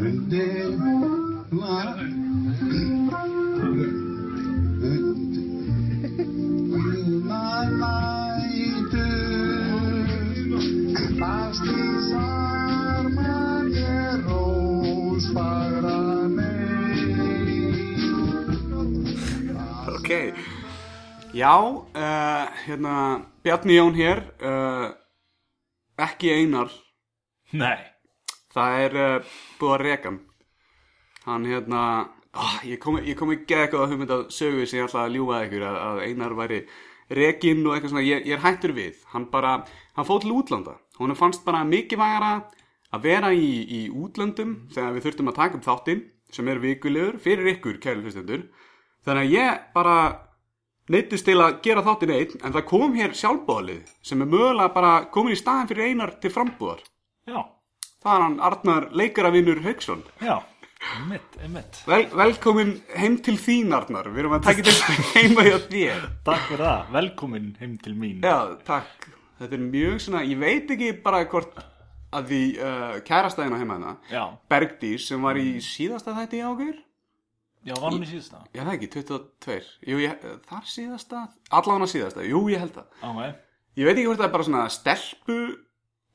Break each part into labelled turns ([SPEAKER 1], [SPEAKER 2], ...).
[SPEAKER 1] Önde var.
[SPEAKER 2] Ok, já, uh, hérna, Bjarni Jón hér, uh, ekki einar,
[SPEAKER 3] Nei
[SPEAKER 2] það er uh, búið að reka hann. Hann, hérna, oh, ég kom, ég kom ekki að eitthvað að hugmynda sögu sem ég ætlaði að ljúfa að ykkur að, að einar væri rekinn og eitthvað svona, ég, ég er hættur við. Hann bara, hann fóð til útlanda, honum fannst bara mikið vægara að vera í, í útlöndum þegar við þurftum að taka upp þáttinn sem er vikulegur fyrir ykkur, kæri hlustendur. Þannig að ég bara neittist til að gera þáttinn einn, en það kom hér sjálfbóðalið sem er mögulega bara komin í staðin fyrir einar til frambúðar.
[SPEAKER 3] Já,
[SPEAKER 2] Það er hann Arnar leikaravinur Hauksson.
[SPEAKER 3] já Einmitt, einmitt
[SPEAKER 2] Vel, velkomin heim til þín Arnar, við erum að taka þetta heima hjá þér.
[SPEAKER 3] Takk fyrir það, velkomin heim til mín
[SPEAKER 2] Já, takk. Þetta er mjög svona, ég veit ekki bara hvort að því uh, kærastæðina heima hérna,
[SPEAKER 3] Já,
[SPEAKER 2] Bergdís sem var í síðasta þætti í águr,
[SPEAKER 3] já var hann í síðasta
[SPEAKER 2] já það ekki, 22, jú, ég, þar síðasta, allan að síðasta, jú, ég held það.
[SPEAKER 3] Ánæg
[SPEAKER 2] Ég veit ekki hvort það er bara svona stelpu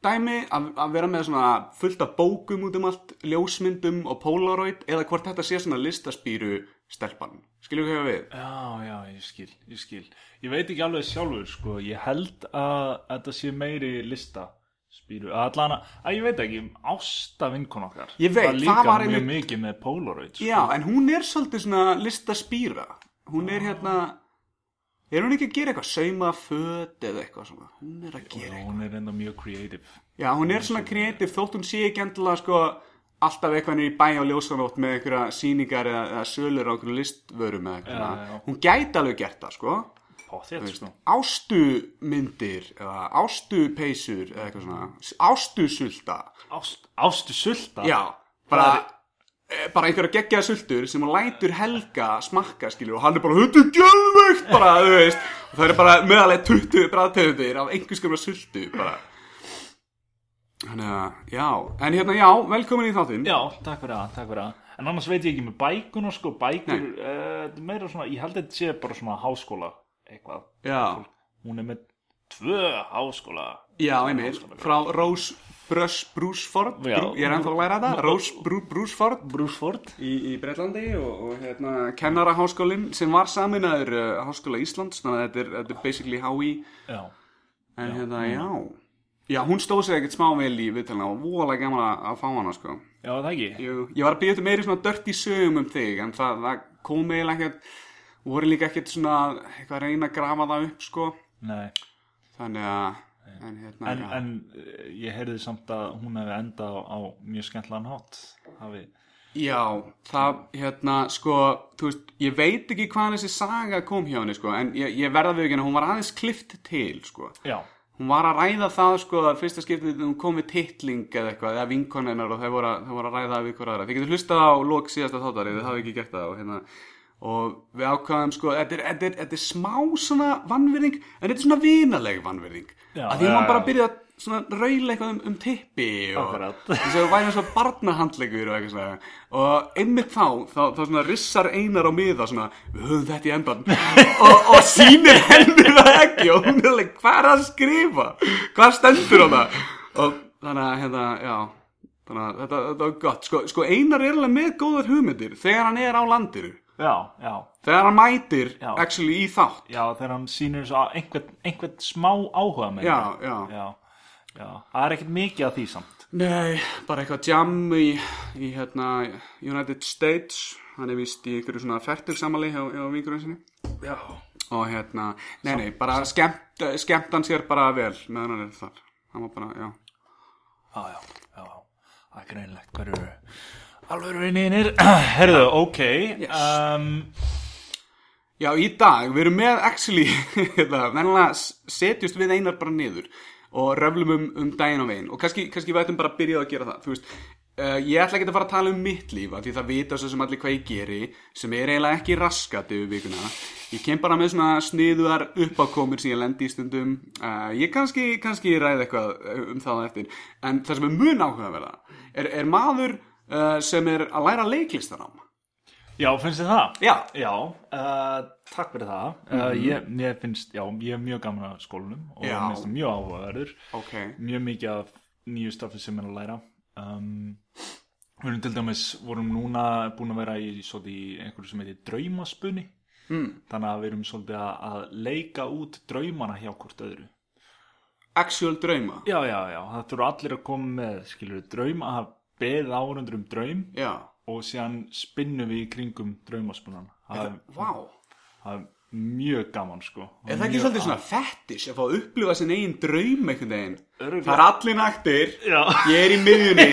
[SPEAKER 2] dæmi að, að vera með svona fullt af bókum út um allt, ljósmyndum og polaroid eða hvort þetta sé svona listaspýru stelpan. Skiljum við hvað ég á við?
[SPEAKER 3] Já, já, ég skil, ég skil Ég veit ekki alveg sjálfur, sko Ég held að þetta sé meiri lista Spýru, að allan að, að ég veit ekki Ásta vinkon okkar
[SPEAKER 2] Ég veit,
[SPEAKER 3] það,
[SPEAKER 2] það var
[SPEAKER 3] líka mjög
[SPEAKER 2] einmitt-
[SPEAKER 3] mikið með Polaroid sko.
[SPEAKER 2] Já, en hún er svolítið svona listaspýra. Hún er hérna, er hún ekki að gera eitthvað, sauma föt eða eitthvað svona? Hún er að gera eitthvað.
[SPEAKER 3] Hún er enda mjög creative
[SPEAKER 2] Já, hún er svona kreatív þótt hún sé ekki endilega sko alltaf eitthvað niður í bæ og ljósanótt með einhverja sýningar eða, eða sölur á einhverju listvörum eða eitthvað.
[SPEAKER 3] Já, já.
[SPEAKER 2] Hún gæti alveg gert það sko.
[SPEAKER 3] Potthjætt, sko
[SPEAKER 2] Ástumyndir eða ástupeysur eða eitthvað svona. Ástusulta.
[SPEAKER 3] Ást, Ástu sulta
[SPEAKER 2] Já, bara...
[SPEAKER 3] Það er-
[SPEAKER 2] eh, bara einhverja geggjaða sultur sem hún lætur helga smakka skilur og hann er bara þetta er gjöðveikt bara, þú veist og það er bara meðalega 20 bræðtegundir af einhvers konar sultu bara þannig að, já en hérna, já, velkomin í þáttinn
[SPEAKER 3] Já, takk fyrir það, takk fyrir það En annars veit ég ekki með bækuna sko, bækur,
[SPEAKER 2] Nei.
[SPEAKER 3] uh, þetta er meira svona, ég held að þetta sé bara svona háskóla eitthvað
[SPEAKER 2] já,
[SPEAKER 3] Hún er með tvö háskóla
[SPEAKER 2] já einmitt frá Rose Brush Brusford
[SPEAKER 3] Já.
[SPEAKER 2] Brú, ég er ennþá að læra þetta, Rose Brú, Brusford
[SPEAKER 3] Brúsford
[SPEAKER 2] í, í Breitlandi og, og hérna, kennaraháskólinn sem var saminaður uh, Háskóla Íslands, þannig að þetta er, þetta er basically HÍ
[SPEAKER 3] Já,
[SPEAKER 2] En hérna, já. Já, hún stóð sér ekkert smá vel í viðtalina og voðalega gaman að, að fá hana, sko.
[SPEAKER 3] já það ekki
[SPEAKER 2] Ég, ég var að býja þetta meiri svona dört í sögum um þig, en það, það kom eiginlega ekkert, voru líka ekkert svona, eitthvað að reyna að grafa það upp, sko.
[SPEAKER 3] Nei,
[SPEAKER 2] Þannig að, en hérna,
[SPEAKER 3] en,
[SPEAKER 2] já.
[SPEAKER 3] en eh, ég heyrði samt að hún hefði endað á, á mjög skemmtlan hátt hafi,
[SPEAKER 2] Já, það, hérna, sko, þú veist, ég veit ekki hvaðan þessi saga kom hjá henni, sko, en ég, ég verða við ekki henni, hún var aðeins klift til, sko.
[SPEAKER 3] Já,
[SPEAKER 2] hún var að ræða það sko að fyrsta skiptið þegar hún kom með titling eða eitthvað eða vinkonennar og þau voru, að- þau voru að ræða við hver aðra. Þið getur hlustað á lok síðasta þáttar eða það hafi ekki gert það og hérna og við ákvaðum sko, þetta er, þetta er, þetta er smá svona vannverðing en þetta er svona vinaleg vannverðing
[SPEAKER 3] Já,
[SPEAKER 2] að því
[SPEAKER 3] já,
[SPEAKER 2] hún bara
[SPEAKER 3] já.
[SPEAKER 2] byrjaði að svona raula eitthvað um, um tippi og
[SPEAKER 3] Akkurat.
[SPEAKER 2] þess að við væri eins og barnahandlegur og eitthvað svona og einmitt þá, þá, þá svona rissar einar á miða svona, við höfum þetta í endan og, og sýnir henni það ekki og hún er alveg, hvað er að skrifa hvað stendur á það og þannig að, hérna, já þannig að þetta, þetta var gott, sko, sko einar er alveg með góðar hugmyndir þegar hann er á landinu
[SPEAKER 3] já, já
[SPEAKER 2] þegar hann mætir,
[SPEAKER 3] Já.
[SPEAKER 2] actually, í þátt
[SPEAKER 3] Já, þegar hann sýnir svo á- einhvern, einhvern smá áhuga með
[SPEAKER 2] já, já,
[SPEAKER 3] já, já Það er ekkert mikið að því samt
[SPEAKER 2] Nei, bara eitthvað jam í, í hérna, United States hann er vist í einhverju svona fertugsamali hjá, hjá vinkurinn sinni
[SPEAKER 3] Já,
[SPEAKER 2] og hérna, nei nei, bara skemmt, skemmt hann sér bara vel meðan hann er þar hann var bara, já
[SPEAKER 3] Já, já, já, já. það er greinlegt hverju alveg vinninir. Herðu, ok, um,
[SPEAKER 2] Já, í dag, við erum með actually, hérna, venlega setjumst við einar bara niður og röflum um, um daginn og veginn og kannski, kannski við ættum bara að byrja að gera það, þú veist, uh, ég ætla ekki að fara að tala um mitt líf, af því það vita svo sem allir hvað ég geri, sem er eiginlega ekki raskat yfir vikuna, ég kem bara með svona sniðuðar uppákomur sem ég lendi í stundum, uh, ég eh, kannski, kannski ræði eitthvað um það á eftir, en það sem er mun áhuga verða, er, er maður uh, sem er að læra leiklistanám.
[SPEAKER 3] Já, finnst þið það?
[SPEAKER 2] Já,
[SPEAKER 3] Já, uh, takk fyrir það. Uh, ég, ég finnst, já, ég er mjög gaman að skólanum og
[SPEAKER 2] Já.
[SPEAKER 3] já. minnst það mjög áhugaverður.
[SPEAKER 2] ok.
[SPEAKER 3] Mjög mikið af nýju staffi sem er að læra. Um, við erum til dæmis, vorum núna búin að vera í svolítið í einhverju sem heitir draumaspunni.
[SPEAKER 2] Mm.
[SPEAKER 3] Þannig að við erum svolítið að, að leika út draumana hjá hvort öðru.
[SPEAKER 2] Actual drauma.
[SPEAKER 3] Já, já, já, það þurfa allir að koma með, skilur við, draum að beða áhundur um draum
[SPEAKER 2] Já,
[SPEAKER 3] og síðan spinnum við í kringum draumaspunnan. Það er
[SPEAKER 2] vá.
[SPEAKER 3] það er mjög gaman sko
[SPEAKER 2] Er það ekki svolítið svona fetish að fá að upplifa sinn eigin draum einhvern veginn?
[SPEAKER 3] Örugglega.
[SPEAKER 2] Það er allir naktir,
[SPEAKER 3] Já,
[SPEAKER 2] ég er í miðjunni,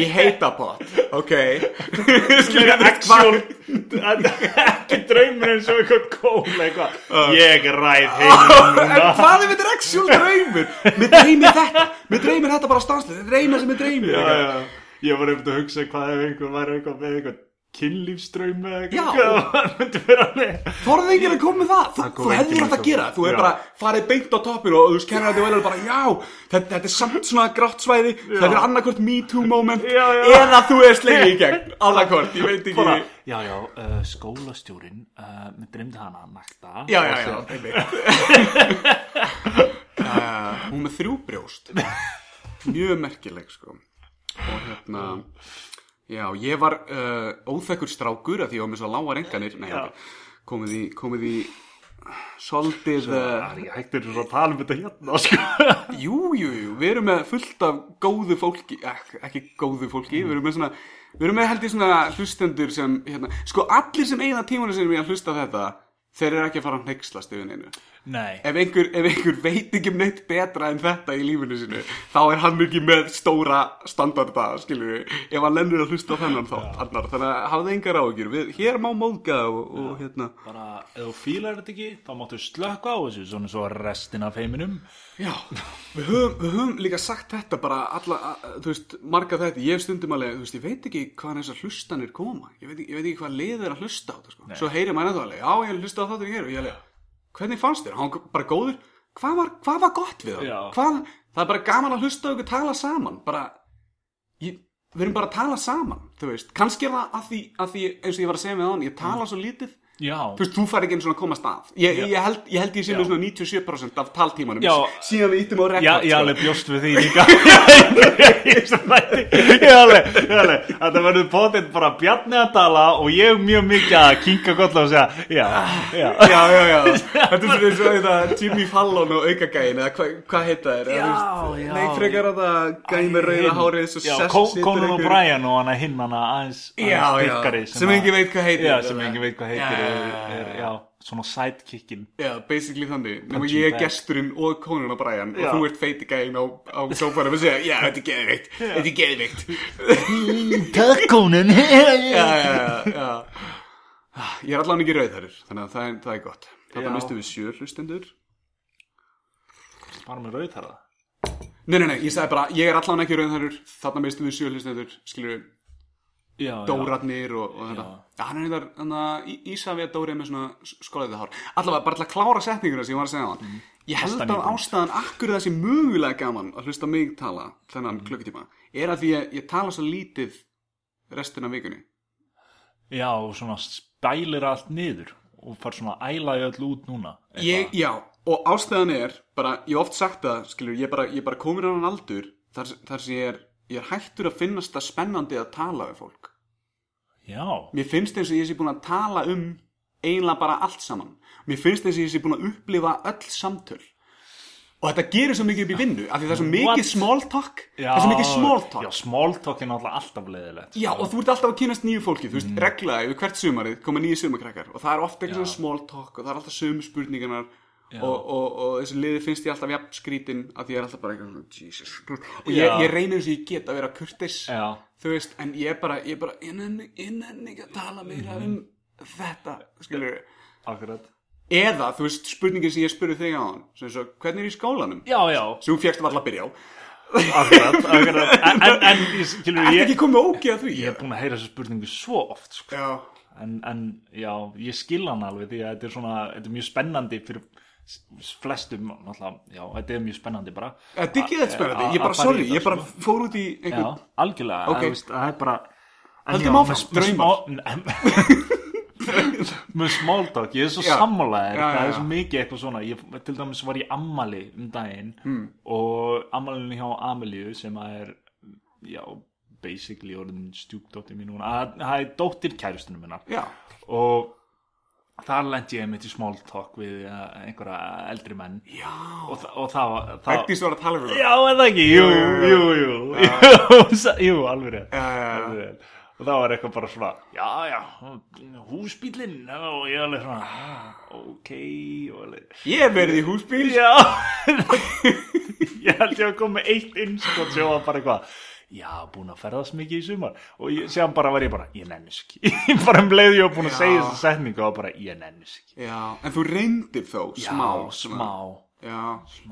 [SPEAKER 2] ég heita pott, ok.
[SPEAKER 3] það
[SPEAKER 2] Skilur
[SPEAKER 3] er actual það er ekki draumur eins og eitthvað kól eitthvað Ég ræð heiminn
[SPEAKER 2] En hvað er mitt actual draumur? Mér dreymir þetta, mér dreymir þetta bara stanslið, þetta er eina sem mér dreymir.
[SPEAKER 3] Já, já. Ég var eftir að hugsa hvað ef einhver var eitthvað með eitthvað kynlífsdraum eða
[SPEAKER 2] Já.
[SPEAKER 3] eitthvað það myndi vera alveg
[SPEAKER 2] Þorðið enginn að koma með það, þú,
[SPEAKER 3] kom
[SPEAKER 2] þú
[SPEAKER 3] enginn
[SPEAKER 2] hefðir
[SPEAKER 3] með
[SPEAKER 2] átt að
[SPEAKER 3] það.
[SPEAKER 2] gera, þú hefur
[SPEAKER 3] Já.
[SPEAKER 2] bara farið beint á toppin og þú skennir þetta vel og bara já, þetta, þetta er samt svona grátt svæði, þetta er annarkvort me too moment
[SPEAKER 3] Já, já.
[SPEAKER 2] eða þú er slegið í gegn, annarkvort, ég veit ekki.
[SPEAKER 3] Bara, já, já, uh, skólastjórin uh, mér dreymdi hana að nakta
[SPEAKER 2] Já, já, já, einmitt. uh, hún er með þrjú brjóst, mjög merkileg sko og hérna, já, ég var uh, óþekkur strákur að því ég var með svo lágar enganir, nei,
[SPEAKER 3] Já.
[SPEAKER 2] ok, komið í, komið í, Svolítið
[SPEAKER 3] Það
[SPEAKER 2] uh,
[SPEAKER 3] er ekki hægt eins og að tala um þetta hérna sko.
[SPEAKER 2] Jú, jú, jú, við erum með fullt af góðu fólki, ek, ekki góðu fólki, við erum með svona, við erum með held ég svona hlustendur sem, hérna, sko allir sem eigða tímanu sinni mér að hlusta á þetta, þeir eru ekki að fara að neykslast yfir neinu.
[SPEAKER 3] Nei
[SPEAKER 2] Ef einhver, ef einhver veit ekki um neitt betra en þetta í lífinu sinu, þá er hann ekki með stóra standarda, skilur við, ef hann lennur að hlusta á þennan þátt, annar, þannig að hafðu engar áhyggjur, við, hér má móðga og, og hérna,
[SPEAKER 3] bara ef þú fílar þetta ekki þá máttu slökka á þessu svona svo restin af heiminum
[SPEAKER 2] Já, við höfum, við höfum líka sagt þetta bara alla, að- þú veist, marga þetta, ég hef stundum alveg, þú veist, ég veit ekki hvaðan þessar hlustanir koma, ég veit ekki, ég veit ekki hvað lið er að hlusta á þetta, sko. Svo heyrir maður ennþá alveg, já, ég er að hlusta á þáttur ég er og ég alveg, hvernig fannst þér? Hann var bara góður, hvað var, hvað var gott við
[SPEAKER 3] Já.
[SPEAKER 2] það? Hvað, það er bara gaman að hlusta á ykkur tala saman, bara, ég, við erum bara að tala saman, þú veist, kannski er það að því, að því, eins og ég var að segja með hann, ég tala svo lítið,
[SPEAKER 3] já,
[SPEAKER 2] Þú veist, þú fær ekki einu svona að komast að Ég,
[SPEAKER 3] Já.
[SPEAKER 2] ég, held, ég held ég sé með
[SPEAKER 3] Já.
[SPEAKER 2] svona 97% af taltímanum
[SPEAKER 3] Já.
[SPEAKER 2] Síðan við íttum á rekord sko.
[SPEAKER 3] já ég alveg bjóst við því líka Ég sem þætti. Ég alveg, ég alveg þetta verður potið bara bjarni að tala og ég mjög mikið að kinka gott og segja já, já
[SPEAKER 2] Já, já, já Þetta er svona eins og þetta Jimmy Fallon og aukagæin Eða hvað hva heita þér
[SPEAKER 3] Já, já.
[SPEAKER 2] Nei, frekar að það gæin með rauða hárið Svo
[SPEAKER 3] já,
[SPEAKER 2] sest
[SPEAKER 3] Ko-
[SPEAKER 2] situr
[SPEAKER 3] Conan
[SPEAKER 2] einhver-
[SPEAKER 3] O'Brien og hana hinn hana aðeins
[SPEAKER 2] Já,
[SPEAKER 3] aðeins
[SPEAKER 2] já.
[SPEAKER 3] þykkari
[SPEAKER 2] Sem
[SPEAKER 3] að-
[SPEAKER 2] enginn veit hvað heitir.
[SPEAKER 3] já, sem engin veit hvað heitir
[SPEAKER 2] Já,
[SPEAKER 3] er,
[SPEAKER 2] já,
[SPEAKER 3] er, já, svona sidekickin
[SPEAKER 2] Já, basically þannig Nefnum
[SPEAKER 3] Punching
[SPEAKER 2] ég er
[SPEAKER 3] bag.
[SPEAKER 2] gesturinn og Conan O'Brien
[SPEAKER 3] Já.
[SPEAKER 2] Og þú ert feiti gæin á, á sófanum Og segja, já, þetta er geðvikt Þetta er geðvikt
[SPEAKER 3] Takk Conan
[SPEAKER 2] já, já, já, já. Ah, Ég er allan ekki rauðarur, þannig að það er, það er gott. Þetta
[SPEAKER 3] Já.
[SPEAKER 2] mistum við sjö hlustendur.
[SPEAKER 3] bara með rauð þar
[SPEAKER 2] Nei, nei, nei, ég sagði bara, ég er allan ekki rauðarur, þarna mistum við sjö hlustendur, skilur við,
[SPEAKER 3] já,
[SPEAKER 2] Dóratnir og, og þetta.
[SPEAKER 3] Já.
[SPEAKER 2] Já, hann er einhver, þannig að Ísafja Dóri er með svona skólaðið hár. Allavega, bara til að klára setninguna sem ég var að segja á
[SPEAKER 3] Mhm.
[SPEAKER 2] hann. Ég held
[SPEAKER 3] Fastan í
[SPEAKER 2] að
[SPEAKER 3] búnd.
[SPEAKER 2] ástæðan akkur það sé mögulega gaman að hlusta mig tala
[SPEAKER 3] Mhm.
[SPEAKER 2] þennan klukkutíma er að því ég, ég tala svo lítið restina af vikunni.
[SPEAKER 3] Já, og svona spælir allt niður og far svona að æla í öll út núna.
[SPEAKER 2] ég, já, og ástæðan er bara, ég hef oft sagt það, skilur ég er bara, ég er bara komin á hann aldur þar, þar sem ég er, ég er hættur að finnast það spennandi að tala við fólk
[SPEAKER 3] Já,
[SPEAKER 2] mér finnst eins og ég sé búin að tala um eiginlega bara allt saman mér finnst eins og ég sé búin að upplifa öll samtöl og þetta gerir svo mikið upp í vinnu af því það er svo mikið
[SPEAKER 3] What?
[SPEAKER 2] small talk
[SPEAKER 3] já.
[SPEAKER 2] það er svo mikið small
[SPEAKER 3] Já,
[SPEAKER 2] talk
[SPEAKER 3] small talk er náttúrulega alltaf leiðilegt.
[SPEAKER 2] Já, og þú ert alltaf að kynast nýju fólki, þú veist, reglaði yfir hvert sumarið koma nýju sumarkrakkar og það er ofta eitthvað
[SPEAKER 3] Mm. Já.
[SPEAKER 2] svona small talk og það er alltaf sömu spurningarnar
[SPEAKER 3] Já.
[SPEAKER 2] og, og, og þessi liði finnst ég alltaf jafn skrítin að ég er alltaf bara eitthvað svona, Jesus og
[SPEAKER 3] Já.
[SPEAKER 2] ég, ég reynir eins og ég get að vera kurtis
[SPEAKER 3] Já,
[SPEAKER 2] þú veist, en ég er bara, ég er bara innan, innan ekki að tala meira um þetta, skilur
[SPEAKER 3] akkurat.
[SPEAKER 2] eða, þú veist, spurningin sem ég spurði þig á hann sem er svo, hvernig er í skólanum?
[SPEAKER 3] Já, já,
[SPEAKER 2] sem hún fjækst varla að byrja á,
[SPEAKER 3] akkurat, akkurat. En, en, en ég, skilur,
[SPEAKER 2] ertu
[SPEAKER 3] ég,
[SPEAKER 2] ekki komið ógeð að því?
[SPEAKER 3] ég er búin að heyra þessu spurningu svo oft, sko.
[SPEAKER 2] Já,
[SPEAKER 3] En, en já, ég skil hann alveg því að þetta er svona, þetta er mjög spennandi fyrir s- flestum, náttúrulega, já, þetta er mjög spennandi bara.
[SPEAKER 2] þetta er ekki þetta spennandi,
[SPEAKER 3] að-
[SPEAKER 2] ég bara,
[SPEAKER 3] að fara í
[SPEAKER 2] sorry,
[SPEAKER 3] þetta,
[SPEAKER 2] ég bara
[SPEAKER 3] sko.
[SPEAKER 2] fór út í einhvern
[SPEAKER 3] Já, algjörlega,
[SPEAKER 2] Ok.
[SPEAKER 3] okay. veist, það er bara
[SPEAKER 2] Höldum áfram, draumar.
[SPEAKER 3] Með smáldag, ég er svo
[SPEAKER 2] Já. Já, já,
[SPEAKER 3] sammálaðir Það
[SPEAKER 2] já.
[SPEAKER 3] er svo mikið eitthvað svona ég, Til dæmis var ég ammali um daginn
[SPEAKER 2] Mm.
[SPEAKER 3] Og ammalinu hjá Amelíu Sem að er Já, basically orðin stjúpdóttir mín núna. Að- Það er dóttir kærustunum minna
[SPEAKER 2] já,
[SPEAKER 3] Og þar lendi ég mitt í smáltak Við eh, einhverja eldri menn
[SPEAKER 2] já
[SPEAKER 3] Og, þa- og það var það,
[SPEAKER 2] Hegdís var að tala um það
[SPEAKER 3] Já, er það ekki, jú,
[SPEAKER 2] Jú,
[SPEAKER 3] jú,
[SPEAKER 2] jú,
[SPEAKER 3] jú Jú, sa- jú alveg rétt
[SPEAKER 2] Já, já, já.
[SPEAKER 3] Alveg rétt. Og það var eitthvað bara svona Já, já, húsbílinn Og ég alveg svona ah, Ok, og alveg
[SPEAKER 2] Ég hef verið í húsbíl
[SPEAKER 3] Já Ég held ég að koma með eitt innskot Svo var bara eitthvað Já, búin að ferðast mikið í sumar Og ég, séðan bara var ég bara, ég nennis ekki Bara um leið ég var búin að
[SPEAKER 2] Já.
[SPEAKER 3] segja þessa setningu Og bara, ég nennis ekki
[SPEAKER 2] Já, en þú reyndir þó,
[SPEAKER 3] Já,
[SPEAKER 2] smá
[SPEAKER 3] smá
[SPEAKER 2] Já,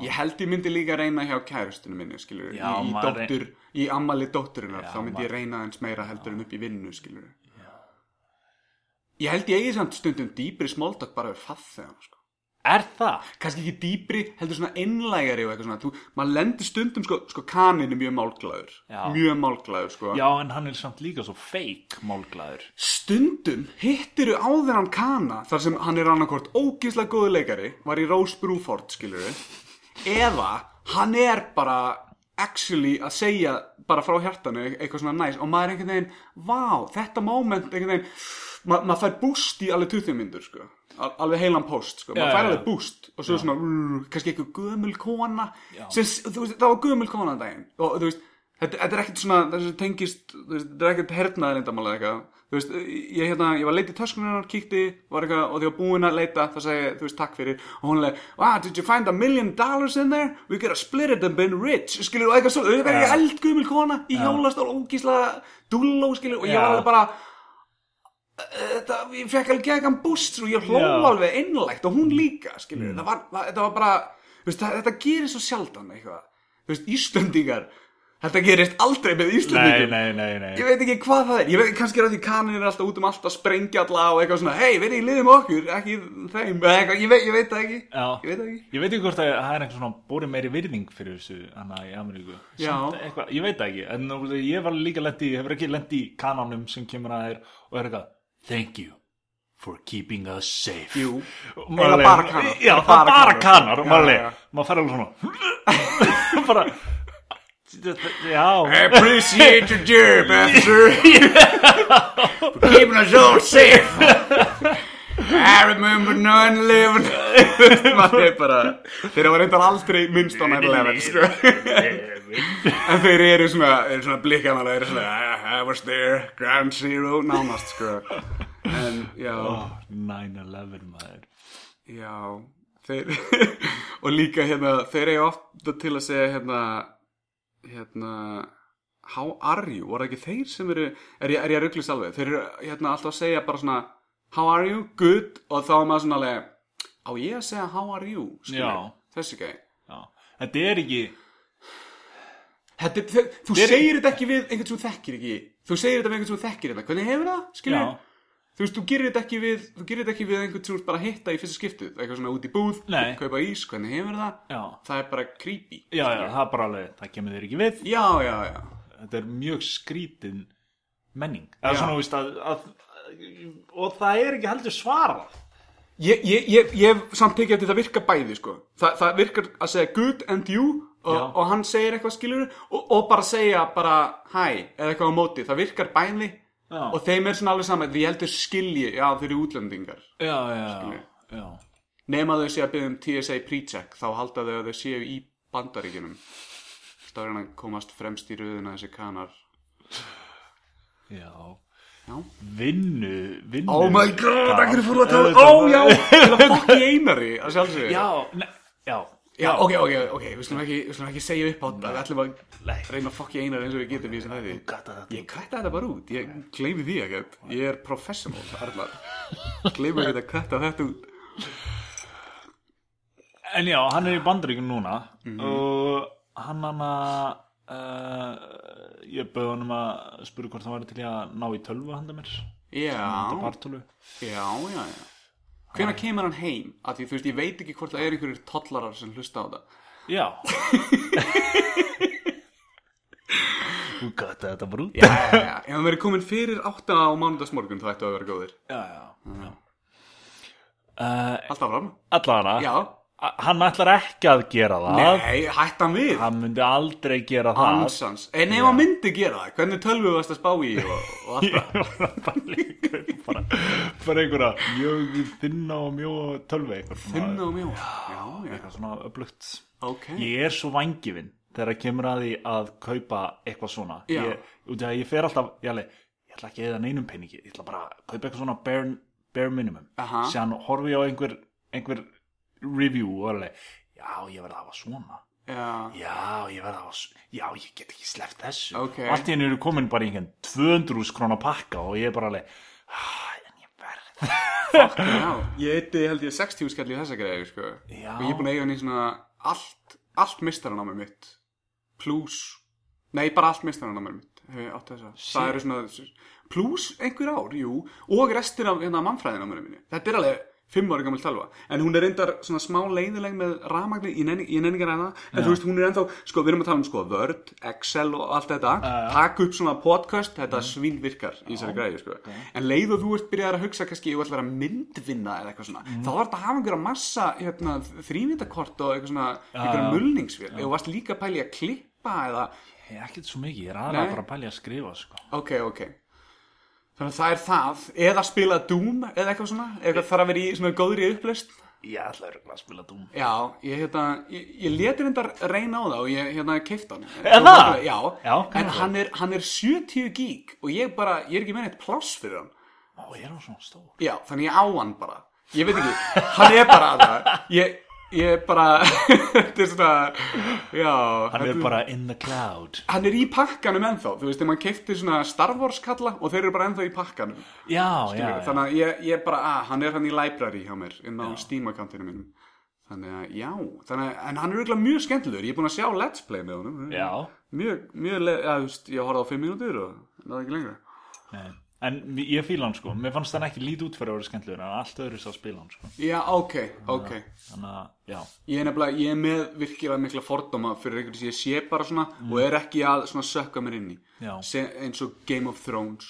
[SPEAKER 2] ég held ég myndi líka reyna hjá kærustunum minni, skilur
[SPEAKER 3] Já,
[SPEAKER 2] Í, í
[SPEAKER 3] maður-
[SPEAKER 2] dóttur, í ammali dótturinnar
[SPEAKER 3] Já,
[SPEAKER 2] Þá myndi ég reyna eins meira heldur en upp í vinnu, skilur Ég held ég eigi samt stundum dýpri smáltak bara við fatt þegar, sko
[SPEAKER 3] Er það?
[SPEAKER 2] kannski ekki dýpri, heldur svona einlægari og eitthvað svona, þú, maður lendir stundum sko, sko kanin er mjög málglaður
[SPEAKER 3] Já.
[SPEAKER 2] mjög málglaður sko
[SPEAKER 3] Já, en hann er samt líka svo feik málglæður
[SPEAKER 2] stundum hittiru á þennan kana þar sem hann er annarkort ógislega góðu leikari var í Rose Bruford skilur eða hann er bara actually að segja bara frá hjartanu eitthvað svona næs og maður er einhvern veginn, vá, þetta moment einhvern veginn, ma maður fær boost í alveg 20 myndur sko Al alveg heilan post sko,
[SPEAKER 3] Já,
[SPEAKER 2] maður fær
[SPEAKER 3] já,
[SPEAKER 2] alveg
[SPEAKER 3] já.
[SPEAKER 2] boost og svo svona, rrr, kannski eitthvað gömul kona
[SPEAKER 3] Já.
[SPEAKER 2] sem, s- þú veist, það var gömul kona daginn og þú veist, þetta, þetta er ekkert svona það sem tengist, þú veist, þetta er ekkert hernaðar eindamál eða eitthvað, þú veist, ég, hérna, ég var að leita í töskunum hennar, kíkti, var eitthvað og því var búin að leita, það segi, ég, þú veist, takk fyrir og hún leið, wow, did you find a million dollars in there? We could have split it and been rich skilur, og eitthvað svo, þú veist, það
[SPEAKER 3] Já.
[SPEAKER 2] er eld gömul kona í hjólastól, ógíslega dúlló, skilur, og ég var
[SPEAKER 3] Já.
[SPEAKER 2] alveg bara þetta, ég fekk alveg geðgan búst og ég hló
[SPEAKER 3] Já.
[SPEAKER 2] alveg innlægt og hún líka skilur,
[SPEAKER 3] Mm.
[SPEAKER 2] það var, það, þetta var bara þú veist, það, þetta gerir svo sjaldan eitthvað Þú veist, Íslendingar þetta gerist aldrei með
[SPEAKER 3] Nei,
[SPEAKER 2] Íslendingum
[SPEAKER 3] nei, nei, nei
[SPEAKER 2] ég veit ekki hvað það er, ég veit kannski er að því kanin er alltaf út um allt að sprengja alla og eitthvað svona, hei, verið í liðum okkur ekki þeim, eða eitthvað, ég veit, ég veit það ekki
[SPEAKER 3] Já.
[SPEAKER 2] ég veit það ekki
[SPEAKER 3] Ég veit ekki hvort að það er einhver svona bórið meiri virðing fyrir þessu hana í Ameríku
[SPEAKER 2] Já.
[SPEAKER 3] Samt eitthvað, Ég veit það ekki, en nú- ég var líka lendi, ég hefur ekki lendi í kanánum sem kemur að þér og er eitthvað Thank you for keeping us safe
[SPEAKER 2] Jú.
[SPEAKER 3] Og
[SPEAKER 2] Eiginlega
[SPEAKER 3] maður
[SPEAKER 2] bara
[SPEAKER 3] leið-
[SPEAKER 2] kanar.
[SPEAKER 3] Já,
[SPEAKER 2] Bara
[SPEAKER 3] það er
[SPEAKER 2] kanar.
[SPEAKER 3] bara kanar og maður
[SPEAKER 2] Já,
[SPEAKER 3] leið,
[SPEAKER 2] já.
[SPEAKER 3] maður fer alveg svona bara Já,
[SPEAKER 2] appreciate your job, officer for keeping us all safe I remember 9-11 maður er bara þeir hafa reyndar aldrei minnst á 9-11 sko. en þeir eru svona, eru svona blikkanar þeir eru svona, I, I was there, ground zero nánast sko en já,
[SPEAKER 3] Ó, 9-11 maður
[SPEAKER 2] já þeir, og líka hérna þeir eru ofta til að segja hérna hérna how are you, voru það ekki þeir sem eru er ég, er ég að rugglis alveg, þeir eru hérna alltaf að segja bara svona how are you, good og þá er maður svona alveg á ég að segja how are you, skilur
[SPEAKER 3] Já.
[SPEAKER 2] þessi gæði
[SPEAKER 3] Já. Þetta er ekki
[SPEAKER 2] Þetta, er- þau- þú
[SPEAKER 3] Þeir-
[SPEAKER 2] segir þetta ekki við einhvern sem þú þekkir ekki Þú segir þetta við einhvern sem þú þekkir þetta Hvernig hefur það? Skilur?
[SPEAKER 3] Já.
[SPEAKER 2] Þú veist, þú gerir þetta ekki við Þú gerir þetta ekki við einhvern sem þú ert bara að hitta í fyrsta skiptið Eitthvað svona út í búð,
[SPEAKER 3] Nei.
[SPEAKER 2] kaupa ís Hvernig hefur það?
[SPEAKER 3] Já.
[SPEAKER 2] Það er bara creepy
[SPEAKER 3] Já, já, það er bara alveg, það kemur þér ekki við
[SPEAKER 2] Já, já, já
[SPEAKER 3] þetta er mjög skrítin menning
[SPEAKER 2] Já.
[SPEAKER 3] eða svona, veist, að, að, og það er ekki heldur svara
[SPEAKER 2] Ég, ég, ég, ég hef samt tekið eftir það virka bæði sko. Þa, það virkar að segja good and you og,
[SPEAKER 3] Já.
[SPEAKER 2] og hann segir eitthvað skilur og, og bara segja bara hi eða eitthvað á móti, það virkar bæði
[SPEAKER 3] Já.
[SPEAKER 2] og þeim er svona alveg saman því ég heldur skilji, já þau eru útlendingar
[SPEAKER 3] já, já, já,
[SPEAKER 2] nema þau sé að byggja um TSA pre-check þá halda þau að þau séu í bandaríkinum þá er hann að komast fremst í röðuna þessi kanar
[SPEAKER 3] já.
[SPEAKER 2] Já.
[SPEAKER 3] vinnu, vinnu
[SPEAKER 2] Oh god,
[SPEAKER 3] akkur er fór að
[SPEAKER 2] tala Ó já, til að fokki einari að sjálfsögðu
[SPEAKER 3] já, ne, já,
[SPEAKER 2] Já, oh ok, ok, ok, við slum ekki, við slum ekki segja upp á þetta, við ætlum að
[SPEAKER 3] Nei. Oh
[SPEAKER 2] reyna að fokki einar eins og við getum í þessum hæði.
[SPEAKER 3] gata þetta
[SPEAKER 2] Ég kvætta þetta bara út, ég gleymi því ekkert, ég er professional, Arnar. Gleymi ekki að kvætta þetta út.
[SPEAKER 3] En já, hann er í bandaríkjum núna og hann hann að uh, ég bauði honum að spura hvort hann var til í að ná í tölvu handa mér Þetta
[SPEAKER 2] Já,
[SPEAKER 3] partölu
[SPEAKER 2] já, já, já. Hvenær kemur hann heim? Af því, þú veist, ég veit ekki hvort það er einhverjir tollarar sem hlusta á þetta.
[SPEAKER 3] Já Þú gata þetta bara út
[SPEAKER 2] Já, já, já. Ef hann verið komin fyrir átta á mánudagsmorgun þá ættu að vera góðir.
[SPEAKER 3] já, já, já. Uh,
[SPEAKER 2] Alltaf fram.
[SPEAKER 3] Allavega
[SPEAKER 2] Já.
[SPEAKER 3] a- Hann ætlar ekki að gera það
[SPEAKER 2] Nei, hættan við.
[SPEAKER 3] Hann myndi aldrei gera það
[SPEAKER 2] Ansans. En ef hann myndi gera það, hvernig tölvu varst að spá í og, og allt það?
[SPEAKER 3] bara líka upp bara, bara einhverja mjög þinna og mjög tölvi
[SPEAKER 2] Þunna og mjóa. Já, já.
[SPEAKER 3] eitthvað svona öflugt
[SPEAKER 2] Ok.
[SPEAKER 3] ég er svo vangifinn þegar kemur að því að kaupa eitthvað svona
[SPEAKER 2] Já.
[SPEAKER 3] ég, út af að ég fer alltaf ég, alveg, ég ætla ekki eða neinum peningi ég ætla bara að kaupa eitthvað svona bare, bare minimum
[SPEAKER 2] Aha.
[SPEAKER 3] síðan horfi ég á einhver, einhver review og er alveg já ég verði að hafa svona
[SPEAKER 2] Já.
[SPEAKER 3] já ég verði að hafa svona já ég get ekki sleppt þessu
[SPEAKER 2] Ok.
[SPEAKER 3] og allt í henni eru komin bara í einhvern 200 krónar pakka og ég er bara alveg "Ah, en ég verð
[SPEAKER 2] Já, ég eitthi held ég 60 skall í þessa greiði, sko.
[SPEAKER 3] Já.
[SPEAKER 2] Og ég er búin að eiga hann í svona allt, allt mistaranámið mitt. Plus, nei, bara allt mistaranámið mitt. Hef ég átt þessa. Það eru svona, plus einhver ár, jú, og restin af hérna mannfræðináminu mínu. Þetta er alveg fimm ára gammal tölva. En hún er reyndar svona smá leiðileg með rafmagni, ég nenni ég nenni ekki að ræða. það. En þú veist, hún er ennþá, sko, við erum að tala um sko Word, Excel og allt þetta.
[SPEAKER 3] já.
[SPEAKER 2] Takk upp svona podcast, þetta svín virkar í þessari greiði, sko. En leið og þú ert byrjað að hugsa kannski, ég ætla að vera myndvinna eða eitthvað svona,
[SPEAKER 3] Mm.
[SPEAKER 2] þá var þetta að hafa einhverja massa hérna, þrývindakort og eitthvað svona, einhverja mulningsvél. Ef þú varst líka að pæli að klippa eða,
[SPEAKER 3] ég er ekkert svo mikið, ég er aðlega
[SPEAKER 2] Nei.
[SPEAKER 3] bara að pælja að skrifa sko.
[SPEAKER 2] ok, ok. Þannig að það er það, eða spila Doom eða eitthvað svona, eitthvað þarf að vera í svona góðri upplist.
[SPEAKER 3] ég ætla örugglega að spila Doom
[SPEAKER 2] Já, ég, hérna, ég, ég leti reyndar reyna á það og ég hérna keifta hann.
[SPEAKER 3] Er
[SPEAKER 2] Svo
[SPEAKER 3] það?
[SPEAKER 2] bara- Já,
[SPEAKER 3] Já,
[SPEAKER 2] en
[SPEAKER 3] kannski.
[SPEAKER 2] hann er, hann er 70 gík og ég bara, ég er ekki með neitt pláss fyrir hann.
[SPEAKER 3] Ó, ég er hann svona stór
[SPEAKER 2] Já, þannig ég á hann bara. Ég veit ekki, hann er bara það. Ég, ég er bara, þetta er svona, já.
[SPEAKER 3] Hann er
[SPEAKER 2] þetta-
[SPEAKER 3] bara in the cloud
[SPEAKER 2] Hann er í pakkanum ennþá, þú veist, ef maður keifti svona Star Wars kalla og þeir eru bara ennþá í pakkanum.
[SPEAKER 3] Já, já, já
[SPEAKER 2] Þannig að ég, ég bara, að, hann er hann í library hjá mér inn á Steam-akkantinu mínum þannig að, já, þannig að, en hann er auðvitað mjög skemmtilegur, ég er búin að sjá Let's Play með honum
[SPEAKER 3] Já,
[SPEAKER 2] mjög, mjög, le- já, þú veist, ég horfði á fimm mínútur og náði ekki lengra
[SPEAKER 3] nei. En mi- ég fíla hann sko Mér fannst hann ekki lítið út fyrir að vera skemmtilegur En allt öðru sá spila hann sko
[SPEAKER 2] Já, ok, ok
[SPEAKER 3] Þannig að, já
[SPEAKER 2] Ég er nefnilega, ég er með virkilega mikla fordóma fyrir einhvern sem ég sé bara svona
[SPEAKER 3] Mm.
[SPEAKER 2] og er ekki að svona sökka mér inn í
[SPEAKER 3] Já.
[SPEAKER 2] Se, eins og Game of Thrones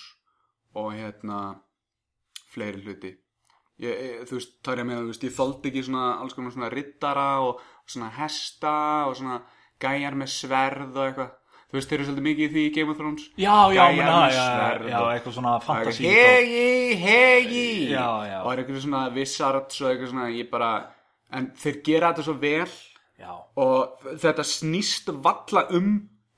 [SPEAKER 2] og hérna fleiri hluti ég, ég, þú veist, þá er ég með, þú veist, ég þoldi ekki svona alls konar svona rittara og svona hesta og svona gæjar með sverð og eitthvað þú veist, þeir eru svolítið mikið í því í Game of Thrones
[SPEAKER 3] Já, já,
[SPEAKER 2] Gæjar
[SPEAKER 3] menna,
[SPEAKER 2] með
[SPEAKER 3] já, já,
[SPEAKER 2] sverð
[SPEAKER 3] já,
[SPEAKER 2] og-
[SPEAKER 3] eitthvað svona fantasí
[SPEAKER 2] hegi, hegi
[SPEAKER 3] Já, já.
[SPEAKER 2] og er eitthvað svona vissart og eitthvað svona, ég bara en þeir gera þetta svo vel
[SPEAKER 3] Já,
[SPEAKER 2] og þetta snýst valla um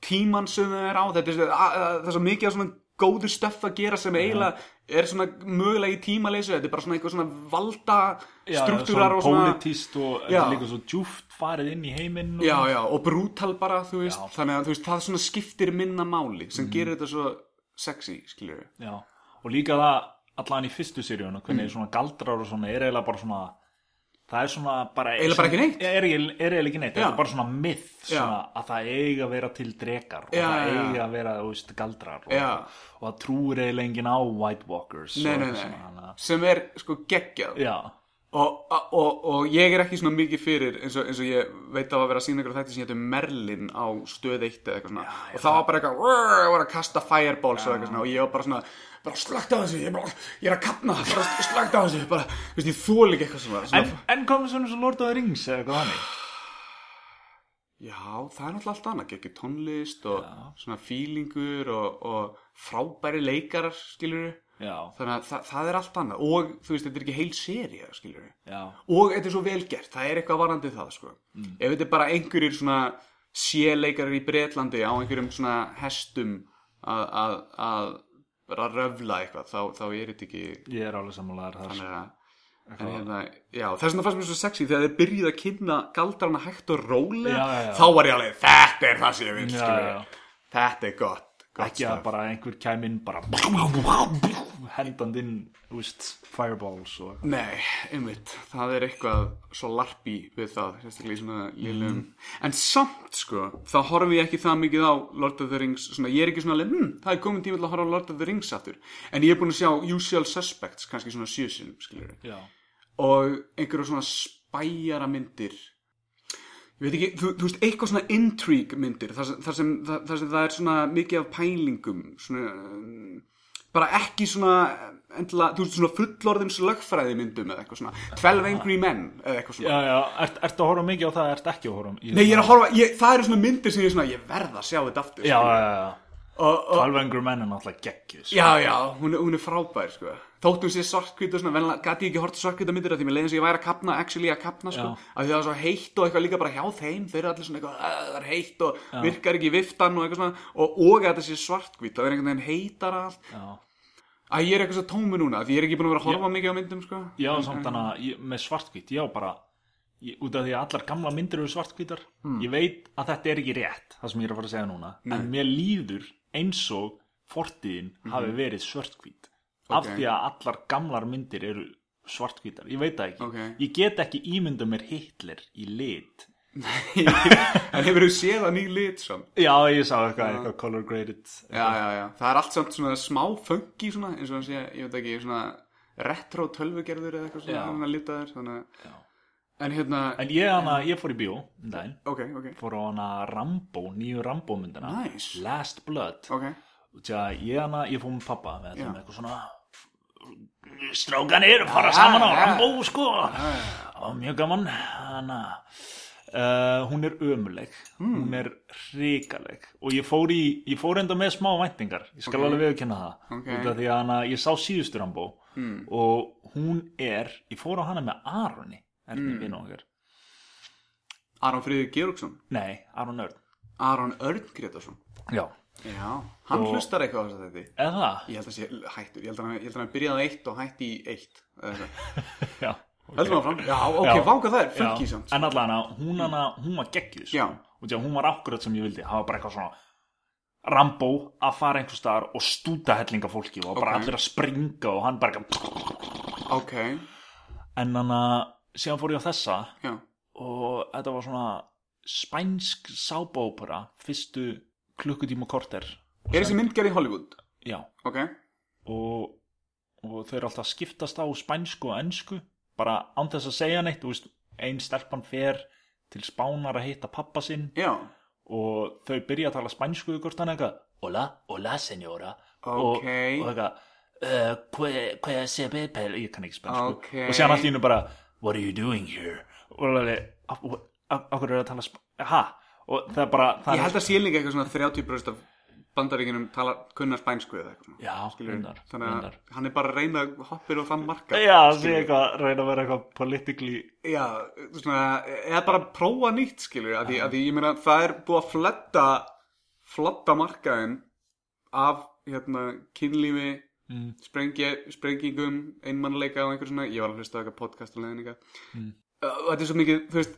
[SPEAKER 2] tímann sem þau er á þetta er, a- a- það er svo mikið af svona góðu stöff að gera sem eiginlega er svona mögulega í tímaleysu þetta er bara svona eitthvað svona valda
[SPEAKER 3] já,
[SPEAKER 2] struktúrar og svona
[SPEAKER 3] Politist og þetta
[SPEAKER 2] Já.
[SPEAKER 3] er líka svo djúft farið inn í heiminn og...
[SPEAKER 2] já, já, og brútal bara, þú veist
[SPEAKER 3] Já. Mm.
[SPEAKER 2] þannig að þú veist, það svona skiptir minna máli sem gerir þetta svo sexy, skiljur við
[SPEAKER 3] já Og líka það, allan í fyrstu seríun
[SPEAKER 2] Mm.
[SPEAKER 3] Hvernig svona galdrar og svona Er eiginlega bara svona Það er svona bara
[SPEAKER 2] Eiginlega bara ekki neitt.
[SPEAKER 3] Er er eiginlega er eiginlega ekki
[SPEAKER 2] Já.
[SPEAKER 3] neitt Þetta er bara svona myth svona, Að það eiga að vera til drekar Og
[SPEAKER 2] Já,
[SPEAKER 3] það
[SPEAKER 2] já, já.
[SPEAKER 3] eiga að vera, þú veist, galdrar
[SPEAKER 2] Já.
[SPEAKER 3] og, og það trúir eiginlega enginn á White Walkers
[SPEAKER 2] nei,
[SPEAKER 3] og
[SPEAKER 2] nei,
[SPEAKER 3] eitthvað
[SPEAKER 2] nei,
[SPEAKER 3] svona, þannig að-
[SPEAKER 2] sem er sko geggjað
[SPEAKER 3] Já,
[SPEAKER 2] og, og, og ég er ekki svona mikið fyrir eins og, eins og ég veit að var að vera að sína ykkur þætti sem hétu Merlin á stöð eitt eða eitthvað svona og það var bara eitthvað "Rrr", og var að kasta fireballs eða eitthvað svona og ég var bara svona bara slögt á þessu, ég, bara, ég er að kapna bara slögt á þessu, bara, þú veist, ég þóli ekki eitthvað svona,
[SPEAKER 3] en,
[SPEAKER 2] svona
[SPEAKER 3] en komið svona svo Lord of the Rings eða eitthvað hannig
[SPEAKER 2] já, það er náttúrulega allt annað, ekki tónlist og svona feelingur og, og frábæri leikarar, skilur
[SPEAKER 3] Já,
[SPEAKER 2] þannig að það, það er allt annað og þú veist, þetta er ekki heil serið, skilur
[SPEAKER 3] já,
[SPEAKER 2] og þetta er svo velgert, það er eitthvað varandi það sko. ef þetta er bara einhverjir svona séleikarar í Bretlandi á einhverjum svona hestum að, að, að bara röfla eitthvað, þá, þá er þetta ekki
[SPEAKER 3] ég er alveg sammálaðar þar
[SPEAKER 2] þannig að En hérna, já, þess vegna fannst mér svo sexy þegar þeir byrjuð að kynna galdrana hægt og rólega
[SPEAKER 3] Já, já, já.
[SPEAKER 2] þá var ég alveg, þetta er það sem ég vil
[SPEAKER 3] Já,
[SPEAKER 2] skilur
[SPEAKER 3] já,
[SPEAKER 2] við. þetta er gott, gott
[SPEAKER 3] ekki
[SPEAKER 2] stuff.
[SPEAKER 3] að bara einhver kæmi inn bara hendand inn, þú veist, fireballs og
[SPEAKER 2] Nei, einmitt, það er eitthvað svo larpi við það, sérstaklega í svona lillum, en samt sko, þá horfi ég ekki það mikið á Lord of the Rings, svona ég er ekki svona alveg, hm, það er komin tíma til að horfa á Lord of the Rings aftur, en ég er búin að sjá Usual Suspects, kannski svona sjösinum, skiljur,
[SPEAKER 3] Já,
[SPEAKER 2] og einhverju svona spæjara myndir, Ég veit ekki, þú, þú veist, eitthvað svona intrigue myndir, þar sem, þar, sem, þar, þar sem það er svona mikið af pælingum, svona, um, bara ekki svona, endla, þú veist, svona fullorðins lögfræði myndum eða eitthvað svona, 12 Angry Men eða eitthvað svona.
[SPEAKER 3] Já, já, ert, ertu að horfa mikið á það, ert ekki að horfa í
[SPEAKER 2] Nei, ég er að horfa, ég, það eru svona myndir sem ég er svona, ég verð að sjá þetta aftur.
[SPEAKER 3] Já,
[SPEAKER 2] sko.
[SPEAKER 3] já, já,
[SPEAKER 2] og, og,
[SPEAKER 3] Alveg Angry Men er náttúrulega sko. geggjus
[SPEAKER 2] já, já, hún, er- hún er frábær, sko. Þóttum sé svartkvít og svona, venlega, gæti ég ekki hort svartkvíta myndir af því, mér leiðin sem ég væri að kapna, actually að kapna, sko,
[SPEAKER 3] Já.
[SPEAKER 2] af því það var svo heitt og eitthvað líka bara hjá þeim, þeir eru allir svona eitthvað, "Ugh, það er heitt og virkar ekki viftan og eitthvað svona, og, og að þetta sé svartkvít, það er einhvern veginn heitar allt,
[SPEAKER 3] Já,
[SPEAKER 2] Æ, ég er eitthvað svo tómi núna, því ég er ekki búin að vera að horfa mikið á myndum, sko.
[SPEAKER 3] já samt hana, ég, með svartkvít, já bara ég, Út af því að allar gamla myndir eru svartkvítar
[SPEAKER 2] Mhm.
[SPEAKER 3] Ég veit að þetta er ekki rétt, það sem ég er að fara að segja núna En mér líður eins og fortíðin hafi verið svartkvít Af
[SPEAKER 2] Mhm. Ok.
[SPEAKER 3] því að allar gamlar myndir eru svartkvítar, ég veit það ekki
[SPEAKER 2] Ok.
[SPEAKER 3] Ég get ekki ímynda mér Hitler í lit
[SPEAKER 2] en hefur þú séð að ný lit samt?
[SPEAKER 3] Já, ég sá eitthvað, eitthvað color graded
[SPEAKER 2] Já, já, já. Það er allt samt svona smá funky svona, eins og hann sé, ég veit ekki, svona retro tölvugerður eða eitthvað svona,
[SPEAKER 3] Já.
[SPEAKER 2] hann að litaður, þannig
[SPEAKER 3] Já.
[SPEAKER 2] að... En hérna,
[SPEAKER 3] En ég, hana, ég fór í bíó um daginn
[SPEAKER 2] ok, ok,
[SPEAKER 3] fór á hana Rambo, nýju Rambo myndina
[SPEAKER 2] Nice.
[SPEAKER 3] Last Blood
[SPEAKER 2] ok,
[SPEAKER 3] Tja, ég, hana, ég fór með pappa við ætlum
[SPEAKER 2] Já.
[SPEAKER 3] eitthvað svona strákanir fara
[SPEAKER 2] Já,
[SPEAKER 3] saman á
[SPEAKER 2] já.
[SPEAKER 3] Rambo sko það var mjög gaman hana Uh, hún er ömuleg,
[SPEAKER 2] Hmm.
[SPEAKER 3] hún er hrikaleg og ég fór, í, ég fór enda með smá væntingar, ég skal alveg viðurkenna það
[SPEAKER 2] Ok. Hmm.
[SPEAKER 3] út af því að hana, ég sá síðustu Rambo og hún er, ég fór á hana með Aroni, er
[SPEAKER 2] Hmm.
[SPEAKER 3] þetta vinn okkar
[SPEAKER 2] Aron Friður Georgsson,
[SPEAKER 3] nei, Aron Örn,
[SPEAKER 2] Aron Örn Gretarsson.
[SPEAKER 3] já
[SPEAKER 2] Já, hann
[SPEAKER 3] Og-
[SPEAKER 2] hlustar eitthvað á þess að þetta.
[SPEAKER 3] eða,
[SPEAKER 2] Ég held að sé hættur, ég held að hann- ég held að hann byrjaði á eitt og hætti í eitt. Heldum okay.
[SPEAKER 3] já
[SPEAKER 2] áfram? Já, ok,
[SPEAKER 3] Já.
[SPEAKER 2] vanga það er
[SPEAKER 3] Já,
[SPEAKER 2] funky samt.
[SPEAKER 3] en allan að hún, hana, hún var geggjuð
[SPEAKER 2] Já.
[SPEAKER 3] sko. og því að hún var akkurat sem ég vildi það var bara eitthvað svona Rambo að fara einhver staðar og stúta hellinga fólki og
[SPEAKER 2] Ok.
[SPEAKER 3] bara allir að springa og hann bara eitthvað-
[SPEAKER 2] Ok,
[SPEAKER 3] en hann að síðan fór ég á þessa
[SPEAKER 2] já,
[SPEAKER 3] og þetta var svona spænsk sábópera fyrstu klukkutíma og korter
[SPEAKER 2] Er þessi mynd gerð í Hollywood?
[SPEAKER 3] já
[SPEAKER 2] Ok,
[SPEAKER 3] og, og þau eru alltaf að skiptast á spænsku og ennsku bara án þess að segja neitt þú veist, ein stelpan fer til spánar að hitta pappa sinn
[SPEAKER 2] já
[SPEAKER 3] og þau byrja að tala spænsku við hvort hann eitthvað hola, hola senora og,
[SPEAKER 2] Ok,
[SPEAKER 3] og eitthvað uh, hve- hve se bepel ég kann ekki spænsku
[SPEAKER 2] Ok.
[SPEAKER 3] sko. og séðan allt í hennu bara what are you doing here og alveg, af af- af hverju er það að tala spænsku ha, og það er bara það
[SPEAKER 2] ég
[SPEAKER 3] er-
[SPEAKER 2] held að sé líka eitthvað svona 30% af bandaríkinum tala kunnar spænsku eða eitthvað svona.
[SPEAKER 3] já,
[SPEAKER 2] Skilurðu?
[SPEAKER 3] reyndar,
[SPEAKER 2] Þannig að
[SPEAKER 3] reyndar.
[SPEAKER 2] hann er bara að reyna að hoppir og þann marka
[SPEAKER 3] já, það er eitthvað að reyna að vera eitthvað politically
[SPEAKER 2] Já, svona, eða bara prófa nýtt skilur að því, að því ég meina það er búið að fletta flotta markaðin af hérna kynlífi
[SPEAKER 3] Mm.
[SPEAKER 2] sprengja, sprengingum einmannleika og einhver svona, ég var að hlusta á eitthvað podcast og leðninga
[SPEAKER 3] Mm.
[SPEAKER 2] þetta er svo mikið, þú veist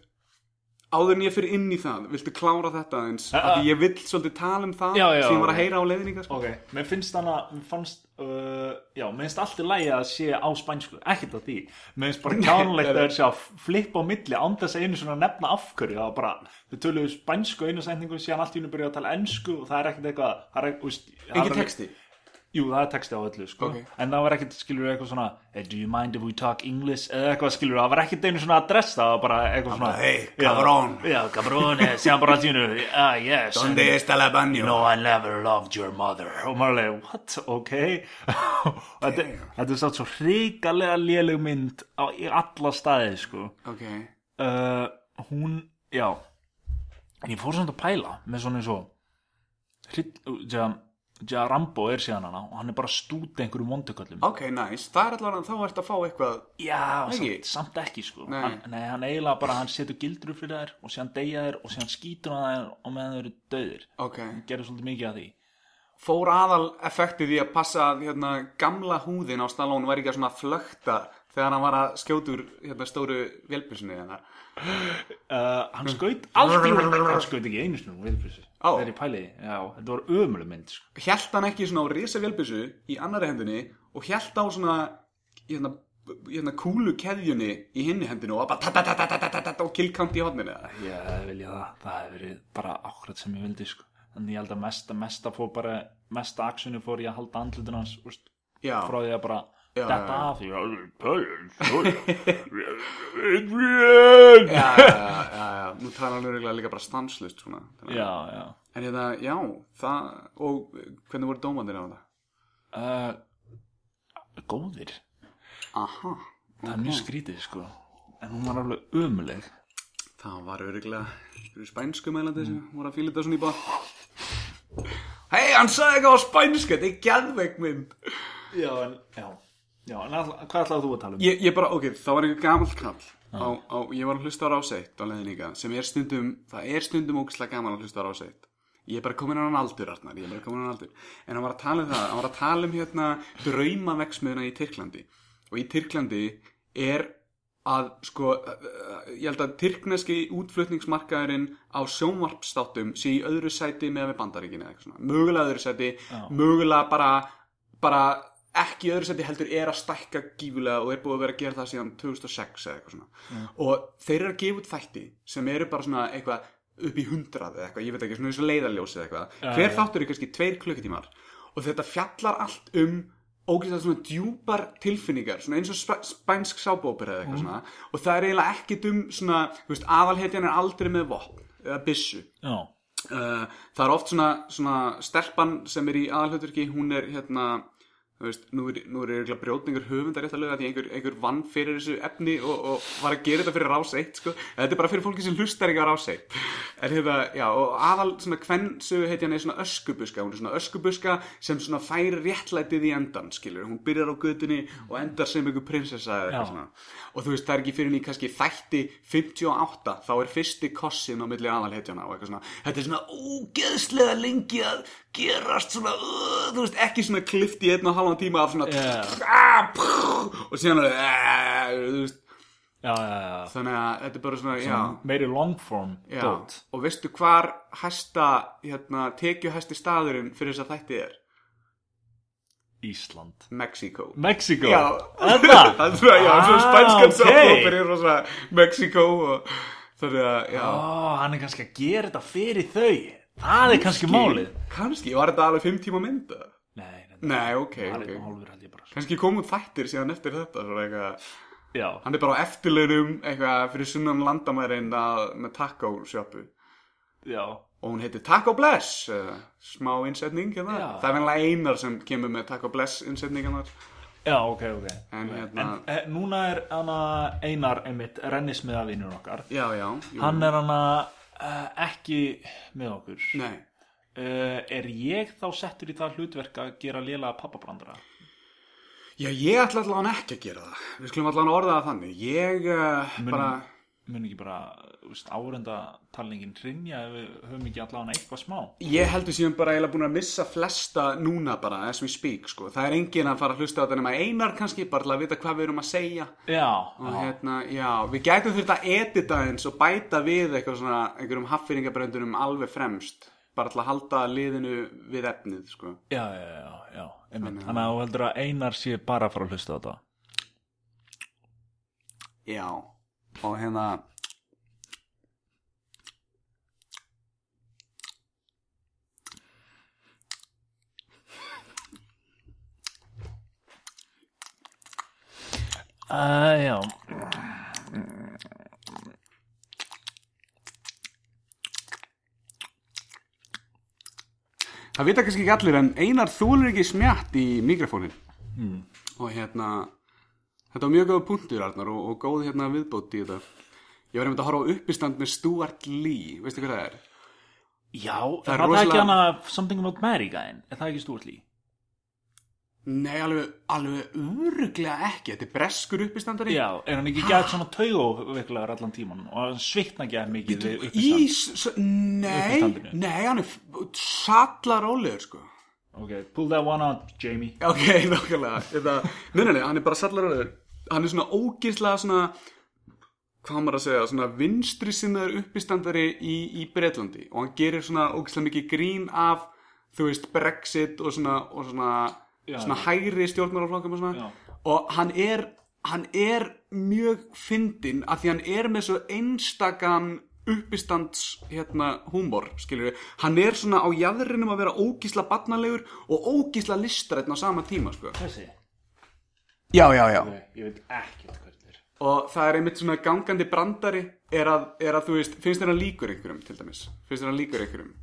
[SPEAKER 2] áður en ég fyrir inn í það, viltu klára þetta eins,
[SPEAKER 3] Ja,
[SPEAKER 2] af því ég vill svolítið tala um það
[SPEAKER 3] Já, já,
[SPEAKER 2] sem ég var að
[SPEAKER 3] já.
[SPEAKER 2] heyra á leðninga sko.
[SPEAKER 3] Ok, mér finnst hana, mér fannst, uh, já, mér finnst allt í lægi að sé á spænsku, ekkert á því. Mér finnst bara kjánulegt að það sé að flippa á milli án þess að einu svona nefna afhverju, það var bara, við töluðum spænsku einu sendingu, síðan allt í einu byrjuðu að tala ensku og það er ekkert eitthvað, það er ekkert, úst,
[SPEAKER 2] engin texti
[SPEAKER 3] Jú, það er texti á öllu, sko,
[SPEAKER 2] Ok.
[SPEAKER 3] en það var ekkert, skilur eitthvað svona, hey, do you mind if we talk English, eða eitthvað, skilur, það var ekkert einu svona adress, það var bara eitthvað svona,
[SPEAKER 2] bara, "Hey,
[SPEAKER 3] já,
[SPEAKER 2] cabrón."
[SPEAKER 3] Já, cabrón, eh, síðan bara allt í einu, ah, yes, and-
[SPEAKER 2] está la baño?
[SPEAKER 3] No, I never loved your mother Og maður er leið, what, ok Og þetta þetta er sátt svo hrikalega léleg mynd á, í alla staði, sko
[SPEAKER 2] ok,
[SPEAKER 3] uh, Hún, já En ég fór samt að pæla með svona eins og hryll- ja, ja, Rambo er síðan hana og hann er bara að stúta einhverjum vonduköllum
[SPEAKER 2] ok, nice það er allavega, þá ertu að fá eitthvað
[SPEAKER 3] Já,
[SPEAKER 2] Ekki?
[SPEAKER 3] samt, samt ekki sko
[SPEAKER 2] Nei.
[SPEAKER 3] Hann, nei, hann eiginlega bara, hann setur gildru fyrir þær og síðan deyja þær og síðan skýtur hann þær og meðan þau eru döðir
[SPEAKER 2] ok,
[SPEAKER 3] Hann gerir svolítið mikið að því
[SPEAKER 2] fór aðal effektið í að passa að hérna, gamla húðin á Stallone var ekki að svona flökta þegar hann var að skjóta úr hérna, stóru vélbísinu hérna.
[SPEAKER 3] Uh, hann skaut allt í hún hann skaut ekki einu sinni úr vilbrissu
[SPEAKER 2] Ó.
[SPEAKER 3] það er í pæliði, já, þetta var ömuleg mynd sko.
[SPEAKER 2] Hjælt hann ekki svona á risa vélbísu í annari hendinni og hjælt á svona hérna, hérna, kúlu keðjunni í hinni hendinu og bara tatatatatatatat og killkant í hodninu
[SPEAKER 3] ég vilja það, það hefur verið bara akkurat sem ég vildi sko. þannig ég held að mesta, mesta fór bara mesta aksjunni fór ég að halda andlutin hans úst,
[SPEAKER 2] Já,
[SPEAKER 3] frá því að bara
[SPEAKER 2] Já,
[SPEAKER 3] þetta
[SPEAKER 2] já, já.
[SPEAKER 3] af því sko, Adrian
[SPEAKER 2] já, já, já, já, já. Nú talar hann örugglega líka bara stanslust svona. Þannig að-
[SPEAKER 3] já, já
[SPEAKER 2] En hérna, já, það, og hvernig voru dómandir á það?
[SPEAKER 3] uh, góðir
[SPEAKER 2] Aha,
[SPEAKER 3] það er mjög skrítið sko en hún var alveg ömuleg
[SPEAKER 2] það var örugglega einhverju spænsku meðlandi sem voru að fíla þetta svona í bóð. Hei, hann sagði eitthvað á spænsku, þetta er gæðveik mynd.
[SPEAKER 3] já, en, já. já en all, hvað ætlaðu þú að tala um?
[SPEAKER 2] Ég, ég bara, ok, það var einhver gamall kall á, á, ég var að hlusta á ráseitt á leiðin ykkar sem er stundum, það er stundum ógislega gaman að hlusta á ráseitt ég er bara komin á hann aldur, Arnar, ég er bara komin á hann aldur en hann var að tala um það, hann var að tala um hérna draumaveksmiðuna í Tyrklandi og í Tyrklandi er að sko eh, ég held að tyrkneski útflutningsmarkaðurinn á sjónvarpstátum sé í öðru sæti með við bandaríkinu eða eitthvað svona, mögulega öðru sæti mögulega bara, bara ekki í öðru sæti heldur er að stækka gífulega og er búið að vera að gera það síðan 2006 eða eitthvað svona og þeir eru að gefa út þætti sem eru bara svona eitthvað upp í hundrað eða eitthvað, ég veit ekki, svona eins og leiðarljósið eitthvað hver
[SPEAKER 3] já.
[SPEAKER 2] þáttur er kannski tveir klukkutímar og þetta fjallar allt um ógeðslega svona djúpar tilfinningar svona eins og sp spænsk sábópera eða
[SPEAKER 3] Mhm.
[SPEAKER 2] eitthvað svona og það er eiginlega ekkit um svona þú veist, aðalhetjan er aldrei með vopn eða byssu
[SPEAKER 3] já,
[SPEAKER 2] uh, það er oft svona, svona stelpan sem er í aðalhjótturki hún er hérna þú veist, nú er, nú er eiginlega brjótningur höfundar rétt að löga því einhver, einhver vann fyrir þessu efni og, og var að gera þetta fyrir rás 1 sko. En þetta er bara fyrir fólki sem hlustar ekki á rás 1 en hérna, já, og aðal svona kvensu heitjan er svona öskubuska hún er svona öskubuska sem svona fær réttlætið í endan, skilur, hún byrjar á gödunni og endar sem einhver prinsessa eða eitthvað
[SPEAKER 3] Já.
[SPEAKER 2] svona og þú veist, það er ekki fyrir henni kannski þætti 58, þá er fyrsti kossin á milli aðalhetjana og eitthvað svona þetta er svona ógeðslega lengi að gerast svona, uh, þú veist, ekki svona klift í einn og halvan tíma af svona
[SPEAKER 3] Já.
[SPEAKER 2] yeah. og síðan er það, uh, þú veist,
[SPEAKER 3] já, já, já.
[SPEAKER 2] þannig að þetta er bara svona, já
[SPEAKER 3] meiri longform
[SPEAKER 2] Já,
[SPEAKER 3] dót
[SPEAKER 2] og veistu hvar hæsta, hérna, tekjuhæsti staðurinn fyrir þess að þætti er?
[SPEAKER 3] Ísland
[SPEAKER 2] Mexíkó.
[SPEAKER 3] Mexiko
[SPEAKER 2] Já,
[SPEAKER 3] það
[SPEAKER 2] er svona, já, svona spænskan
[SPEAKER 3] ah, ok.
[SPEAKER 2] sáfópir er rosa Mexíkó og þannig að, já.
[SPEAKER 3] Ó, hann er kannski að gera þetta fyrir þau það er kannski málið
[SPEAKER 2] Kanski, var þetta alveg fimm tíma mynda?
[SPEAKER 3] nei, nei,
[SPEAKER 2] Nei, ok,
[SPEAKER 3] það er einn og
[SPEAKER 2] ok
[SPEAKER 3] hálfur held ég bara
[SPEAKER 2] Kanski komum þættir síðan eftir þetta svona eitthvað
[SPEAKER 3] já,
[SPEAKER 2] Hann er bara á eftirlaunum eitthvað fyrir sunnan landamærin að, með taco sjoppu
[SPEAKER 3] já,
[SPEAKER 2] og hún heitir Taco Bless uh, smá innsetning hérna
[SPEAKER 3] Já.
[SPEAKER 2] það er venlega einar sem kemur með Taco Bless innsetningarnar
[SPEAKER 3] já, ok, ok
[SPEAKER 2] en hérna,
[SPEAKER 3] En e, núna er hana Einar einmitt rennismiðavinur okkar
[SPEAKER 2] já, já jú.
[SPEAKER 3] Hann er hana e, ekki með okkur e,
[SPEAKER 2] Nei,
[SPEAKER 3] Er ég þá settur í það hlutverk að gera lélega pappabrandara?
[SPEAKER 2] já, ég ætla allan ekki að gera það Við skulum allan orða það þannig Ég uh,
[SPEAKER 3] Munum-
[SPEAKER 2] bara,
[SPEAKER 3] Mun ekki bara úst, árenda talningin rinja ef við höfum ekki allan eitthvað smá
[SPEAKER 2] Ég heldur síðan bara eiginlega búin að missa flesta núna bara, as we speak, sko. Það er enginn að fara að hlusta á þetta nema einar kannski, bara til að vita hvað við erum að segja.
[SPEAKER 3] Já,
[SPEAKER 2] Og
[SPEAKER 3] já,
[SPEAKER 2] hérna, já, við gætum þurft að edita eins og bæta við eitthvað svona, einhverjum haffyringabröndunum alveg fremst. Bara til að halda liðinu við efnið, sko.
[SPEAKER 3] já, já, já, já einmitt Þannig að þú heldur að Einar sé bara að fara að hlusta á þetta
[SPEAKER 2] Já, og hérna...
[SPEAKER 3] Uh, já
[SPEAKER 2] Það vita kannski ekki allir, en einar þúlur ekki smjatt í mikrofónin.
[SPEAKER 3] Hmm.
[SPEAKER 2] Og hérna, þetta var mjög góð punktur, Arnar, og, og góð hérna viðbót í þetta. Ég var einmitt að horfa á uppistand með Stuart Lee, veistu hvað það er?
[SPEAKER 3] Já,
[SPEAKER 2] er
[SPEAKER 3] er það ekki
[SPEAKER 2] rosalega-
[SPEAKER 3] hana Something About Mary gæðin? Er það ekki stúrlí?
[SPEAKER 2] Nei, alveg, alveg öruglega ekki, þetta er breskur uppistandari.
[SPEAKER 3] Já, er hann ekki gæðt svona taugaveiklaður allan tíman og hann svikna gæð mikið
[SPEAKER 2] Í,
[SPEAKER 3] við uppistand
[SPEAKER 2] s- s- nei,
[SPEAKER 3] Uppistandinu.
[SPEAKER 2] nei, hann er sallarólegur, sko.
[SPEAKER 3] Ok, pull that one out, Jamie
[SPEAKER 2] Ok, nákvæmlega Þetta, nei, nei, nei, hann er bara sallaröður Hann er svona ógeðslega svona Hvað á maður að segja, svona vinstri sinnaður uppistandari í, í Bretlandi Og hann gerir svona ógeðslega mikið grín af Þú veist, Brexit og svona, og svona,
[SPEAKER 3] Já,
[SPEAKER 2] svona
[SPEAKER 3] já.
[SPEAKER 2] hægri stjórnmálaflokkum og svona
[SPEAKER 3] Já.
[SPEAKER 2] Og hann er, hann er mjög fyndinn Af því hann er með svo einstakan uppistands hérna húmor skilur við, hann er svona á jæðrinum að vera ógísla barnalegur og ógísla listrætn á sama tíma sko.
[SPEAKER 3] Þessi
[SPEAKER 2] já, já, já
[SPEAKER 3] Nei, ég veit ekkert hvað þetta er
[SPEAKER 2] og það er einmitt svona gangandi brandari er að, er að þú veist, finnst þér hann líkur einhverjum til dæmis, finnst þér hann líkur einhverjum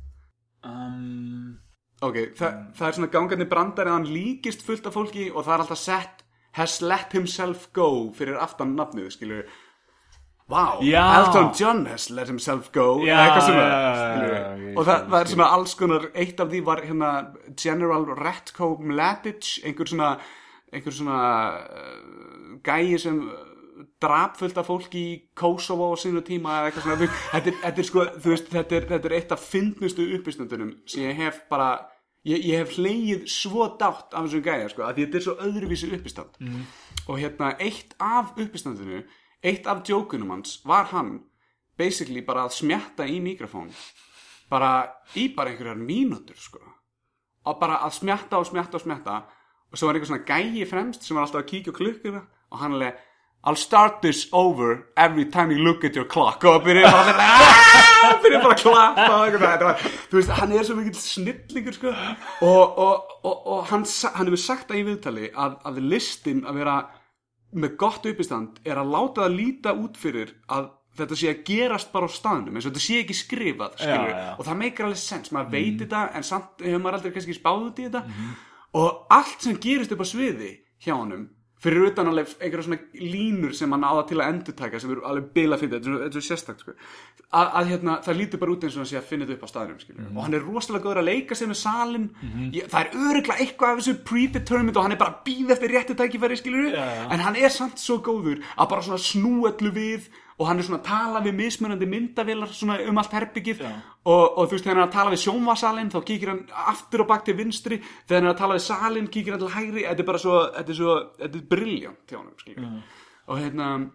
[SPEAKER 3] um,
[SPEAKER 2] ok, þa það er svona gangandi brandari að hann líkist fullt af fólki og það er alltaf sett has let himself go fyrir aftan nafnið, skilur við Wow,
[SPEAKER 3] Já.
[SPEAKER 2] Elton John has let himself go
[SPEAKER 3] Já,
[SPEAKER 2] eða eitthvað svona
[SPEAKER 3] já, já, já,
[SPEAKER 2] skilur
[SPEAKER 3] já,
[SPEAKER 2] við.
[SPEAKER 3] ég
[SPEAKER 2] og það,
[SPEAKER 3] skil,
[SPEAKER 2] það er svona alls konar eitt af því var hérna General Ratko Mladic einhver svona, einhver svona uh, gæi sem uh, drap fullt af fólki í Kosovo á sínu tíma eða eitthvað svona Þú- þetta er, þetta er sko, þú veist, þetta er, þetta er eitt af fyndnustu uppistundunum sem ég hef bara ég, ég hef hleyið svo dátt af þessum gæja sko, að því þetta er svo öðruvísi uppistand
[SPEAKER 3] Mhm.
[SPEAKER 2] og hérna eitt af uppistandinu eitt af djókunum hans var hann basically bara að smjatta í mikrofón bara í bara einhverjar mínútur sko og bara að smjatta og smjatta og smjatta og svo var einhver svona gæi fremst sem var alltaf að kíkja á klukkuna og hann alveg I'll start this over every time you look at your clock og byrja bara að "Ah!" byrja bara að klappa og einhvern veginn Þetta var- þú veist, hann er svo mikill snillingur sko og, og, og, og hann, sa- hann hefur sagt það í viðtali að, að listin að vera með gott uppistand er að láta það líta út fyrir að þetta sé að gerast bara á staðnum eins og þetta sé ekki skrifað skilur,
[SPEAKER 3] Já, Mhm. já.
[SPEAKER 2] og það meikir alveg sens, maður veit þetta en samt hefur maður aldrei kannski spáð út í þetta
[SPEAKER 3] Mhm.
[SPEAKER 2] og allt sem gerist upp á sviði hjá honum fyrir utan alveg einhverja svona línur sem hann áða til að endurtæka sem eru alveg bila fyrir þetta, þetta er svo sérstakt sko. að, að hérna, það lítur bara út eins og hann sé að finna þetta upp á staðnum
[SPEAKER 3] Mhm.
[SPEAKER 2] mm. og hann er rosalega góður að leika sér með salin ég, það er öruglega eitthvað af þessu predetermined og hann er bara að býða eftir réttu tækifæri skilur
[SPEAKER 3] Já, já.
[SPEAKER 2] en hann er samt svo góður að bara svona snú öllu við og hann er svona að tala við mismunandi myndavélar svona um allt herbyggið
[SPEAKER 3] Já.
[SPEAKER 2] og, og þú veist, þegar hann er að tala við sjónvasalinn þá kíkir hann aftur og bak til vinstri þegar hann er að tala við salinn, kíkir hann til hægri þetta er bara svo, þetta er svo, þetta er briljant til honum, skiljum og hérna,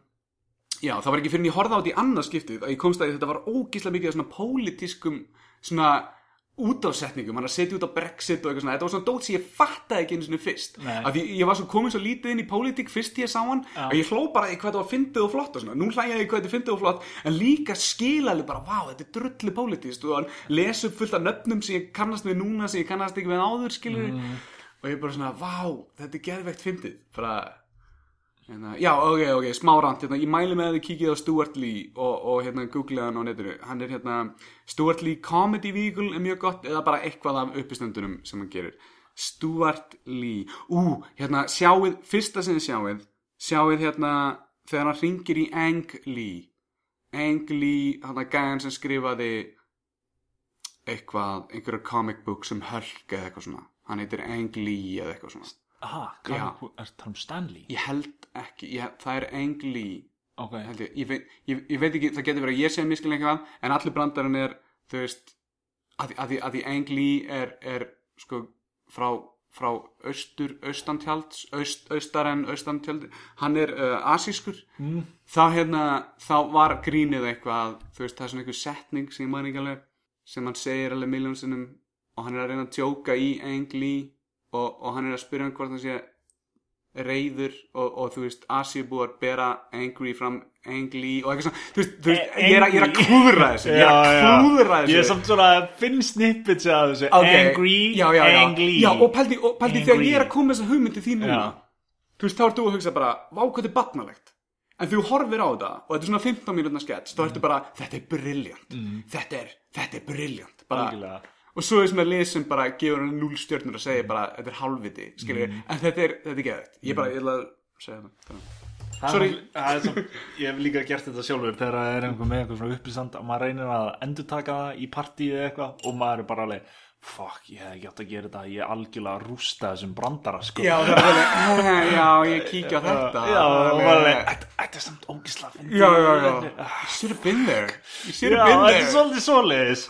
[SPEAKER 2] já, það var ekki fyrir en ég horfði á þetta í annað skiptið að ég komst að þetta var ógíslega mikið af svona pólitískum svona útafsetningum, hann er að setja út á Brexit og eitthvað svona, þetta var svona dót sem ég fattaði ekki einu sinni fyrst,
[SPEAKER 3] Nei.
[SPEAKER 2] af því ég var svo komin svo lítið inn í pólitík fyrst ég sá hann að ég hló bara í hvað þetta var fyndið og flott og svona, nú hlæja ég í hvað þetta er fyndið og flott en líka skilaði bara, vá, þetta er drullu pólitíst og hann les upp fullt af nöfnum sem ég kannast við núna, sem ég kannast ekki við áður skilur og ég bara svona, vá, þetta er geðveikt fyndið, bara Hérna, já, ok, ok, smá rant hérna, ég mæli með að þið kíkið á Stuart Lee og, og hérna, googlaði hann á netinu hann er hérna, Stuart Lee Comedy Vehicle er mjög gott, eða bara eitthvað af uppistendunum sem hann gerir Stuart Lee, ú, hérna sjáið, fyrsta sem þið sjáið sjáið hérna, þegar hann ringir í Ang Lee Ang Lee, hann að gæðan sem skrifaði eitthvað, einhverja comic book sem hölk eða eitthvað svona, hann heitir Ang Lee eða eitthvað svona,
[SPEAKER 3] aha,
[SPEAKER 2] Já.
[SPEAKER 3] hvað er það um Stanley?
[SPEAKER 2] ég held ekki ég, það er Ang Lee
[SPEAKER 3] ok,
[SPEAKER 2] held ég, ég, veit, ég, ég veit ekki, það getur verið að ég sé miskilin eitthvað, en allir brandarinn er þú veist, að, því- að, því- að því Ang Lee er, er sko frá, frá austur austantjalds, aust, austar en austantjald, hann er uh, asískur
[SPEAKER 3] Mm.
[SPEAKER 2] þá hérna þá var grínið eitthvað, þú veist það er svona einhver setning sem ég maður ekki alveg sem hann segir alveg miljónsinnum og hann er að reyna að tjóka í Ang Lee og, og hann er að spyrja hann hvort hann sé reyður og, og þú veist Asiubúar bera angry fram angly og eitthvað svona þú veist, þú veist
[SPEAKER 3] A-
[SPEAKER 2] ég, er að, ég er að klúðra þessu ég er
[SPEAKER 3] Já,
[SPEAKER 2] að
[SPEAKER 3] já.
[SPEAKER 2] klúðra þessu
[SPEAKER 3] Ég er samt svona að finn snippets að þessu
[SPEAKER 2] Ok.
[SPEAKER 3] Angry,
[SPEAKER 2] já, já, já.
[SPEAKER 3] angry
[SPEAKER 2] já, og pældi, og pældi
[SPEAKER 3] Angry.
[SPEAKER 2] þegar ég er að koma þess að hugmyndi þín núna
[SPEAKER 3] Já.
[SPEAKER 2] þú veist, þá ert þú að hugsa bara vá hvað þetta er batnalegt en þú horfir á þetta og þetta er svona 15 mínútna sketch þá ertu bara, þetta er briljant þetta er, þetta er briljant bara,
[SPEAKER 3] Mm. Algjörlega.
[SPEAKER 2] og svo þessum að lesum bara gefur hann 0 stjörnur og segir bara, þetta er hálfviti skilur,
[SPEAKER 3] Mm.
[SPEAKER 2] en þetta er, þetta er geðvægt ég bara, ég ætla að segja það Þannig.
[SPEAKER 3] Það
[SPEAKER 2] Sorry.
[SPEAKER 3] er- það er svo- Ég hef líka gert þetta sjálfur þegar það er einhver með einhver svona upplýsand og maður reynir að endurtaka það í partíið eða eitthvað og maður er bara alveg fuck, ég hef ekki átt að gera þetta ég er algjörlega að rústa þessum brandara sko.
[SPEAKER 2] Já, það er alveg, "Eh, já, ég kíkja á þetta
[SPEAKER 3] Já, og maður er alveg "Þetta- Þetta er samt ógislega fyndið."
[SPEAKER 2] Já, já, já You should have been there You should
[SPEAKER 3] Já,
[SPEAKER 2] have been
[SPEAKER 3] þetta er
[SPEAKER 2] there
[SPEAKER 3] svolítið svoleiðis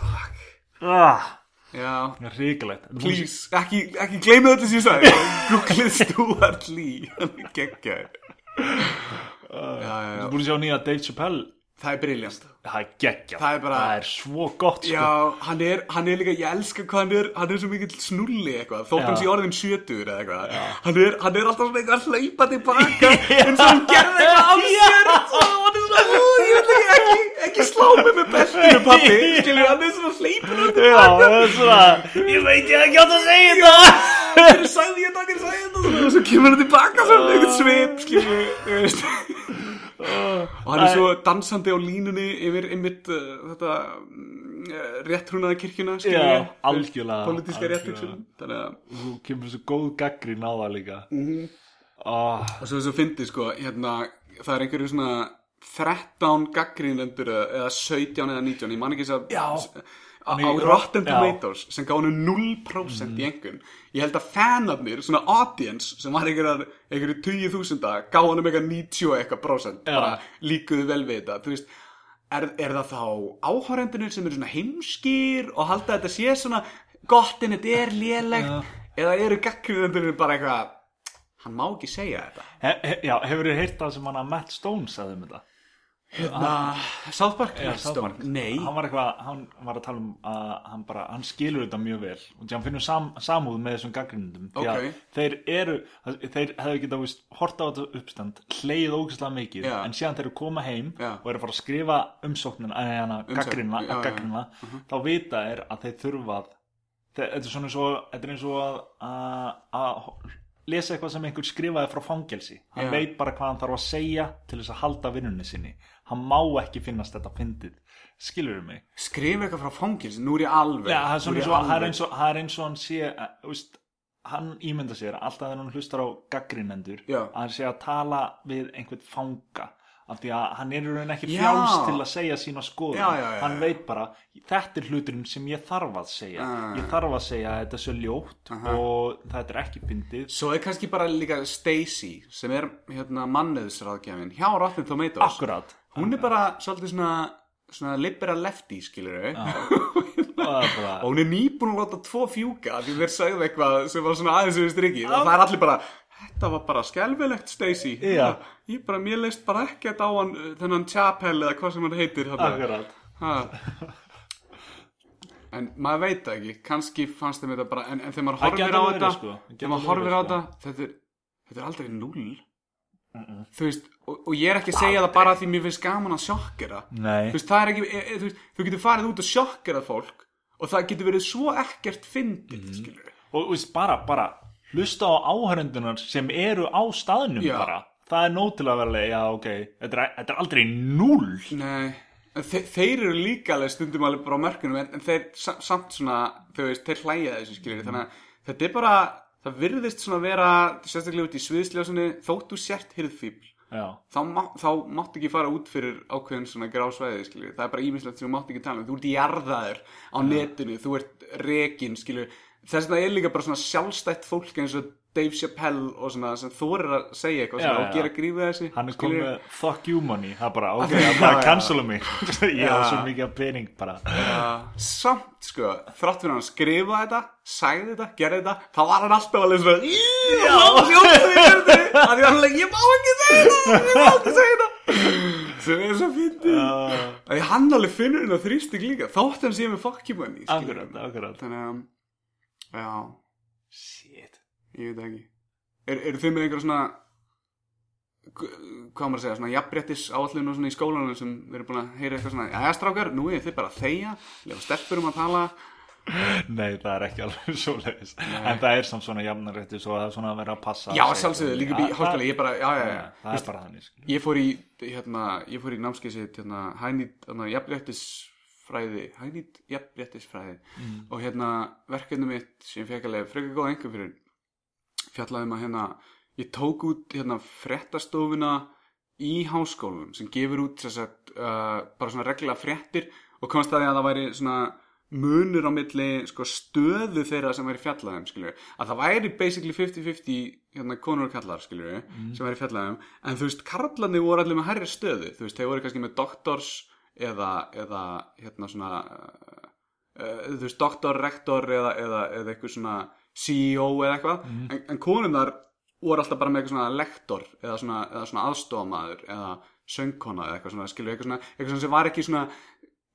[SPEAKER 3] Ah,
[SPEAKER 2] Já,
[SPEAKER 3] það er ríkulegt
[SPEAKER 2] please, ekki, ekki gleymi þetta sem ég sagði Google Stuart Lee Hann er geggjaður
[SPEAKER 3] Ah.
[SPEAKER 2] Já, já,
[SPEAKER 3] Þú
[SPEAKER 2] já,
[SPEAKER 3] er búin að sjá nýja Dave Chappelle
[SPEAKER 2] það er briljant
[SPEAKER 3] Það er geggja
[SPEAKER 2] Það er bara-
[SPEAKER 3] svo gott sko.
[SPEAKER 2] Já, hann er, hann er líka, ég elska hvað hann er hann er svo mikill snulli eitthvað þótt
[SPEAKER 3] Já.
[SPEAKER 2] hann sé orðin sjötur eða eitthvað hann er, hann er alltaf svona eitthvað að hlaupa tilbaka eins og hann gerði eitthvað af sér og hann er svona, "Ú, ég vil ekki ekki, ekki slá mig með beltinu pappi skilur, hann er svona hleypur
[SPEAKER 3] Já, það er svona Ég veit ég hef ekki átt að segja þetta
[SPEAKER 2] hverju sagði ég þetta, hverju sagði ég þetta og svo kemur hann tilbaka sem einhvern svip Ah, skilur, þú veist og hann er svo dansandi á línunni yfir einmitt uh, þetta uh, réttrúnaða kirkjuna skilur
[SPEAKER 3] Já,
[SPEAKER 2] við,
[SPEAKER 3] algjörlega,
[SPEAKER 2] pólitíska
[SPEAKER 3] algjörlega.
[SPEAKER 2] réttrúksuna þannig að
[SPEAKER 3] Þú kemur svo góð gaggrín á það líka
[SPEAKER 2] Mhm.
[SPEAKER 3] Ah,
[SPEAKER 2] og svo þessu fyndi sko hérna, það er einhverju svona 13 gaggrínendur eða eða 17 eða 19 ég man ekki þess
[SPEAKER 3] Já.
[SPEAKER 2] að á á
[SPEAKER 3] Nei,
[SPEAKER 2] Rotten
[SPEAKER 3] já. Mm.
[SPEAKER 2] Tomatoes sem gáði hennu 0% í engun ég held að fanarnir, svona audience sem var einhverjar, einhverju 20.000 gáði hennu eitthvað 90 eitthvað prósent
[SPEAKER 3] Já.
[SPEAKER 2] bara líkuðu vel við þetta þú veist Er, er það þá áhorendunir sem eru svona heimskir og halda að þetta sé svona gott en þetta er lélegt eða eru gaggrinendunir bara eitthvað hann má ekki segja þetta
[SPEAKER 3] he, he, já, hefur þið heyrt það sem hann að Matt Stone sagði um þetta?
[SPEAKER 2] Na, Ah, South Park?
[SPEAKER 3] Já,
[SPEAKER 2] Nei,
[SPEAKER 3] South
[SPEAKER 2] Stone.
[SPEAKER 3] Park.
[SPEAKER 2] Nei,
[SPEAKER 3] hann var eitthvað, hann var að tala um að hann bara, hann skilur þetta mjög vel og því hann finnur sam, samúð með þessum gaggrindum
[SPEAKER 2] Ok.
[SPEAKER 3] þeir eru, þeir hefðu getað víst, hort á þetta uppstand hleið ógæslega mikið,
[SPEAKER 2] Já.
[SPEAKER 3] en síðan þeir eru koma heim
[SPEAKER 2] Já.
[SPEAKER 3] og eru að fara að skrifa umsóknina eða hana,
[SPEAKER 2] Umsögn,
[SPEAKER 3] gaggrina,
[SPEAKER 2] já, Mhm. já.
[SPEAKER 3] gaggrina þá vita er að þeir þurfa að þe- þetta er svona eins og þetta er eins og að, að, að lesa eitthvað sem einhver skrifaði frá fangelsi hann
[SPEAKER 2] Já.
[SPEAKER 3] veit bara hvað hann þarf að segja til þess að halda vinnunni sinni hann má ekki finnast þetta fyndið skilur mig
[SPEAKER 2] skrifa eitthvað frá fangils, nú er ég alveg
[SPEAKER 3] Já, það, er
[SPEAKER 2] nú ég
[SPEAKER 3] svona eins og, það er
[SPEAKER 2] alveg.
[SPEAKER 3] eins og, það er eins og hann sé að, þú veist, hann ímynda sér að alltaf þegar hann hlustar á gaggrinendur
[SPEAKER 2] Já.
[SPEAKER 3] að hann sé að tala við einhvern fanga af því að hann er í raun ekki
[SPEAKER 2] Já.
[SPEAKER 3] frjáls til að segja sína skoðun
[SPEAKER 2] Já, já, já,
[SPEAKER 3] hann
[SPEAKER 2] já.
[SPEAKER 3] veit bara, þetta er hluturinn sem ég þarf að segja
[SPEAKER 2] Ah.
[SPEAKER 3] ég þarf að segja að þetta er svo ljótt
[SPEAKER 2] Aha.
[SPEAKER 3] og þetta er ekki fyndið
[SPEAKER 2] Svo er kannski bara líka Stacy sem er hérna, mannöðsraðgjafin hjá Rotten Tomatoes
[SPEAKER 3] akkurat
[SPEAKER 2] Hún er bara svolítið svona, svona liberal lefty, skilur við
[SPEAKER 3] Það er bara-
[SPEAKER 2] Og hún er nýbúin að láta tvo fjúka af Því þeir sagði eitthvað sem var svona aðeins yfir strikið Og það er allir bara Þetta var bara skelfilegt Stacy
[SPEAKER 3] Já.
[SPEAKER 2] Ég bara, mér leist bara ekkert á hann uh, Þennan Chapel eða hvað sem hann heitir þarna.
[SPEAKER 3] akkurat
[SPEAKER 2] Ha. En maður veit það ekki, kannski fannst þeim þetta bara, en, en þegar maður
[SPEAKER 3] Það
[SPEAKER 2] horfir
[SPEAKER 3] gæti
[SPEAKER 2] á
[SPEAKER 3] verið,
[SPEAKER 2] þetta,
[SPEAKER 3] sko. Það gæti
[SPEAKER 2] þegar maður
[SPEAKER 3] verið,
[SPEAKER 2] horfir á
[SPEAKER 3] sko.
[SPEAKER 2] þetta, þetta er, þetta er aldrei null. Þú veist, og, og ég er ekki að segja það bara því mér finnst gaman að sjokkera. Þú
[SPEAKER 3] nei,
[SPEAKER 2] veist, það er ekki, e, e, þú, veist, þú getur farið út og sjokkerað fólk og það getur verið svo ekkert fyndið,
[SPEAKER 3] Mm-hmm.
[SPEAKER 2] mm. skilur við.
[SPEAKER 3] og þú veist, bara, bara hlusta á áhörundunar sem eru á staðnum
[SPEAKER 2] Já.
[SPEAKER 3] bara það er nóg til að vera leið, já ok þetta er, þetta er aldrei núll
[SPEAKER 2] Nei, en þe þeir eru líka alveg stundum alveg bara á mörkunum en, en þeir sa- samt svona, þau veist, þeir hlæja þessu skilur þannig að þetta er bara, það virðist svona vera, sérstaklega út í sviðsljósunni, þótt þú sért hirðfíbl,
[SPEAKER 3] já,
[SPEAKER 2] þá, má, þá máttu ekki fara út fyrir ákveðin svona grásvæði skilur, það er bara ímislegt sem þú máttu ekki tala um, þú ert jarðaður á netinu, þú ert rekin skilur, þess vegna er líka bara svona sjálfstætt fólk eins og Dave Chappelle og svona sem þorir að segja eitthvað
[SPEAKER 3] Já,
[SPEAKER 2] svona,
[SPEAKER 3] já.
[SPEAKER 2] og gera grífið þessi
[SPEAKER 3] hann er
[SPEAKER 2] skilurðu.
[SPEAKER 3] komið með fuck you money það er bara, ok,
[SPEAKER 2] Já,
[SPEAKER 3] það er bara
[SPEAKER 2] já.
[SPEAKER 3] að cancela mig ég á
[SPEAKER 2] Já.
[SPEAKER 3] svo mikið af pening bara
[SPEAKER 2] samt sko, þrátt fyrir hann skrifa þetta sagði þetta, gerði þetta þá var hann alltaf alveg svona "Í, hann var sjálfsögðu í verði." Af því að hann var alveg, ég má ekki segja þetta ég má ekki segja þetta sem er svo fyndið
[SPEAKER 3] uh,
[SPEAKER 2] að því hann alveg finnur hennar þrýsting líka þótt hann sé með fokkjumanni
[SPEAKER 3] akkurat, akkurat
[SPEAKER 2] þannig að, já,
[SPEAKER 3] shit
[SPEAKER 2] ég veit ekki er, eru þið með einhver svona hvað á maður að segja, svona jafnbrettis áallun og svona í skólanum sem við erum búin að heyra eitthvað svona, jæja strákar, nú er þið bara að þegja lefa stelpur um að tala
[SPEAKER 3] nei, það er ekki alveg svo leiðis en það er samt svona jafnarétti svo það er svona að vera að passa
[SPEAKER 2] Já,
[SPEAKER 3] að segja-
[SPEAKER 2] sjálfsögðu, líka
[SPEAKER 3] Já,
[SPEAKER 2] bí, háskóla,
[SPEAKER 3] það-
[SPEAKER 2] ég bara, já, já, já,
[SPEAKER 3] já, það er bara þannig sko. skilur.
[SPEAKER 2] Ég fór í, hérna, ég fór í námskeiðsitt, hérna, hænýtt, hérna, jafnréttisfræði, hænýtt jafnréttisfræði
[SPEAKER 3] Mm.
[SPEAKER 2] og hérna, verkefni mitt sem ég fekk alveg frekar góða engum fyrir, fjallaði um að hérna, ég tók út, hérna, frettastofuna í háskólum sem gefur út, þess að, uh, bara svona regla frettir og komst að því að það væri svona munur á milli sko, stöðu þeirra sem væri fjallaðum skilur. að það væri basically 50-50 hérna, konur og kallar skilur, sem væri fjallaðum en þú veist, karlarnir voru allir með herri stöðu þú veist, þeir voru kannski með doktors eða, eða hérna svona uh, uh, þú veist, doktor, rektor eða, eða, eða eitthvað svona CEO eða eitthvað en, en konunar voru alltaf bara með eitthvað svona lektor eða svona, eða svona aðstofamaður eða söngkona eða eitthvað svona, skilur, eitthvað svona, eitthvað svona sem var ekki svona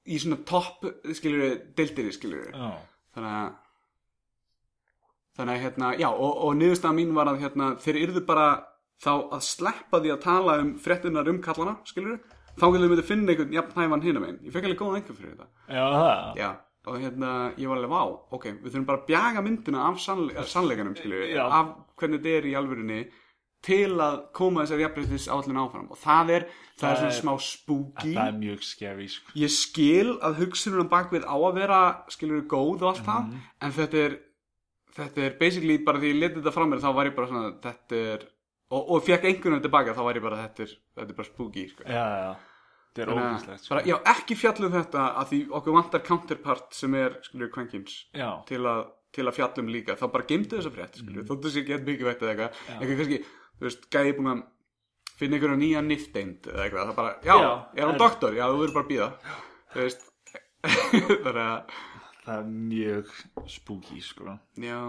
[SPEAKER 2] í svona topp, skilur við, deildinni, skilur við.
[SPEAKER 3] já,
[SPEAKER 2] Þannig að, þannig að, hérna, já, og, og niðurstaða mín var að, hérna, þeir yrðu bara þá að sleppa því að tala um fréttunar um kallana, skilur við, þá getum við myndið finna einhvern jafnhæfan hinum einn. Ég fekk alveg góða einhver fyrir þetta.
[SPEAKER 3] já, það
[SPEAKER 2] Já, og hérna, ég var alveg, vá, ok, við þurfum bara að bjaga myndina af sannle sannleikanum, skilju,
[SPEAKER 3] Já.
[SPEAKER 2] af hvernig þetta er í alvörunni til að koma þessar jafnbreytis áallin áfram og það er, það,
[SPEAKER 3] Það
[SPEAKER 2] er svona
[SPEAKER 3] er-
[SPEAKER 2] smá spooky
[SPEAKER 3] það er mjög scary sko.
[SPEAKER 2] ég skil að hugsunum bak við á að vera skilur góð og allt það
[SPEAKER 3] Mhm.
[SPEAKER 2] en þetta er, þetta er basically bara því ég leti þetta fram mér þá var ég bara svona þetta er og, og fekk einhvern veginn tilbaka þá var ég bara þetta er, þetta er bara spooky sko.
[SPEAKER 3] já, já, já. það er
[SPEAKER 2] Þannig að-
[SPEAKER 3] ógæslegt sko.
[SPEAKER 2] bara, já, ekki fjallum þetta að því okkur vantar counterpart sem er skilur kvenkins
[SPEAKER 3] já,
[SPEAKER 2] til að, til að fjallum líka þá bara gemdu þessa frétt skilur, mm. þóttu sér ekki eitthvað mikið veitt eða eitthvað, eitthvað kannski, þú veist, gæði búin að finna einhverja nýja nifteind eða eitthvað, það bara, já,
[SPEAKER 3] Já,
[SPEAKER 2] er hún
[SPEAKER 3] en-
[SPEAKER 2] doktor já, þú verður bara að býða þú veist, þannig að
[SPEAKER 3] það er mjög spooky sko.
[SPEAKER 2] já,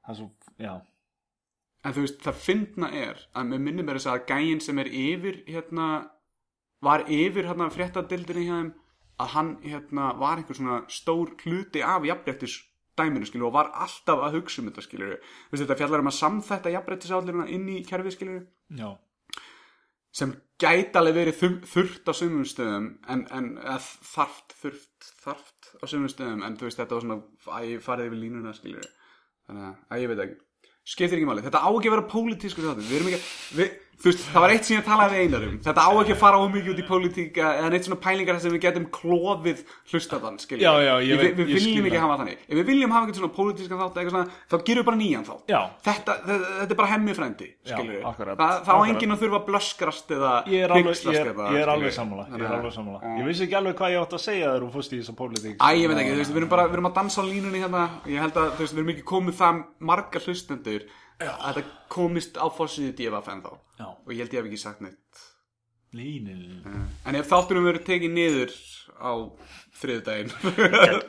[SPEAKER 3] það er svo, já,
[SPEAKER 2] en þú veist, það fyndna er að mér minnum er þess að gæin sem er yfir hérna, var yfir hérna fréttadildinni hjá þeim að hann hérna var einhver svona stór hluti af jafnréttis dæminu skilur og var alltaf að hugsa um þetta skilur Þú veist, þetta fjallar um að samþætta jafnréttisállirina inn í kerfið skilur
[SPEAKER 3] já,
[SPEAKER 2] sem gæti alveg verið þum, þurft á sumum stöðum en, en eða þarft, þurft, þarft á sumum stöðum en þú veist þetta var svona að ég farið yfir línuna skilur þannig að, að ég veit ekki skiptir ekki máli, þetta á ekki að vera pólitísku þáttur við erum ekki, að- við, þú veist, það var eitt sem ég talaði við einar um, þetta á ekki að fara ómikið út í pólitíka eða neitt svona pælingar þar sem við getum klofið hlustafann, skilur
[SPEAKER 3] Já, já, ég
[SPEAKER 2] við,
[SPEAKER 3] veit-
[SPEAKER 2] við
[SPEAKER 3] ég skil
[SPEAKER 2] viljum ekki
[SPEAKER 3] það.
[SPEAKER 2] hafa þannig, ef við viljum hafa eitthvað svona pólitískan þátt eða eitthvað svona, þá gerum við bara nýjan þátt
[SPEAKER 3] Já.
[SPEAKER 2] þetta, þetta, þetta er bara hemmi frendi,
[SPEAKER 3] Já,
[SPEAKER 2] skilur
[SPEAKER 3] akkurat,
[SPEAKER 2] það, það á
[SPEAKER 3] akkurat.
[SPEAKER 2] enginn að þurfa að blöskrast eða
[SPEAKER 3] ég er alveg,
[SPEAKER 2] hneykslast
[SPEAKER 3] ég er,
[SPEAKER 2] eða,
[SPEAKER 3] ég er alveg
[SPEAKER 2] skilur.
[SPEAKER 3] sammála ég
[SPEAKER 2] Þannig
[SPEAKER 3] er
[SPEAKER 2] að-
[SPEAKER 3] alveg sammála, ég vissi ekki alveg hvað ég átt að segja þegar þú fórst í þessa pólitík sko.
[SPEAKER 2] Æ, ég veit ekki, þú veist, við erum bara, við erum að dansa á línunni hérna Ég held að, þú veist, við erum ekki komið það marga hlustendur að þetta komist á fórsýðu DFFN þá
[SPEAKER 3] já,
[SPEAKER 2] Og ég held ég hef ekki sagt neitt
[SPEAKER 3] línin
[SPEAKER 2] En ef þáttunum verður tekið niður á þriðudaginn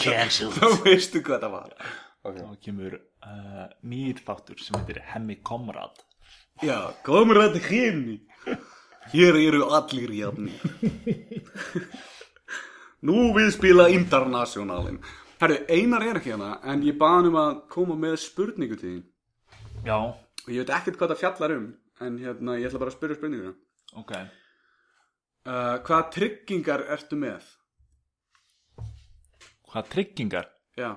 [SPEAKER 3] cancelled
[SPEAKER 2] Þá veistu hvað það var
[SPEAKER 3] þá kemur uh, nýr þáttur sem heitir Hemmi Komrad
[SPEAKER 2] Já, komur þetta hérni Hér eru allir jafnir Nú við spila Internationalin Herru, Einar er ekki hérna En ég baði hann um að koma með spurningu til þín
[SPEAKER 3] já,
[SPEAKER 2] Og ég veit ekkert hvað það fjallar um En hérna, ég ætla bara að spyrja spurninguna
[SPEAKER 3] ok
[SPEAKER 2] uh, Hvaða tryggingar ertu með?
[SPEAKER 3] hvað tryggingar?
[SPEAKER 2] Já,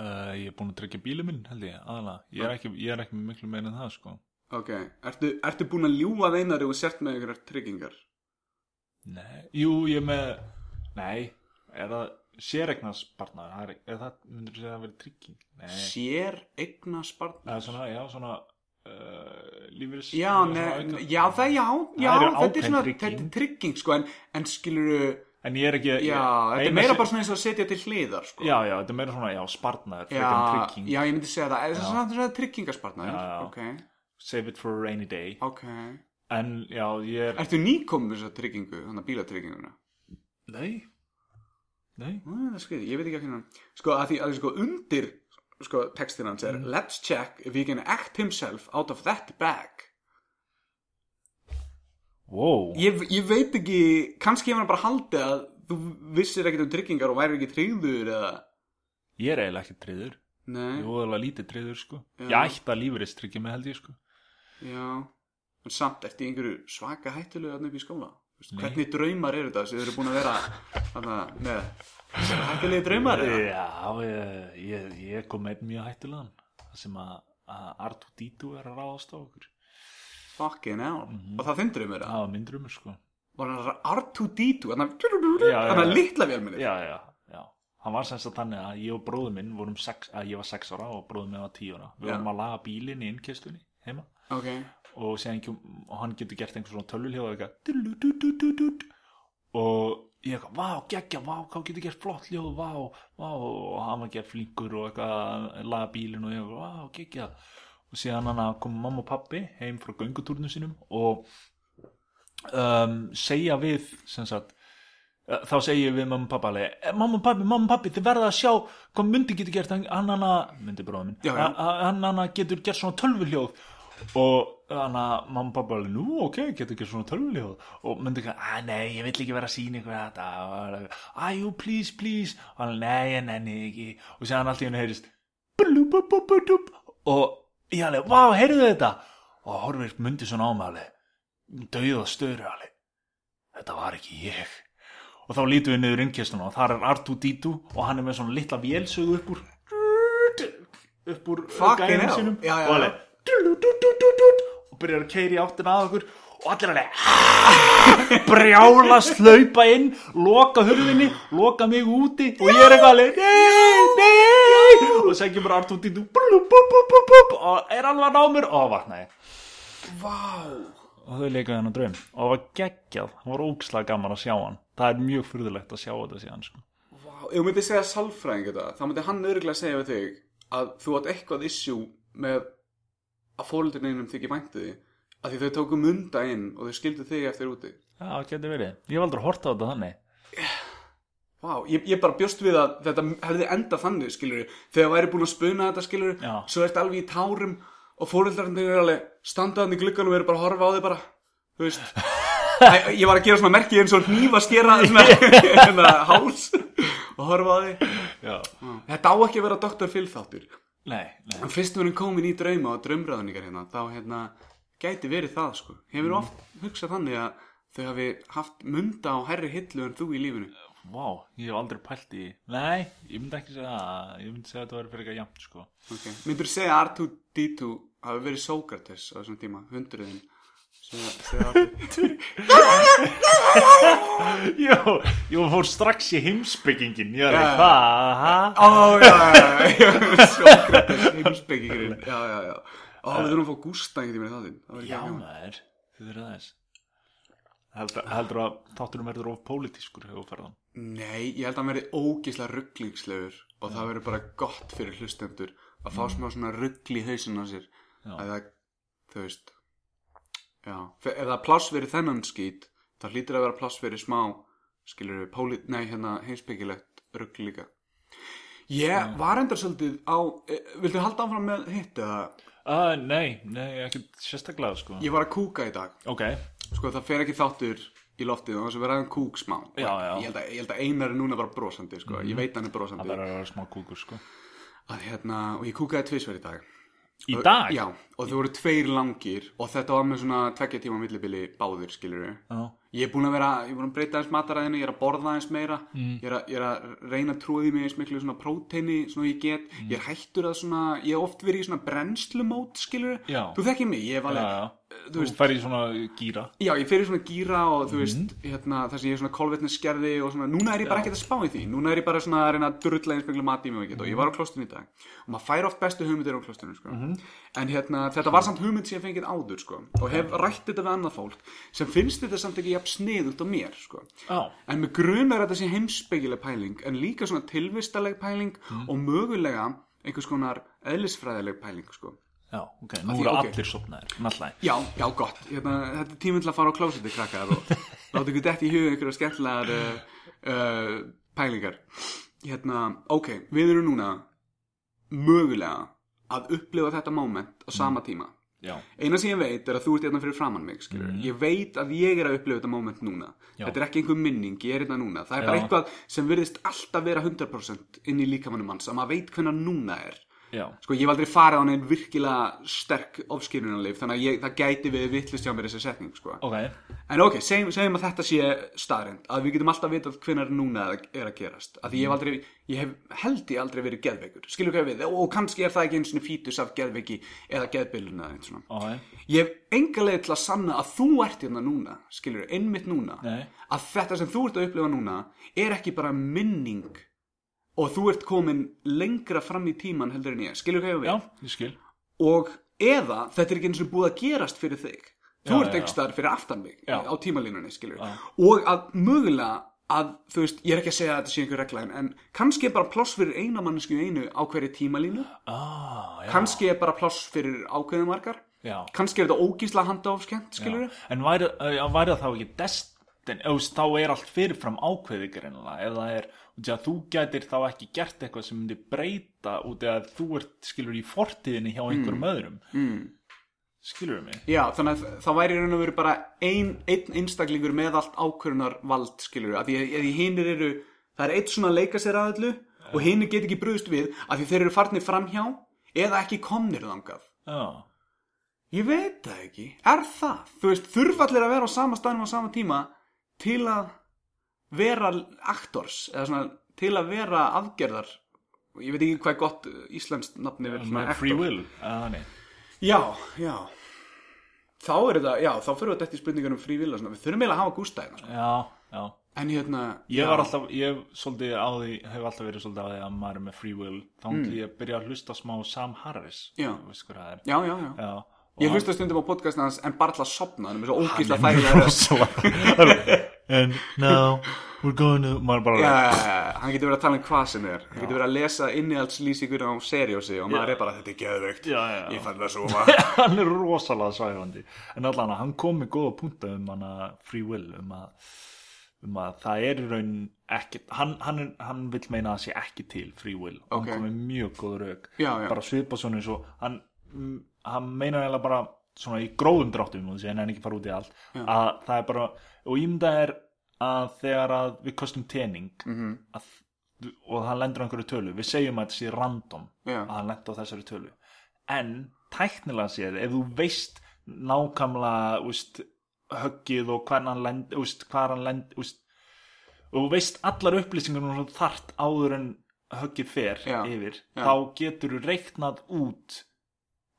[SPEAKER 3] Uh, ég er búin að tryggja bílið minn held ég, aðalega ég er ekki, ég er ekki með miklu meira en það sko
[SPEAKER 2] ok Ertu, ertu búin að ljúga þeinar ef þú sért með einhverjar tryggingar?
[SPEAKER 3] Nei, jú, ég er með Nei, er það séregnarspartnar, það er, er það myndur þú segja að vera trygging? Nei,
[SPEAKER 2] Sér eigna
[SPEAKER 3] það
[SPEAKER 2] spartnar?
[SPEAKER 3] er svona, já, svona uh, lífris
[SPEAKER 2] Já,
[SPEAKER 3] svona
[SPEAKER 2] ne,
[SPEAKER 3] auka-
[SPEAKER 2] já, það, já, já, þetta
[SPEAKER 3] eru
[SPEAKER 2] er
[SPEAKER 3] ákveðin
[SPEAKER 2] svona,
[SPEAKER 3] trygging.
[SPEAKER 2] þetta er trygging, sko, en, en skilurðu,
[SPEAKER 3] En ég er ekki ég-
[SPEAKER 2] Já, þetta er
[SPEAKER 3] eina
[SPEAKER 2] meira
[SPEAKER 3] sem-
[SPEAKER 2] bara svona eins og að setja til hliðar sko.
[SPEAKER 3] Já, já, þetta er meira svona, já, spartnar
[SPEAKER 2] já,
[SPEAKER 3] frekar en trygging,
[SPEAKER 2] já, ég myndi segja það Það er svona- svona tryggingaspartnaður
[SPEAKER 3] Já, já.
[SPEAKER 2] Ok,
[SPEAKER 3] save it for a rainy day
[SPEAKER 2] ok
[SPEAKER 3] En, já, ég er
[SPEAKER 2] Ertu nýkomur þessa tryggingu, þannig að bílatrygginguna?
[SPEAKER 3] Nei Nei
[SPEAKER 2] Nú, Það er skriði, ég veit ekki að hérna Sko, að því að sko undir sko, textin hans
[SPEAKER 3] Mm.
[SPEAKER 2] er Let's check if he can act himself out of that bag
[SPEAKER 3] Wow
[SPEAKER 2] Ég, ég veit ekki, kannski hefur hann bara haldið að þú vissir ekkert um tryggingar og væri ekki tryggður eða
[SPEAKER 3] Ég er eiginlega ekki treyður
[SPEAKER 2] Nei,
[SPEAKER 3] Ég er óðalega lítið treyður, sko
[SPEAKER 2] Já.
[SPEAKER 3] Ég ætti að lífris tryggja mig held ég, sko
[SPEAKER 2] já En samt ertu í einhverju svaka hættulegu þarna upp í skóla Þú veist,
[SPEAKER 3] Nei.
[SPEAKER 2] Hvernig draumar eru þetta sem þau eru búin að vera þarna, með hættulegu draumar eða?
[SPEAKER 3] Já, ég, ég, ég kom með mjög hættulegan Það sem að, að Artu Dítu er að ráðast á okkur
[SPEAKER 2] Fucking hell
[SPEAKER 3] Mhm.
[SPEAKER 2] Og það þinn draumur eða?
[SPEAKER 3] Það var minn drömmur sko
[SPEAKER 2] Var hann R2-D2
[SPEAKER 3] Já, já,
[SPEAKER 2] Þannig
[SPEAKER 3] já.
[SPEAKER 2] að litla vélminni
[SPEAKER 3] Já, já, já Hann var semst að þannig að ég og bróður minn vorum sex, að ég var 6 ára og bróður minn var 10 ára Við
[SPEAKER 2] Já.
[SPEAKER 3] vorum að laga bílinn í innkestunni heima
[SPEAKER 2] Ok
[SPEAKER 3] og, síðan ekki, og hann getur gert einhver svona tölvuljóð og eitthvað dullududududu. og ég eitthvað, vá, geggja, vá, hvað hann getur gert flott ljóð, vá, vá og hann var gert flinkur og eitthvað laga bílinn og ég eitthvað, vá, geggja og síðan hann kom mamma og pappi heim frá göngutúrnum sínum og um, segja við sem sagt eh, þá segi ég við mamma og pappa alveg, "Eh, mamma og pappi, mamma og pappi, þið verða að sjá hvað myndi getur gert, hann- hann hana myndi bróða minn,
[SPEAKER 2] Já, já.
[SPEAKER 3] Hann- hann hana getur gert svona tölvuljóð og hann að mamma og pappa alveg, nú ok, getur gert svona tölvuljóð og myndi ekki, að nei, ég vill ekki vera að sína ykkur þetta, að jú, please, please og hann, nei, ég nenni því ekki og séðan allt í henni heyrist blububububub og ég alveg, vá, heyrðu þetta og horfir myndi svona á mig alveg dauða störu alveg þetta var ekki ég og þá lítum við niður innkjastuna og þar er R2-D2 og hann er með svona litla vélsögu upp úr upp úr
[SPEAKER 2] Fucking
[SPEAKER 3] gæjanum
[SPEAKER 2] hell.
[SPEAKER 3] sínum
[SPEAKER 2] Já, já,
[SPEAKER 3] og
[SPEAKER 2] já.
[SPEAKER 3] alveg dú-dú-dú-dú-dú-dú, og byrjar að keiri áttina að okkur og allir alveg "Ah!" brjálast hlaupa inn loka hurðinni, loka mig úti og ég er eitthvað alveg nei, nei, og segjum bara R2-D2 blú, blú, blú, blú, blú, og er alveg að ná mér og vaknaði
[SPEAKER 2] Vá
[SPEAKER 3] og þau leikaði hennar draum og það var geggjað, það var ókslega gaman að sjá hann það er mjög fyrðulegt að sjá þetta síðan sko.
[SPEAKER 2] Vá, ef þú myndir segja salfræðing þetta, þá myndir hann örgulega segja við þig að þú átt eitthvað issue með að fóldurninum þykir væntu því að því þau tóku munda inn og þau skildu þig eftir úti.
[SPEAKER 3] já, það getur verið, ég hef aldrei hort á þetta þannig
[SPEAKER 2] Vá, ég, ég bara bjóst við að þetta hefði endað þannig, skilur þegar væri búin að spuna þetta, skilur
[SPEAKER 3] Já.
[SPEAKER 2] svo ertu alveg í tárum og fóröldarinn eru alveg standaðan í glugganum og eru bara að horfa á þig bara, þú veist Æ, ég var að gera svona merki eins og nýfa skera svona, hérna, háls og horfa á þig
[SPEAKER 3] já.
[SPEAKER 2] Þetta á ekki að vera Dr. Phil þáttur
[SPEAKER 3] nei, nei.
[SPEAKER 2] En fyrst við erum komin í drauma og draumræðningar hérna, þá hérna, gæti verið það sko. Hefur oft hugsað þannig að þau hafi haft munda á herri hillu en þú í lífinu.
[SPEAKER 3] Vá, ég hef aldrei pælt í nei, ég myndi ekki segja það ég myndi segja að þetta væri fyrir eitthvað jæmt sko.
[SPEAKER 2] Okay. Myndur þú segja að R2-D2 hafi verið Sókrates á þessum tíma, hundruðin? Segja, segja R2.
[SPEAKER 3] já, ég fór strax í heimsbyggingin ég er
[SPEAKER 2] Já, já.
[SPEAKER 3] ekki, hvað
[SPEAKER 2] Ó, já, já, já, Sókrates, heimsbyggingurinn, já, já, já. Ó, við þurfum að fá Gústa einhvern tíma í þáttinn. Það verður
[SPEAKER 3] já
[SPEAKER 2] gaman.
[SPEAKER 3] maður, þið verður aðeins heldur, heldur að þátturum verður of pólitískur hefur ferðan
[SPEAKER 2] Nei, ég held að hann verði ógislega rugglingslegur og það verður bara gott fyrir hlustendur að fá smá svona ruggli í hausin á sér
[SPEAKER 3] Já.
[SPEAKER 2] að það, þú veist já, F- ef það er pláss fyrir þennan skýt þá hlýtur að vera pláss fyrir smá skilur við, póli, nei, hérna heimspekilegt ruggli líka Ég var endar svolítið á e, viltu halda áfram með hitt eða
[SPEAKER 3] uh, nei, nei, ekki sérstaklega sko.
[SPEAKER 2] ég var að kúka í dag,
[SPEAKER 3] ok,
[SPEAKER 2] sko það fer ekki þáttur í loftið og þess að vera aðeins kúk smá
[SPEAKER 3] Já, já. Mhm.
[SPEAKER 2] Ég, held að, ég held að einar er núna bara brosandi sko. ég veit að hann er brosandi
[SPEAKER 3] það verður að vera smá kúkur sko.
[SPEAKER 2] að hérna, og ég kúkaði tvisverð í dag
[SPEAKER 3] í dag?
[SPEAKER 2] Já, og þau voru tveir langir og þetta var með svona tveggja tíma millibili báðir, skilur við
[SPEAKER 3] Já.
[SPEAKER 2] Ég er búin að vera, ég er búin að breyta aðeins mataræðinu, ég er að borða aðeins meira
[SPEAKER 3] Mm.
[SPEAKER 2] ég, er að, ég er að reyna að trúið í mig eins miklu svona próteini, svona ég get
[SPEAKER 3] Mm.
[SPEAKER 2] Ég er hættur að svona, ég hef oft verið í svona brennslumót, skilur við
[SPEAKER 3] Já.
[SPEAKER 2] Þú þekkir mig, ég hef
[SPEAKER 3] Já,
[SPEAKER 2] alveg,
[SPEAKER 3] já.
[SPEAKER 2] þú
[SPEAKER 3] Þú
[SPEAKER 2] veist-
[SPEAKER 3] fær í svona gíra
[SPEAKER 2] Já, ég fyrir svona gíra og þú veist, hérna, þar sem ég er svona kolvetniskerði og svona, núna er ég bara ekkert að spá í því, núna er ég bara svona að reyna að drulla eins miklu mat í mig og ekkert og ég var á klostinu í dag og maður fær oft bestu hugmyndir á klostinu, sko. En hérna, þetta var samt hugmynd sem ég fengið áður, sko, og hef rætt þetta við annað fólk sem finnst þetta samt ekki jafn sniðugt á mér, sko.
[SPEAKER 3] Já,
[SPEAKER 2] En með grunar að þetta sé heimspegileg pæling en líka svona tilvistaleg pæling og mögulega einhers konar eðlisfræðileg pæling, sko.
[SPEAKER 3] já, ok, nú
[SPEAKER 2] því-
[SPEAKER 3] eru
[SPEAKER 2] ok.
[SPEAKER 3] allir um sopnaðir Náttúrulega
[SPEAKER 2] Já, já, gott. Hérna, þetta er tíminn til að fara á klósiti, krakkar, og láta ykkur dætt í huga ykkur skemmtilegar uh, uh, pælingar. Hérna, ok, við erum núna mögulega að upplifa þetta moment á
[SPEAKER 3] Mm.
[SPEAKER 2] sama tíma.
[SPEAKER 3] Já,
[SPEAKER 2] Eina sem ég veit er að þú ert hérna fyrir framann mig, skilur. Ég veit að ég er að upplifa þetta moment núna.
[SPEAKER 3] Mm. Já.
[SPEAKER 2] Þetta er ekki einhver minning, ég er hérna núna. Það er bara
[SPEAKER 3] Já.
[SPEAKER 2] eitthvað sem virðist alltaf vera 100% inn í líkamannum hans, að maður veit hvernig núna er.
[SPEAKER 3] já,
[SPEAKER 2] Sko ég hef aldrei farið á neinn virkilega sterk ofskilunarleif þannig að ég, það gæti við vittlust hjá mér þessi setning sko.
[SPEAKER 3] ok
[SPEAKER 2] En ok, segjum, segjum að þetta sé staðrind að við getum alltaf vitað hvenar núna er að gerast að
[SPEAKER 3] Mm.
[SPEAKER 2] því ég hef aldrei, ég hef held ég aldrei verið geðveikur, skilur hvað ég við og, og kannski er það ekki eins og fítus af geðveiki eða geðbylun eða eins og svona.
[SPEAKER 3] Ok,
[SPEAKER 2] Ég hef enga leið til að sanna að þú ert hérna núna, skilur, einmitt núna
[SPEAKER 3] Nei.
[SPEAKER 2] að þetta sem þú ert að upplifa núna er ekki bara minning og þú ert komin lengra fram í tíman heldur en ég, skilur hvað ég á við
[SPEAKER 3] já, ég skil
[SPEAKER 2] og eða þetta er ekki eins og búið að gerast fyrir þig þú
[SPEAKER 3] Já,
[SPEAKER 2] ert
[SPEAKER 3] já,
[SPEAKER 2] ekki staðar fyrir aftan mig
[SPEAKER 3] Já.
[SPEAKER 2] á tímalínunni skilur
[SPEAKER 3] Já.
[SPEAKER 2] og að mögulega að þú veist, ég er ekki að segja að þetta sé einhver regla en, en kannski er bara pláss fyrir eina mannesku í einu á hverju tímalínu
[SPEAKER 3] ah, já,
[SPEAKER 2] kannski er bara pláss fyrir ákveðum margar
[SPEAKER 3] já.
[SPEAKER 2] kannski er þetta ógísla handaofskent skilur
[SPEAKER 3] já. En væri, eh, já, væri það þá ekki destin Eðust, þá er allt fyrirfram ákveði greinlega Ef það er, út í að þú gætir þá ekki gert eitthvað sem myndi breyta Út í að þú ert, skilur, í fortíðinni hjá einhverjum öðrum mm. Skilur mig?
[SPEAKER 2] Já, þannig að það væri í raun og veru bara ein, einn einstaklingur með allt ákvörunar vald, skilur við, að því, að því hinir eru, það er eitt svona að leika sér aðallu og hinir get ekki brugðist við að því þeir eru farnir framhjá eða ekki komnir þangað.
[SPEAKER 3] Já,
[SPEAKER 2] Ég veit það ekki, er það? Þú veist, þurfallir að vera á sama staðnum á sama tíma til að vera actors eða svona til að vera afgerðar ég veit ekki hvað er gott uh, íslenskt nafni yfir svona
[SPEAKER 3] Svona
[SPEAKER 2] actor.
[SPEAKER 3] free will Ah, eða þannig
[SPEAKER 2] Já, já Þá er þetta, já, þá fyrir þetta eftir spurningar um frívilla svona. Við þurfum eiginlega að hafa gústa hérna sko.
[SPEAKER 3] já, já
[SPEAKER 2] En hérna
[SPEAKER 3] Ég
[SPEAKER 2] já,
[SPEAKER 3] var alltaf, ég hef svolítið á því, hef alltaf verið svolítið á því að maður er með free will þá mm. ég byrja að hlusta smá á Sam Harris
[SPEAKER 2] Já.
[SPEAKER 3] Þú veist hvað það er
[SPEAKER 2] Já, já, já
[SPEAKER 3] Já, og
[SPEAKER 2] Ég hlusta stundum á podcast hans en bara alltaf að sopna Hann er með svo ógísla
[SPEAKER 3] hann er
[SPEAKER 2] þægilega
[SPEAKER 3] rosalega And now we're going to maður bara
[SPEAKER 2] Já, hann getur verið að tala um hvað sem er Hann getur verið að lesa innihaldslýsingur á seriósi og maður er bara, þetta er geðveikt
[SPEAKER 3] Já, já, já.
[SPEAKER 2] Ég fann það svo
[SPEAKER 3] hann er rosalega svæfandi en allan að hann kom með góða punta um hana free will um að, um að það er í raun ekki, hann, hann, er- hann vil meina að það sé ekki til free will
[SPEAKER 2] Ok.
[SPEAKER 3] og hann kom með mjög góð rauk
[SPEAKER 2] Já, já.
[SPEAKER 3] bara svipa svona eins og hann, mm, hann meina eiginlega bara svona í gróðum dráttum og þessi en hann ekki fara út í allt að það er bara, og ímynda er að þegar að við kostum tening
[SPEAKER 2] Mhm.
[SPEAKER 3] -hmm. að, og hann lendur á einhverju tölu, við segjum að þetta sé random
[SPEAKER 2] Já.
[SPEAKER 3] að hann lendi á þessari tölu en tæknilega séð ef þú veist nákvæmlega úst, höggið og hvernig hann lend úst, hvað hann lend úst, og þú veist allar upplýsingar þart áður en höggið fer
[SPEAKER 2] Já,
[SPEAKER 3] yfir
[SPEAKER 2] já.
[SPEAKER 3] þá getur þú reiknað út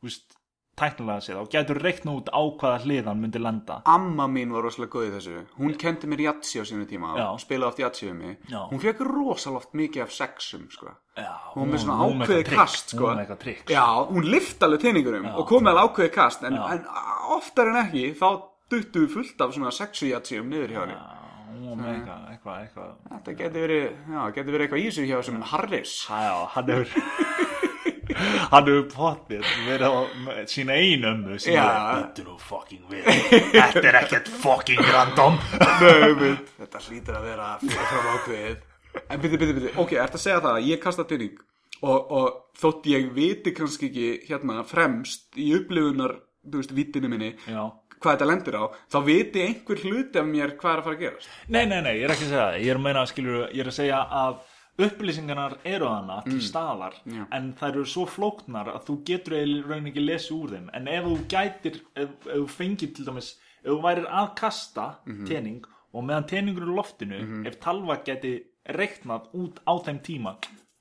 [SPEAKER 3] úst, tæknilega séð þá getur þú reiknað út á hvaða hlið hann myndi lenda
[SPEAKER 2] Amma mín var rosalega góð í þessu Hún kendi mér jatsi á sínu tíma
[SPEAKER 3] Já.
[SPEAKER 2] og spilaði oft jatsi við mig
[SPEAKER 3] Já.
[SPEAKER 2] Hún fekk rosalega oft mikið af sexum sko.
[SPEAKER 3] Já,
[SPEAKER 2] Hún er með svona
[SPEAKER 3] hún eitthvað
[SPEAKER 2] ákveðið
[SPEAKER 3] trikk,
[SPEAKER 2] kast, sko.
[SPEAKER 3] hún er með eitthvað trikk
[SPEAKER 2] Já, hún lift alveg teiningurum og kom með alveg ákveðið kast en, en oftar en ekki þá duttu við fullt af svona sexujatsíum niður hjá henni.
[SPEAKER 3] Já, hún er með eitthvað, eitthvað, eitthvað
[SPEAKER 2] Þetta getur verið, já, getur verið eitthvað í þessu hjá þessum Harris.
[SPEAKER 3] Já, hann hefur hann hefur pottið verið á með sína einu ömmu sem
[SPEAKER 2] Já.
[SPEAKER 3] er býttur og fucking við þetta er ekkert fucking random
[SPEAKER 2] Þetta hlýtur að vera fyrir fram ákveðið. En byrju, byrju, byrju, ok, ertu að segja það að ég kasta teining og, og þótt ég viti kannski ekki hérna fremst í upplifunar, þú veist, vitinu minni,
[SPEAKER 3] Já.
[SPEAKER 2] hvað þetta lendir á, þá viti einhver hluti af mér hvað er að fara að gerast.
[SPEAKER 3] Nei, nei, nei, ég er ekki að segja það ég er að meina, skilur, ég er að segja að upplýsingarnar eru þarna til staðar
[SPEAKER 2] Mm. Já.
[SPEAKER 3] en þær eru svo flóknar að þú getur eiginlega raun ekki lesið úr þeim en ef þú gætir, ef, ef þú fengir til dæmis ef þú værir að kasta
[SPEAKER 2] Mhm.
[SPEAKER 3] tening og meðan teningur er í loftinu ef talva geti reiknað út á þeim tíma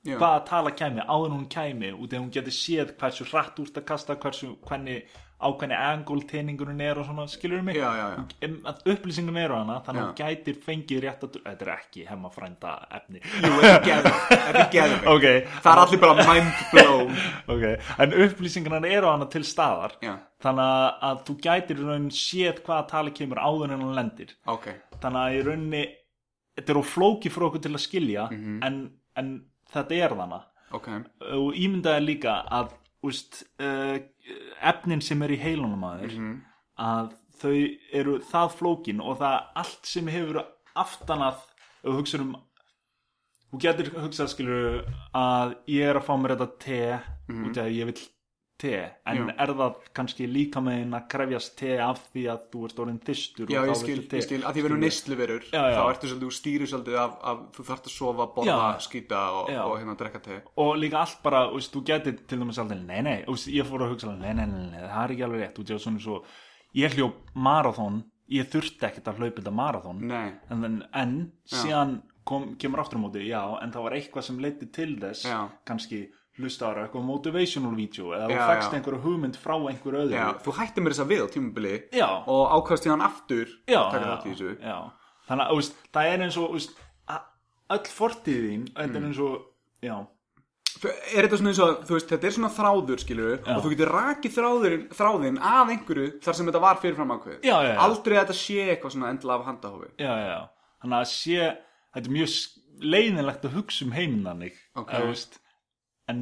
[SPEAKER 2] Já.
[SPEAKER 3] hvaða tala kæmi, áður en hún kæmi út ef hún geti séð hversu hratt úr að kasta hversu, hvernig, á hvernig angul teningurinn er og svona, skilur mig
[SPEAKER 2] Já, já, já.
[SPEAKER 3] um, að upplýsingum eru hana þannig að hún
[SPEAKER 2] Já.
[SPEAKER 3] gætir fengið rétt að þetta er ekki hemma frænda efni
[SPEAKER 2] Jú, þetta er geðveikt. Þetta er geðveikt.
[SPEAKER 3] ok,
[SPEAKER 2] Það er allir bara mind blown
[SPEAKER 3] ok en upplýsingarnar eru hana til staðar
[SPEAKER 2] Já.
[SPEAKER 3] þannig að, að þú gætir í raun séð hvaða tali kemur áður en hún lendir
[SPEAKER 2] Ok,
[SPEAKER 3] þannig að í rauninni þetta er á flóki fyrir okkur til að skilja
[SPEAKER 2] Mhm.
[SPEAKER 3] en, en þetta er þannig
[SPEAKER 2] ok
[SPEAKER 3] og ímyndaði líka að úst, uh, efnin sem er í heilunum
[SPEAKER 2] Mhm.
[SPEAKER 3] aður að þau eru það flókin og það allt sem hefur aftan að ef þú hugsar um þú getur hugsað skilur að ég er að fá mér þetta te út af að ég vil te en
[SPEAKER 2] Mhm. Já.
[SPEAKER 3] er það kannski líka meðin að krefjast te af því að þú ert orðin þystur
[SPEAKER 2] Já,
[SPEAKER 3] og
[SPEAKER 2] ég
[SPEAKER 3] þá
[SPEAKER 2] skil,
[SPEAKER 3] viltu te
[SPEAKER 2] ég skil Að því verður neysluverur
[SPEAKER 3] Já, já.
[SPEAKER 2] Þá ertu svolítið, þú stýrir svolítið af, af Þú þarft að sofa, borða,
[SPEAKER 3] Já.
[SPEAKER 2] skýta og,
[SPEAKER 3] Já.
[SPEAKER 2] og hérna drekka te
[SPEAKER 3] og líka allt bara, þú veist, þú getur til dæmis aldrei, nei, nei, þú veist, ég fór að hugsa nei, nei, nei, nei, það er ekki alveg rétt, þú veist, svona svo ég hljóp marathón ég þurfti ekkert að hlaupa þetta marathón
[SPEAKER 2] Nei,
[SPEAKER 3] en, en, en síðan kom, kemur aftur á móti, já, en það var eitthvað sem leiddi til þess,
[SPEAKER 2] Já.
[SPEAKER 3] kannski hlusta ára eitthvað motivational video eða þú
[SPEAKER 2] Já,
[SPEAKER 3] fækst
[SPEAKER 2] já.
[SPEAKER 3] einhverju hugmynd frá einhverju öðru
[SPEAKER 2] já, þú hættir mér þess að við á tímabili
[SPEAKER 3] Já.
[SPEAKER 2] Og ákvæðst hérna aftur
[SPEAKER 3] já,
[SPEAKER 2] Takk
[SPEAKER 3] já,
[SPEAKER 2] þátt í þessu
[SPEAKER 3] já. þannig að þú veist, það er eins og þú veist, að- öll fortíð þín þetta
[SPEAKER 2] Mm.
[SPEAKER 3] er eins og, já,
[SPEAKER 2] Er þetta svona eins og, þú veist, þetta er svona þráður, skilur Og þú getur rakið þráðurinn, þráðinn að einhverju Þar sem þetta var fyrirfram ákveð
[SPEAKER 3] Já, já, já.
[SPEAKER 2] Aldrei að þetta sé eitthvað svona endilega af handahófi
[SPEAKER 3] já, já, já. þannig að sé þetta er mjög leiðinlegt að hugsa um heiminn þannig
[SPEAKER 2] Ok.
[SPEAKER 3] eða, þú veist, en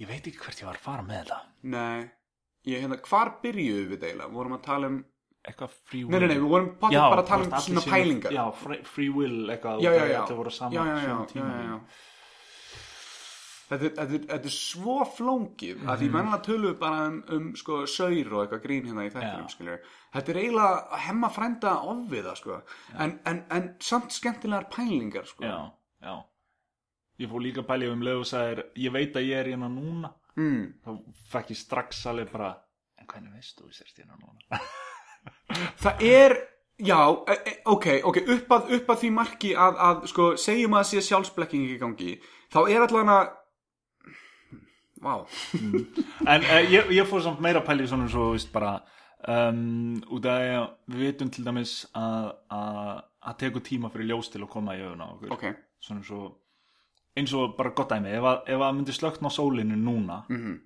[SPEAKER 3] ég veit ekki hvert ég var að fara með þetta
[SPEAKER 2] Nei, ég hérna, hvar byrjuðu við deila? Vorum að tala um
[SPEAKER 3] eitthvað free
[SPEAKER 2] Nei,
[SPEAKER 3] will
[SPEAKER 2] nei, nei, við vorum
[SPEAKER 3] já,
[SPEAKER 2] potið bara að tala
[SPEAKER 3] þú
[SPEAKER 2] um
[SPEAKER 3] veist, allir
[SPEAKER 2] svona
[SPEAKER 3] séu-
[SPEAKER 2] pælingar
[SPEAKER 3] já, free, free will eitthvað
[SPEAKER 2] já,
[SPEAKER 3] og
[SPEAKER 2] já, já.
[SPEAKER 3] þetta voru saman
[SPEAKER 2] já, já, já,
[SPEAKER 3] sama
[SPEAKER 2] já,
[SPEAKER 3] tíma
[SPEAKER 2] já, já. Þetta, er- þetta, er- þetta er svo flóngið að því vennilega tölum við bara um, um sko, saur og eitthvað grín hérna í
[SPEAKER 3] Mhm. Já.
[SPEAKER 2] þættinum skilur. Þetta er eiginlega að hemma frænda ofviða sko. en, en, en samt skemmtilegar pælingar sko.
[SPEAKER 3] já, já. ég fór líka að pæli um leið og sagðir ég veit að ég er hérna núna
[SPEAKER 2] mm,
[SPEAKER 3] þá fekk ég strax alveg bara en hvernig veist þú sérst hérna núna
[SPEAKER 2] Það er Já, e- e- ok, ok, upp að, upp að því marki að, að sko, segjum að það sé sjálfsblekking í gangi, þá er allan að, vá,
[SPEAKER 3] En uh, ég, ég fór samt meira að pæli svona svo, veist, bara um, út af því að við vitum til dæmis að að að tekur tíma fyrir ljós til að koma í auðuna okkur
[SPEAKER 2] ok,
[SPEAKER 3] svona svo eins og bara gott dæmi, ef að, ef að myndi slögt á sólinu núna
[SPEAKER 2] mhm,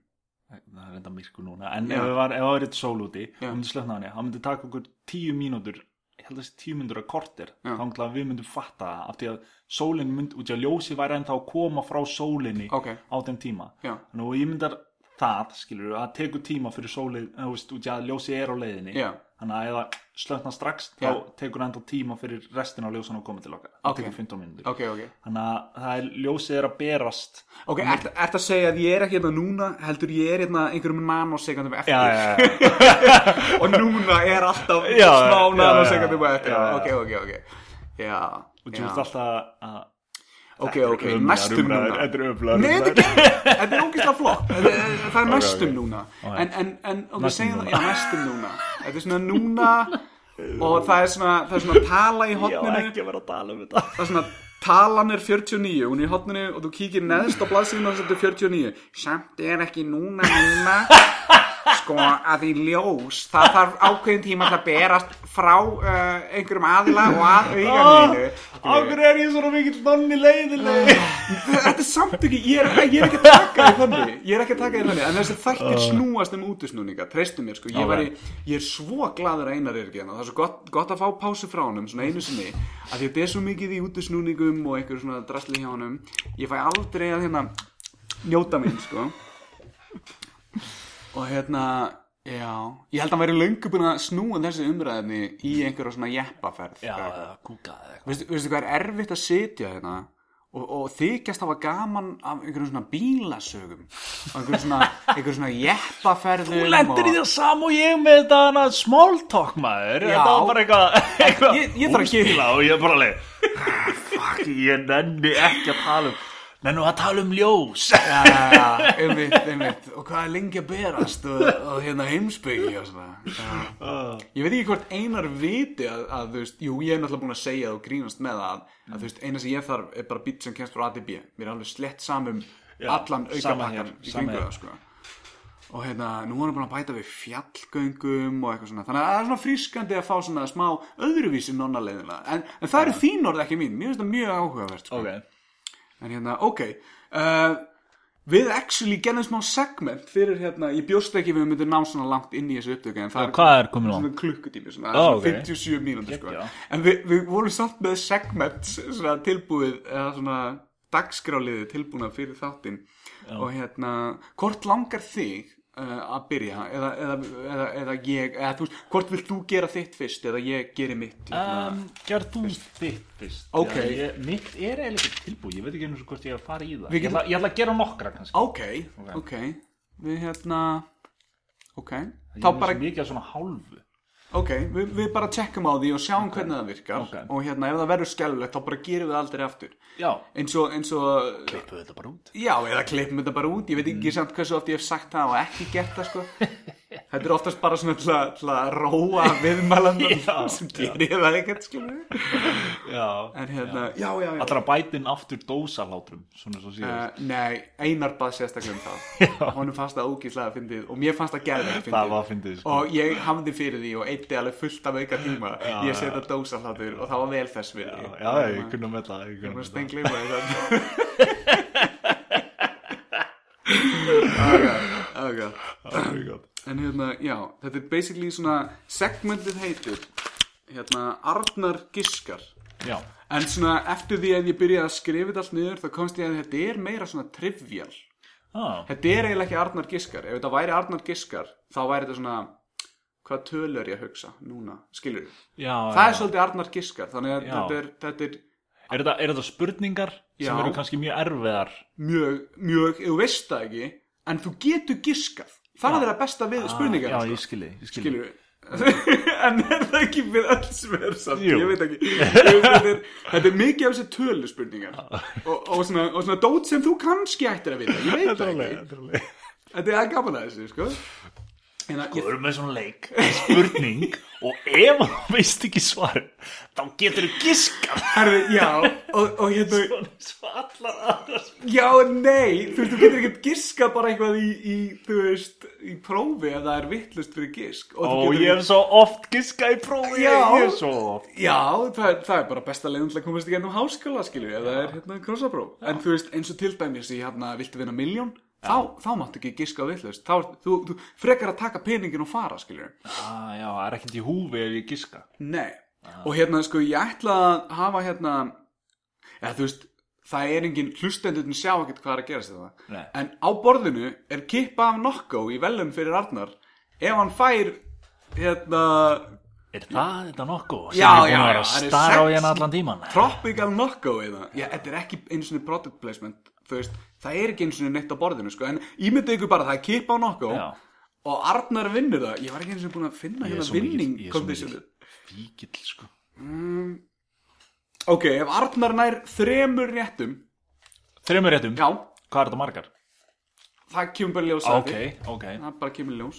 [SPEAKER 3] það er enda myrkur núna, en
[SPEAKER 2] Já.
[SPEAKER 3] ef það var, ef það var eitt sól úti,
[SPEAKER 2] Já.
[SPEAKER 3] það myndi slökna á henni það myndi taka okkur tíu mínútur ég held að þessi tíu mínútur að kortir
[SPEAKER 2] Já.
[SPEAKER 3] þannig að við myndum fatta það, af því að sólin myndi, út í að ljósi væri ennþá að koma frá sólinni
[SPEAKER 2] ok,
[SPEAKER 3] á þeim tíma
[SPEAKER 2] já,
[SPEAKER 3] Nú, ég myndar það, skilur að tekur tíma fyrir sólið, þú veist, út í að ljósi er á leiðinni,
[SPEAKER 2] já,
[SPEAKER 3] þannig að ef það slökna strax, þá
[SPEAKER 2] Já.
[SPEAKER 3] tekur ennþá tíma fyrir restin á ljósan að koma til okkar það
[SPEAKER 2] Ok.
[SPEAKER 3] tekur 15 mínútur
[SPEAKER 2] ok, ok.
[SPEAKER 3] þannig að það er, ljósið er að berast
[SPEAKER 2] Ok, ert, ert að segja að ég er ekki hérna núna, heldur ég er hérna einhverjum nanosekundum eftir
[SPEAKER 3] já, já.
[SPEAKER 2] og núna er alltaf
[SPEAKER 3] Já, já,
[SPEAKER 2] smá
[SPEAKER 3] já, já,
[SPEAKER 2] nanosekundum eftir.
[SPEAKER 3] já, já.
[SPEAKER 2] Ok, ok, ok. Já,
[SPEAKER 3] og þú
[SPEAKER 2] já.
[SPEAKER 3] ert alltaf að
[SPEAKER 2] Ok,
[SPEAKER 3] Þetta er
[SPEAKER 2] ok,
[SPEAKER 3] ömurlegar
[SPEAKER 2] næstum
[SPEAKER 3] umræður,
[SPEAKER 2] núna.
[SPEAKER 3] Þetta er öflagur
[SPEAKER 2] Nei, þetta er ekki, þetta er ógeðslega flott Þetta er- Það er næstum núna
[SPEAKER 3] já.
[SPEAKER 2] En, en, en, ok,
[SPEAKER 3] Næstum
[SPEAKER 2] segjum það,
[SPEAKER 3] núna.
[SPEAKER 2] já, næstum núna Þetta er svona núna Og það er svona, það er svona tala í hotninu
[SPEAKER 3] að vera að tala um þetta
[SPEAKER 2] Það er svona, talan er 49 Hún er í hotninu og þú kíkir neðst á blaðsíðun Og þetta er 49 Samt er ekki núna núna Sko, að því ljós Það þarf ákveðin tíma til að berast Frá uh, einhverjum aðila Og að auganinu
[SPEAKER 3] Ákveð er ég svona mikill nonni leiðileg
[SPEAKER 2] Ah, Þetta er samt ekki, ég er, ég er ekki að taka þér þannig Ég er ekki að taka þér þannig En þessi þættir snúast um útusnúninga Treystu mér sko, ég,
[SPEAKER 3] Ah. Já,
[SPEAKER 2] væri, ég er svo gladur að Einar er ekki hérna Það er svo gott, gott að fá pásu frá honum Svona einu sinni Af því að þetta er svo mikið í útusnúningum Og einhverju svona drasli hjá honum Ég fæ aldrei að hérna njóta mín sko Og hérna Já, ég held að hann væri löngu búin að snúa þessi umræðinni í einhverja svona jeppaferð sko.
[SPEAKER 3] Já,
[SPEAKER 2] eða eitthvað.
[SPEAKER 3] eða kúka eða eitthvað
[SPEAKER 2] Veistu, veistu hvað er erfitt að sitja hérna og, og þykjast hafa gaman af einhverjum svona bílasögum og einhverjum svona, einhverjum svona jeppaferðum
[SPEAKER 3] Þú lendir í það sam og ég með þetta hana small talk maður
[SPEAKER 2] Já.
[SPEAKER 3] Þetta var bara eitthvað eitthva,
[SPEAKER 2] Ég- ég þarf að gera-
[SPEAKER 3] Og ég bara leið Fuck, ég nenni ekki að tala um Nennu að tala um ljós
[SPEAKER 2] Já, já, já, einmitt, einmitt og hvað er lengi að berast og, og hérna heimsbyggi og svona já.
[SPEAKER 3] Ah,
[SPEAKER 2] Ég veit ekki hvort einar viti að, að þú veist, jú, ég er náttúrulega búin að segja það og grínast með það að þú veist, eina sem ég þarf er bara bít sem kemst frá ADB mér er alveg slett samum
[SPEAKER 3] Já,
[SPEAKER 2] allan auka
[SPEAKER 3] sama
[SPEAKER 2] pakkar
[SPEAKER 3] hér,
[SPEAKER 2] í kringu
[SPEAKER 3] sama hér.
[SPEAKER 2] það, sko og hérna, nú er hann búin að bæta við fjallgöngum og eitthvað svona, þannig að það er svona frískandi að fá svona smá öðruvísi nonnaleðina, en, en það eru þín orð ekki mín, mér finnst það mjög áhugavert sko.
[SPEAKER 3] Ok
[SPEAKER 2] En hérna, ok uh, Við actually gerðum smá segment fyrir hérna, ég bjóst ekki við myndum ná svona langt inn í þessu upptöku en það
[SPEAKER 3] Hvað er komin á?
[SPEAKER 2] svona klukkutími, svona, svona
[SPEAKER 3] Ó, ok.
[SPEAKER 2] 57 mínútur sko.
[SPEAKER 3] Geggjað.
[SPEAKER 2] En við, við vorum samt með segment svona, tilbúið, eða svona dagskráliði tilbúna fyrir þáttinn og hérna, hvort langar þig uh, að byrja eða, eða, eða, eða ég, eða þú veist hvort vilt þú gera þitt fyrst eða ég geri mitt hérna.
[SPEAKER 3] Um, Gerð þú þitt fyrst
[SPEAKER 2] Ok.
[SPEAKER 3] Já, ég, Mitt er eiginlega ekki tilbúið Ég veit ekki einu svo hvort ég er að fara í það
[SPEAKER 2] Við
[SPEAKER 3] ég, ætla, ég ætla að gera nokkra kannski
[SPEAKER 2] Ok, ok, Við hérna Ok,
[SPEAKER 3] Ég
[SPEAKER 2] þá
[SPEAKER 3] er
[SPEAKER 2] bara
[SPEAKER 3] svo mikið af svona hálfu
[SPEAKER 2] Ok, við, við bara tjekkum á því og sjáum hvernig það virkar
[SPEAKER 3] Ok.
[SPEAKER 2] Og hérna, ef það verður skelfilegt þá bara gerum við aldrei aftur
[SPEAKER 3] Já
[SPEAKER 2] Eins og, eins og
[SPEAKER 3] Klippuðu þetta bara út
[SPEAKER 2] Já, eða klippum þetta bara út Ég veit
[SPEAKER 3] Mm.
[SPEAKER 2] ekki samt hversu oft ég hef sagt það og ekki gert það sko Þetta er oftast bara svona til að, til að róa
[SPEAKER 3] Já,
[SPEAKER 2] viðmælandan sem gerir það ekkert skilur
[SPEAKER 3] Já
[SPEAKER 2] En hérna, já, já, já
[SPEAKER 3] Allra bætin aftur dósalátrum Svona svo síðan
[SPEAKER 2] Uh, nei, Einar bað sérstaklega um það honum fannst það ógíslega fyndið og mér fannst það gerðið fyndið
[SPEAKER 3] Það var fyndið, sko.
[SPEAKER 2] og ég hafði fyrir því og eitti alveg fullt af auka tíma ég setja dósa hlátur og það var vel þess við
[SPEAKER 3] Já, já, ég kunna að mella
[SPEAKER 2] Ég
[SPEAKER 3] Ég kunna að
[SPEAKER 2] var
[SPEAKER 3] mella
[SPEAKER 2] stengleima Ok,
[SPEAKER 3] Það er gott.
[SPEAKER 2] ok En hérna, já, þetta er basically svona segmentið heitir hérna, Arnar Giskar
[SPEAKER 3] Já,
[SPEAKER 2] En svona eftir því að ég byrjaði að skrifa þetta allt niður þá komst ég að þetta er meira svona trivial
[SPEAKER 3] ah,
[SPEAKER 2] Þetta er eiginlega ekki Arnar Giskar Ef þetta væri Arnar Giskar þá væri þetta svona hvað tölu er ég að hugsa núna, skilur
[SPEAKER 3] já
[SPEAKER 2] Það er
[SPEAKER 3] já.
[SPEAKER 2] svolítið Arnar Giskar þannig að
[SPEAKER 3] Já.
[SPEAKER 2] þetta er, þetta er
[SPEAKER 3] Er þetta, er þetta spurningar
[SPEAKER 2] Já.
[SPEAKER 3] sem eru kannski mjög erfiðar
[SPEAKER 2] mjög, mjög, þú veist það ekki en þú getur giskað það er það besta við sko. spurningar
[SPEAKER 3] Ah, Já, ég skilji, ég skilji
[SPEAKER 2] skilur við en er það ekki við öll sem er samt
[SPEAKER 3] Jú.
[SPEAKER 2] ég veit ekki þetta er, þetta er mikið af þessi tölu spurningar og, og, svona, og svona dót sem þú kannski ættir að vita ég veit það ekki
[SPEAKER 3] Þetta er alveg
[SPEAKER 2] þetta er gaman að þessu sko en hérna, ég,
[SPEAKER 3] Þú erum með svona leik, spurning og ef þú veist ekki svar þá getur þú giskað
[SPEAKER 2] herðu, já, og, og hérna,
[SPEAKER 3] svona svo allar aðra
[SPEAKER 2] Já, nei, þú veist, þú getur ekkert giska bara eitthvað í, í þú veist, í prófi ef það er vittlust fyrir gisk. Og þú
[SPEAKER 3] Og
[SPEAKER 2] getur
[SPEAKER 3] ég hef
[SPEAKER 2] ekkert-
[SPEAKER 3] svo oft giskað í prófi
[SPEAKER 2] Já.
[SPEAKER 3] Ég hef svo oft
[SPEAKER 2] Já, það, er- það er bara besta leiðin til að komast í gennum háskóla, skilju, ef það er hérna krossapróf. En þú veist, eins og til dæmis í hérna, viltu vinna miljón, þá, þá máttu ekki giska á vittlust. Þá, ert- þú, þú frekar að taka peningin og fara, skilju.
[SPEAKER 3] ah, Já, það er ekkert í húfi ef ég giska
[SPEAKER 2] Nei, og hérna sko ég ætla að hafa hérna eða þú veist, það er engin hlustendurinn sjá ekkert hvað er að gerast þetta
[SPEAKER 3] Nei.
[SPEAKER 2] en á borðinu er kippa af nokko í velum fyrir Arnar ef hann fær hérna
[SPEAKER 3] Er það þetta nokkuð? sem
[SPEAKER 2] Já,
[SPEAKER 3] ég búin
[SPEAKER 2] já,
[SPEAKER 3] að
[SPEAKER 2] já,
[SPEAKER 3] vera að
[SPEAKER 2] það er
[SPEAKER 3] stara á
[SPEAKER 2] sex-
[SPEAKER 3] hérna allan tíman
[SPEAKER 2] tropical nokko eða, já, þetta er ekki einu sinni product placement, þú veist það er ekki einu sinni neitt á borðinu sko, en ímyndið ykkur bara það er kippa af nokko
[SPEAKER 3] Já.
[SPEAKER 2] og Arnar vinnur það, ég var ekki einu sinni búin að finna
[SPEAKER 3] Ég er
[SPEAKER 2] hérna
[SPEAKER 3] svo mikill-
[SPEAKER 2] vinning
[SPEAKER 3] ég er svo
[SPEAKER 2] condition
[SPEAKER 3] mikill Fíkil, sko
[SPEAKER 2] ok, ef Arnar nær þremur réttum,
[SPEAKER 3] Þreymur réttum,
[SPEAKER 2] já
[SPEAKER 3] hvað er þetta margar?
[SPEAKER 2] það kemur bara í ljós
[SPEAKER 3] Ok,
[SPEAKER 2] sagði.
[SPEAKER 3] ok
[SPEAKER 2] það bara kemur í ljós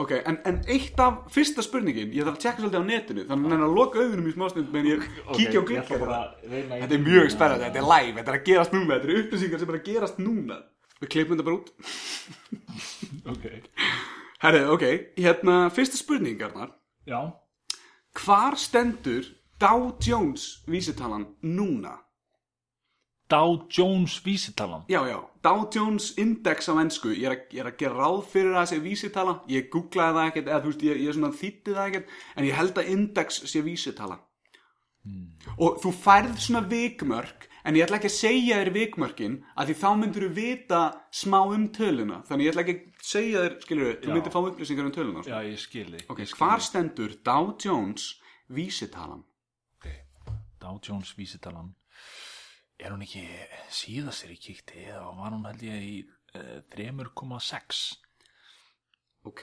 [SPEAKER 2] ok, en, en eitt af fyrsta spurningin ég þarf að tjekka svolítið á netinu þannig að, að loka auðunum í smástund meðan ég kíkja á klikka þetta
[SPEAKER 3] Þetta
[SPEAKER 2] þetta er mjög spennandi, þetta er live, þetta er að gerast núna þetta eru upplýsingar sem er að gerast núna við klippum þetta bara út
[SPEAKER 3] okay.
[SPEAKER 2] herri, ok, hérna, fyrsta spurningarnar
[SPEAKER 3] Já,
[SPEAKER 2] hvar stendur Dow Jones vísitalan núna?
[SPEAKER 3] Dow Jones vísitalan
[SPEAKER 2] Já, já, Dow Jones Index á ennsku, ég er, að, ég er að gera ráð fyrir það sé vísitala, ég googlaði það ekkert, eða þú veist, ég, ég svona þýtti það ekkert, en ég held að Index sé vísitala. Og þú færð svona vikmörk, en ég ætla ekki að segja þér vikmörkin, að því þá myndur þú vita smá um töluna, þannig ég ætla ekki að segja þér, skilur þú
[SPEAKER 3] Já.
[SPEAKER 2] myndir fá upplýsingar um töluna. Já,
[SPEAKER 3] Já, ég skilði
[SPEAKER 2] ok, hvar stendur Dow Jones vísitalan?
[SPEAKER 3] Dow Jones vísitalan Er hún ekki síðast er ég kíkti eða var hún held ég í eh, 3,6
[SPEAKER 2] Ok,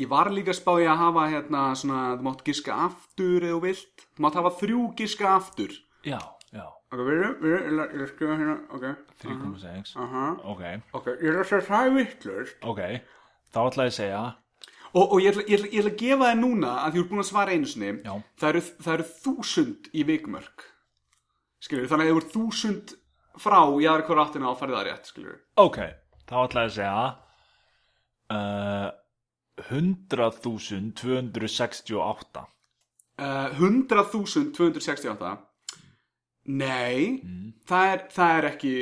[SPEAKER 2] ég var líka að spá ég að hafa hérna svona, þú mátt giska aftur eða þú vilt, þú mátt hafa þrjú giska aftur.
[SPEAKER 3] Já, já,
[SPEAKER 2] Ok, við erum, við erum, ég er að skrifa hérna, ok,
[SPEAKER 3] 3,6
[SPEAKER 2] aha,
[SPEAKER 3] Ok,
[SPEAKER 2] ok, ég er að segja það er vittlust.
[SPEAKER 3] ok Þá ætla ég að segja
[SPEAKER 2] Og, og ég, ætla, ég, ætla, ég ætla að gefa þér núna að þú ert búin að svara einu sinni,
[SPEAKER 3] Já.
[SPEAKER 2] það eru, það eru þúsund í vikmörk, skilur, þannig að þú ert þúsund frá í aðra hverja áttina á færið það rétt, skilur.
[SPEAKER 3] Ok, þá ætla ég að segja uh, 100.268
[SPEAKER 2] Uh, 100.268 Nei
[SPEAKER 3] Mm.
[SPEAKER 2] það, er, það er ekki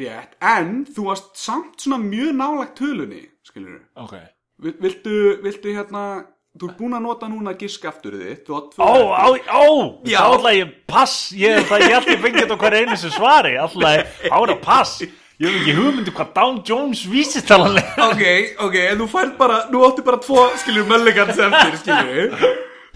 [SPEAKER 2] rétt En þú varst samt svona mjög nálagt tölunni Skilur
[SPEAKER 3] Ok
[SPEAKER 2] við Viltu, viltu hérna Þú ert búin að nota núna gisk aftur þitt Ó,
[SPEAKER 3] Ó, á, á,
[SPEAKER 2] Já.
[SPEAKER 3] þá ætla ég pass, ég, það, ég ætla ég fengi þetta á hver einu sem svari, ætla ég, þá er það pass, ég hef ekki hugmyndu hvað Down Jones vísitalan er.
[SPEAKER 2] Ok, ok, en þú færð bara, nú áttu bara tvo, skilur, möllegans eftir, skilur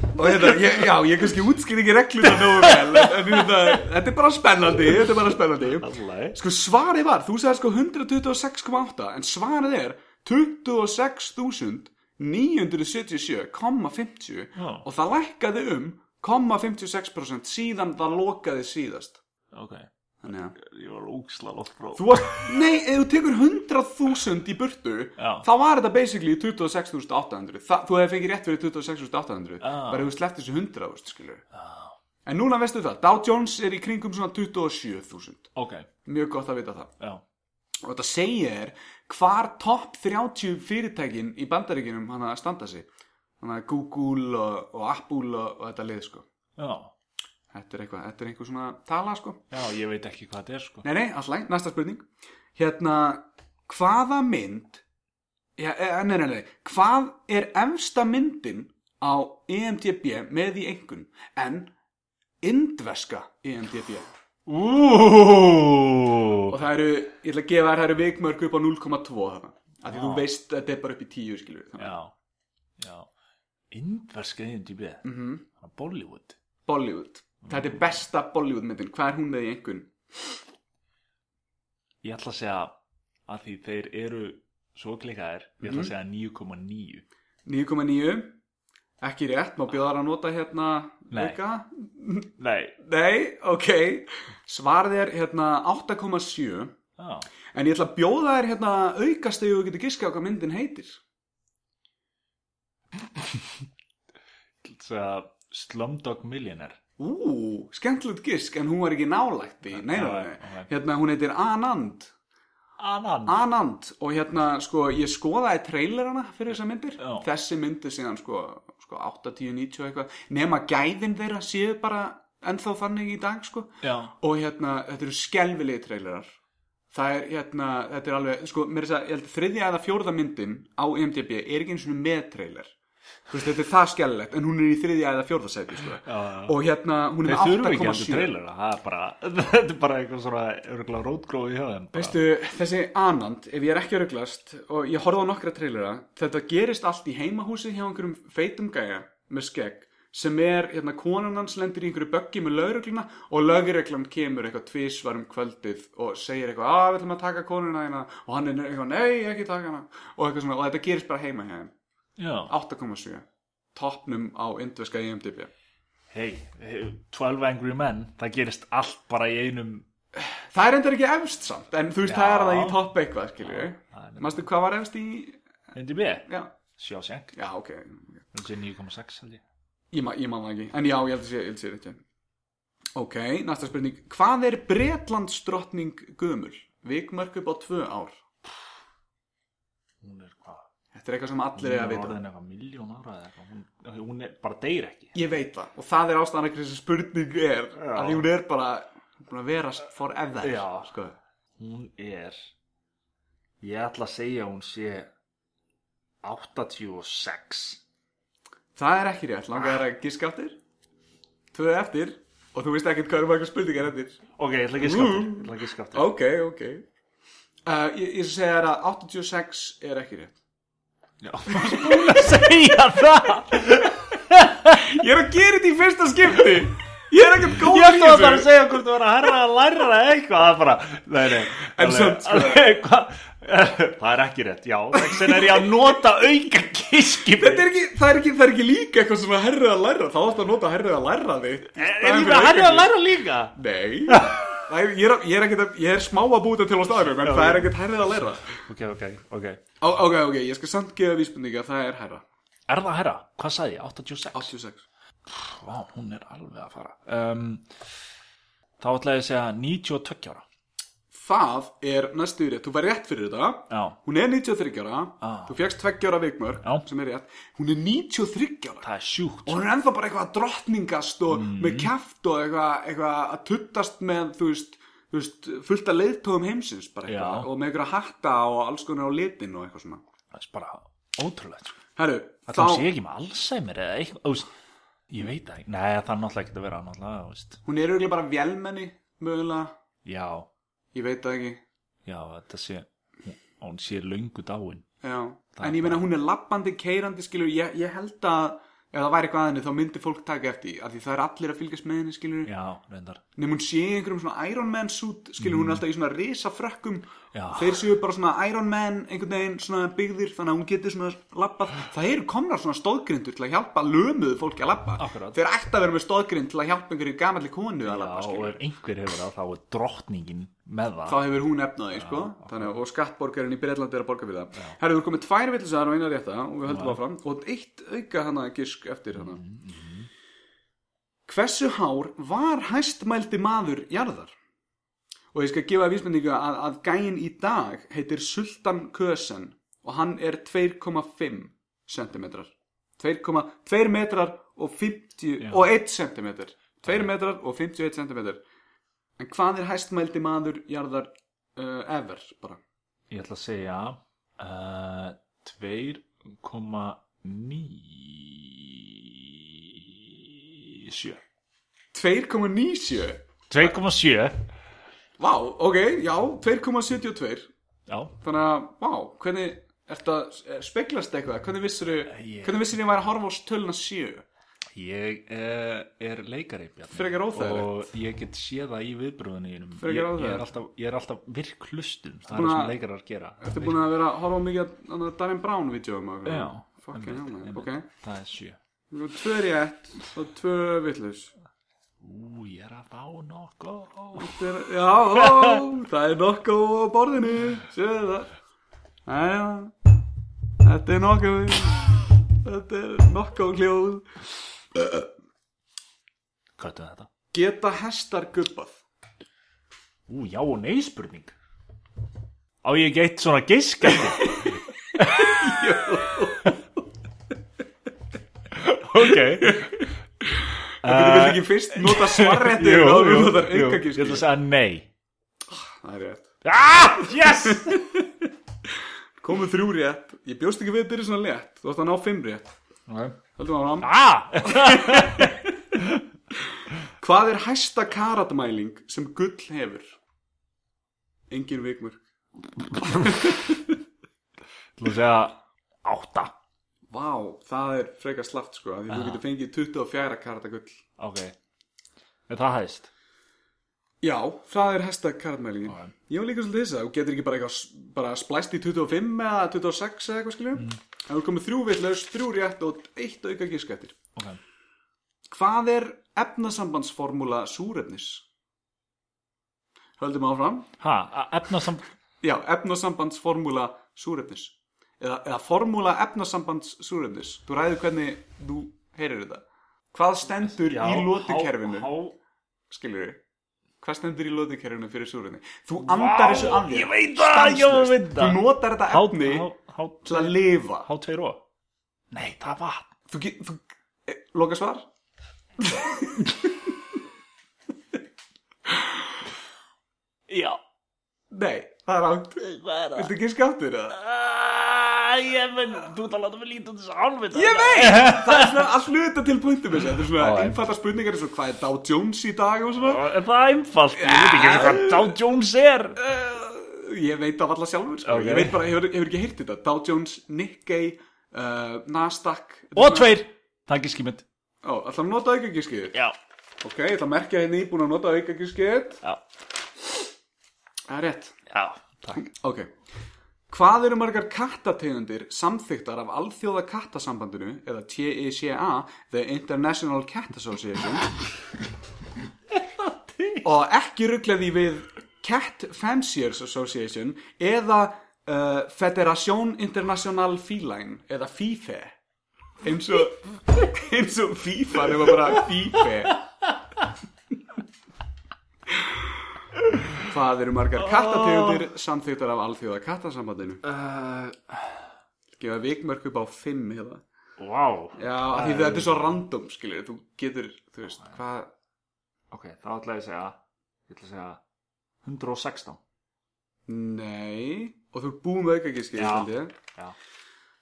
[SPEAKER 2] Og þetta, ég, já, ég kannski útskýr ekki regluna nógu vel En, en þetta, þetta er bara spennandi, þetta er bara spennandi
[SPEAKER 3] Ætla ég.
[SPEAKER 2] Sko svarið var, þú sagði sko 126,8 En svarið er 26.977,50
[SPEAKER 3] Já.
[SPEAKER 2] Og það lækkaði um 0,56% síðan það lokaði síðast
[SPEAKER 3] Ok,
[SPEAKER 2] Þannig að
[SPEAKER 3] ég var óksla lótt frá.
[SPEAKER 2] Þú varst, nei, ef þú tekur 100.000 í burtu,
[SPEAKER 3] Já.
[SPEAKER 2] þá var þetta basically 26.800. Þa, þú hefði fengið rétt fyrir 26.800,
[SPEAKER 3] Ah.
[SPEAKER 2] bara ef þú sleppt þessu 100.000, skilur. En núna veistu það, Dow Jones er í kringum svona 27.000.
[SPEAKER 3] Ok,
[SPEAKER 2] Mjög gott að vita það.
[SPEAKER 3] já,
[SPEAKER 2] Og þetta segir þér hvar topp 30 fyrirtækin í bandaríkinum hann að standa sig. Þannig að Google og, og Apple og, og þetta lið, sko.
[SPEAKER 3] já,
[SPEAKER 2] Þetta er eitthvað, þetta er einhver svona tala, sko.
[SPEAKER 3] já, ég veit ekki hvað þetta er sko.
[SPEAKER 2] Nei, nei, alltaf læg, næsta spurning Hérna, hvaða mynd Já, eh, nei, nei, nei Hvað er efsta myndin á E EMDB með í engun en E indveska EMDB
[SPEAKER 3] Úúúú,
[SPEAKER 2] og það eru, ég ætla að gefa þær það eru vikmörk upp á 0,2 þarna af því þú veist að þetta er bara upp í 10 skilur við, þannig.
[SPEAKER 3] já, já, indverska einn típið, mm -hmm. Bollywood,
[SPEAKER 2] Mhm. Bollywood, þetta er besta Bollywood myndin hvað er hún með í engun?
[SPEAKER 3] ég ætla að segja að því þeir eru svo klikkaðir,
[SPEAKER 2] Mhm.
[SPEAKER 3] ég ætla að segja 9,9.
[SPEAKER 2] 9,9 ekki rétt, má bjóðar að nota hérna
[SPEAKER 3] Nei.
[SPEAKER 2] auka?
[SPEAKER 3] Nei,
[SPEAKER 2] Nei, ok Svarið er hérna 8,7
[SPEAKER 3] já.
[SPEAKER 2] En ég ætla að bjóða þér hérna aukast þegar þú getur giska á hvað myndin heitir
[SPEAKER 3] Þess að Slumdog Millionaire
[SPEAKER 2] Ú, skemmtilegt gisk, en hún var ekki nálægt í, nei, nei,
[SPEAKER 3] Já,
[SPEAKER 2] nei.
[SPEAKER 3] já.
[SPEAKER 2] Hérna, hún heitir Anand.
[SPEAKER 3] Anan
[SPEAKER 2] Anand, og hérna, sko, ég skoðaði trailerana fyrir þessar myndir.
[SPEAKER 3] Já.
[SPEAKER 2] Þessi myndir síðan, sko, sko 80, 90 eitthvað, nema gæðin þeirra séu bara ennþá þannig í dag, sko.
[SPEAKER 3] Já,
[SPEAKER 2] Og hérna, þetta eru skelvilegi trailerar. Það er, hérna, þetta er alveg, sko, mér er þess að, ég held, þriðja eða fjórða myndin á IMDb er ekki eins og með trailer. Þú veist, þetta er það skellilegt, en hún er í þriðja eða fjórða seti, sko.
[SPEAKER 3] já, já
[SPEAKER 2] Og hérna, hún er
[SPEAKER 3] Þeir þurfa ekki
[SPEAKER 2] með 8,7.
[SPEAKER 3] allir trailera, það er bara, þetta er bara eitthvað svona örgulega rótgróið hjá þeim. bara.
[SPEAKER 2] Veistu, þessi Anand, ef ég er ekki að rugglast og ég horfði á nokkra trailera, þetta gerist allt í heimahúsið hjá einhverjum feitum gæja með skegg sem er, hérna, konan hans lendir í einhverju böggi með laurugluna og lauruglan kemur eitthvað tvísvar um kvöldið og segir eitthvað, að við ætlum að taka konuna hérna og hann er eitthvað, nei, ekki taka hana og eitthvað svona, og þetta gerist bara heima hjá þeim
[SPEAKER 3] Já,
[SPEAKER 2] 8,7 toppnum á E indveska IMDb
[SPEAKER 3] hei, hey, 12 Angry Men, það gerist allt bara í einum,
[SPEAKER 2] Það er endur ekki efst samt, en þú veist, það er
[SPEAKER 3] Já.
[SPEAKER 2] það í topp eitthvað, skiljum
[SPEAKER 3] það er
[SPEAKER 2] við
[SPEAKER 3] nefnilega.
[SPEAKER 2] Manstu hvað var efst í,
[SPEAKER 3] hindi við,
[SPEAKER 2] já,
[SPEAKER 3] Shawshank,
[SPEAKER 2] já, ok,
[SPEAKER 3] það er 9,6 held ég.
[SPEAKER 2] Ég, ma ég man það ekki, en já, ég held að sé, ég held að sé þetta Ok, næsta spurning Hvað er Bretlandsdrottning gömul? Vikmörk upp á tvö ár
[SPEAKER 3] Hún er hvað?
[SPEAKER 2] Þetta er eitthvað sem allir er að
[SPEAKER 3] Hún er
[SPEAKER 2] vita
[SPEAKER 3] orðin eitthvað miljón ára eða eitthvað, hún, hún er bara deyr ekki.
[SPEAKER 2] Ég veit það, og það er ástæðan ekki þessi spurning er
[SPEAKER 3] Já.
[SPEAKER 2] að hún er bara búin að vera forever
[SPEAKER 3] Já.
[SPEAKER 2] sko.
[SPEAKER 3] Hún er, ég ætla að segja að hún sé 86.
[SPEAKER 2] Það er ekki rétt, langar að giska áttir Tvö eftir og þú veist ekkert hvað eru margar spurningar eftir
[SPEAKER 3] Ok, ég ætla ekki að skapta, ég ætla ekki að skapta.
[SPEAKER 2] Ok, ok uh, Ég, ég segi þér að 86 er ekki rétt
[SPEAKER 3] Já, hún er búin að segja það.
[SPEAKER 2] Ég er að gera þetta í fyrsta skipti Ég er ekkert góð
[SPEAKER 3] Ég ætla bara að segja hvort þú verður að herra að læra eða eitthvað, það er bara, nei, nei,
[SPEAKER 2] En
[SPEAKER 3] alveg-
[SPEAKER 2] samt, sko.
[SPEAKER 3] alveg, hvað- það er ekki rétt, já, þannig er ég að nota auka kiski
[SPEAKER 2] Þetta er ekki, það, er ekki, það er ekki líka eitthvað sem að herra að læra Þá ætti að nota herra að læra þitt í
[SPEAKER 3] er
[SPEAKER 2] staðinn
[SPEAKER 3] ég
[SPEAKER 2] fyrir
[SPEAKER 3] bara að herra að
[SPEAKER 2] aukaklipp.
[SPEAKER 3] læra líka?
[SPEAKER 2] Nei Það er, ég, er, ég, er ekkert að, ég er smá að búta til á staðum En
[SPEAKER 3] Já,
[SPEAKER 2] það
[SPEAKER 3] já.
[SPEAKER 2] er ekkert herra að læra
[SPEAKER 3] Ok, ok, ok,
[SPEAKER 2] Ó, Ok, ok, ég skal samt gefa vísbendinga Það er herra
[SPEAKER 3] er það herra, hvað sagði ég, 86?
[SPEAKER 2] 86
[SPEAKER 3] Vá, hún er alveg að fara, um, þá ætla ég að segja 92 ára,
[SPEAKER 2] Það er næstu rétt Þú var rétt fyrir þetta
[SPEAKER 3] já,
[SPEAKER 2] Hún er 93 ára
[SPEAKER 3] Ah.
[SPEAKER 2] Þú fegst 2 ára vikmörk
[SPEAKER 3] Já.
[SPEAKER 2] Sem er rétt Hún er 93 ára
[SPEAKER 3] það er sjúkt, sko.
[SPEAKER 2] og hún er ennþá bara eitthvað að drottningast og
[SPEAKER 3] Mhm.
[SPEAKER 2] með kæft og eitthvað, eitthvað að tuttast með þú veist, þú veist fullt af leiðtóðum heimsins bara eitthvað
[SPEAKER 3] Já.
[SPEAKER 2] og með eitthvað hatta og alls konar á litin og eitthvað svona
[SPEAKER 3] það er bara ótrúlegt, sko.
[SPEAKER 2] Herru,
[SPEAKER 3] Það
[SPEAKER 2] þá,
[SPEAKER 3] þá... sé ekki með Alzheimer eða eitthvað, þú veist, ég veit það ekki, nei, það er náttúrulega ekki að vera, náttúrulega, þú veist,
[SPEAKER 2] hún er auðvitað bara vélmenni mögulega,
[SPEAKER 3] já,
[SPEAKER 2] ég veit það ekki
[SPEAKER 3] Já, þetta sé hún sé löngu dáin
[SPEAKER 2] Já, en ég meina hún er lappandi, keirandi skilur, ég, ég held að ef það væri eitthvað að henni þá myndi fólk taka eftir því, af því það er allir að fylgjast með henni skilur
[SPEAKER 3] Já, reyndar
[SPEAKER 2] nefnum hún sé í einhverjum svona Iron Man suit skilur hún er alltaf í svona risa frökkum
[SPEAKER 3] Mm. Já.
[SPEAKER 2] þeir séu bara svona Iron Man einhvern veginn svona byggðir þannig að hún getur svona lappað það eru komnar svona stóðgrindur til að hjálpa lömuðu fólki að lappa
[SPEAKER 3] Akkurat.
[SPEAKER 2] þeir ætti að vera með stóðgrind til að hjálpa einhverju gamalli konu að
[SPEAKER 3] Já,
[SPEAKER 2] lappa
[SPEAKER 3] og
[SPEAKER 2] skilur
[SPEAKER 3] ef einhver hefur það, þá er drottningin með það
[SPEAKER 2] þá hefur hún efnaði sko þannig, að- og skattborgarinn í Breitlandi er að borga fyrir það herru, þú er komið tvær villisar og eina rétta og við höldum áfram og eitt auka hana gisk eftir hana
[SPEAKER 3] Mhm,
[SPEAKER 2] hversu hár var hæstmældi maður jarðar og ég skal gefa vísmyndingu að, að gæin í dag heitir Sultan Kösen og hann er 2,5 cm 2,2 metrar og 50
[SPEAKER 3] Já.
[SPEAKER 2] og 1 cm 2 metrar og 51 cm En hvað er hæstmældi maður jarðar uh, ever bara?
[SPEAKER 3] Ég ætla að segja uh, 2,97
[SPEAKER 2] 2,97
[SPEAKER 3] 2,7
[SPEAKER 2] Vá, ok, já, 2,72
[SPEAKER 3] Já,
[SPEAKER 2] Þannig að, vá, hvernig Ertu að speglast eitthvað? Hvernig vissir
[SPEAKER 3] Eh, Ég-
[SPEAKER 2] Hvernig vissir ég væri að horfa á töluna 7?
[SPEAKER 3] ég uh, er leikari Bjarni.
[SPEAKER 2] Frekar óþægilegt.
[SPEAKER 3] Og ég get séð það í viðbröðinu mínum.
[SPEAKER 2] Frekar
[SPEAKER 3] ég, ég,
[SPEAKER 2] óþægilegt.
[SPEAKER 3] er alltaf, ég er alltaf virk hlustun Það
[SPEAKER 2] búin
[SPEAKER 3] er það
[SPEAKER 2] að-
[SPEAKER 3] sem leikarar gera
[SPEAKER 2] Ertu búin að vera að horfa á mikið annað Darren Brown vídjóum?
[SPEAKER 3] Já,
[SPEAKER 2] Fucking
[SPEAKER 3] einmitt,
[SPEAKER 2] hell, man.
[SPEAKER 3] einmitt.
[SPEAKER 2] ok
[SPEAKER 3] Það er 7
[SPEAKER 2] Þú Tvö rétt og tvö vitlaus
[SPEAKER 3] Ú, ég er að fá nokkuð
[SPEAKER 2] Þetta er- Já, ó, það er nokkuð á borðinu Sjöðu það Æja, þetta er nokkuð Þetta er nokkó hljóð
[SPEAKER 3] Köttu þetta
[SPEAKER 2] Geta hestar gubbað?
[SPEAKER 3] Ú, já og nei spurning Á ég ekki eitt svona gisk eftir Ok
[SPEAKER 2] Þú vilt ekki fyrst nota svarrétti
[SPEAKER 3] Eh, Jú,
[SPEAKER 2] og þú
[SPEAKER 3] jú,
[SPEAKER 2] notar
[SPEAKER 3] jú,
[SPEAKER 2] auka
[SPEAKER 3] Ég ætla að
[SPEAKER 2] gísku
[SPEAKER 3] segja nei
[SPEAKER 2] Það er rétt
[SPEAKER 3] Ah, yes
[SPEAKER 2] Komið þrjú rétt Ég bjóst ekki við að byrja svona létt Þú ætti að ná fimm rétt Haldum áfram
[SPEAKER 3] Ah,
[SPEAKER 2] Hvað er hæsta karatmæling sem gull hefur? Engin vikmörk
[SPEAKER 3] ætla að segja átta
[SPEAKER 2] Vá, það er frekar slaft sko af Því
[SPEAKER 3] Ah.
[SPEAKER 2] þú getur fengið 24 karata gull
[SPEAKER 3] Ok Er það hæðist?
[SPEAKER 2] Já, það er hæsta karatmælingin
[SPEAKER 3] Já.
[SPEAKER 2] Ég var líka svolítið þess að þú getur ekki bara, eitthvað, s- bara splæst í 25 eða 26 eða eitthvað skiljum mm. Það er komið þrjú vitlaus, þrjú rétt og eitt auka gískættir
[SPEAKER 3] Ok
[SPEAKER 2] Hvað er efnasambandsformúla súrefnis? Höldum áfram
[SPEAKER 3] Ha, a- efnasam...
[SPEAKER 2] Já, efnasambandsformúla súrefnis eða, eða formúla efnasambands súrefnis Þú ræður hvernig þú heyrir þetta Hvað stendur
[SPEAKER 3] Já,
[SPEAKER 2] í lótukerfinu?
[SPEAKER 3] há, há,
[SPEAKER 2] Skilur við? Hvað stendur í lótukerfinu fyrir súrefni? Þú andar þessu af þér
[SPEAKER 3] ég veit það, ég
[SPEAKER 2] stanslaust.
[SPEAKER 3] veit það.
[SPEAKER 2] Þú notar þetta efni
[SPEAKER 3] há, há,
[SPEAKER 2] til að lifa
[SPEAKER 3] há tveir og Nei, það er vatn
[SPEAKER 2] Þú, get- þú, e, loka svar?
[SPEAKER 3] Já
[SPEAKER 2] Nei, það er átt
[SPEAKER 3] Hvað er það?
[SPEAKER 2] Viltu ekki skáttir það?
[SPEAKER 3] Ah, ég veit, þú ert að láta mig líta út þessu hálfvita
[SPEAKER 2] Ég veit, það er svona að hluta til punktum þessu, þetta er svona
[SPEAKER 3] Já, já.
[SPEAKER 2] einfalda spurningar eins og hvað er Dow Jones í dag og svona
[SPEAKER 3] Er það einfalt? Ég veit ekki einu hvað Dow Jones er
[SPEAKER 2] uh, Ég veit af alla sjálfur, sko.
[SPEAKER 3] Ok.
[SPEAKER 2] ég veit bara, hefur, hefur ekki heyrt þetta Dow Jones, Nikkei, uh, Nasdaq
[SPEAKER 3] Og tveir Það er giskimind
[SPEAKER 2] Ó, ætla að nota aukagískið
[SPEAKER 3] Já,
[SPEAKER 2] Ok, ég ætla að merkja henni búin að nota aukagískið
[SPEAKER 3] já,
[SPEAKER 2] Það er rétt
[SPEAKER 3] já Takk
[SPEAKER 2] Ok Hvað eru margar kattategundir samþyktar af Alþjóða kattasambandinu eða TICA, The International Cat Association og ekki rugglaði við Cat Fanciers Association eða uh, Federation International Feline eða FIFE eins og, eins og FIFA nema bara FIFE Hvað eru margar kattategundir samþyktar af Alþjóða kattasambandinu? Gefa vikmörk upp á 5 hérna
[SPEAKER 3] Vá
[SPEAKER 2] Já, af því þetta er svo random, skilur Þú getur, þú veist, hvað
[SPEAKER 3] Ok, þá ætla ég að segja Ég ætla að segja 116
[SPEAKER 2] Nei, og þú er búið með aukagískið,
[SPEAKER 3] Já.
[SPEAKER 2] held ég.
[SPEAKER 3] Já.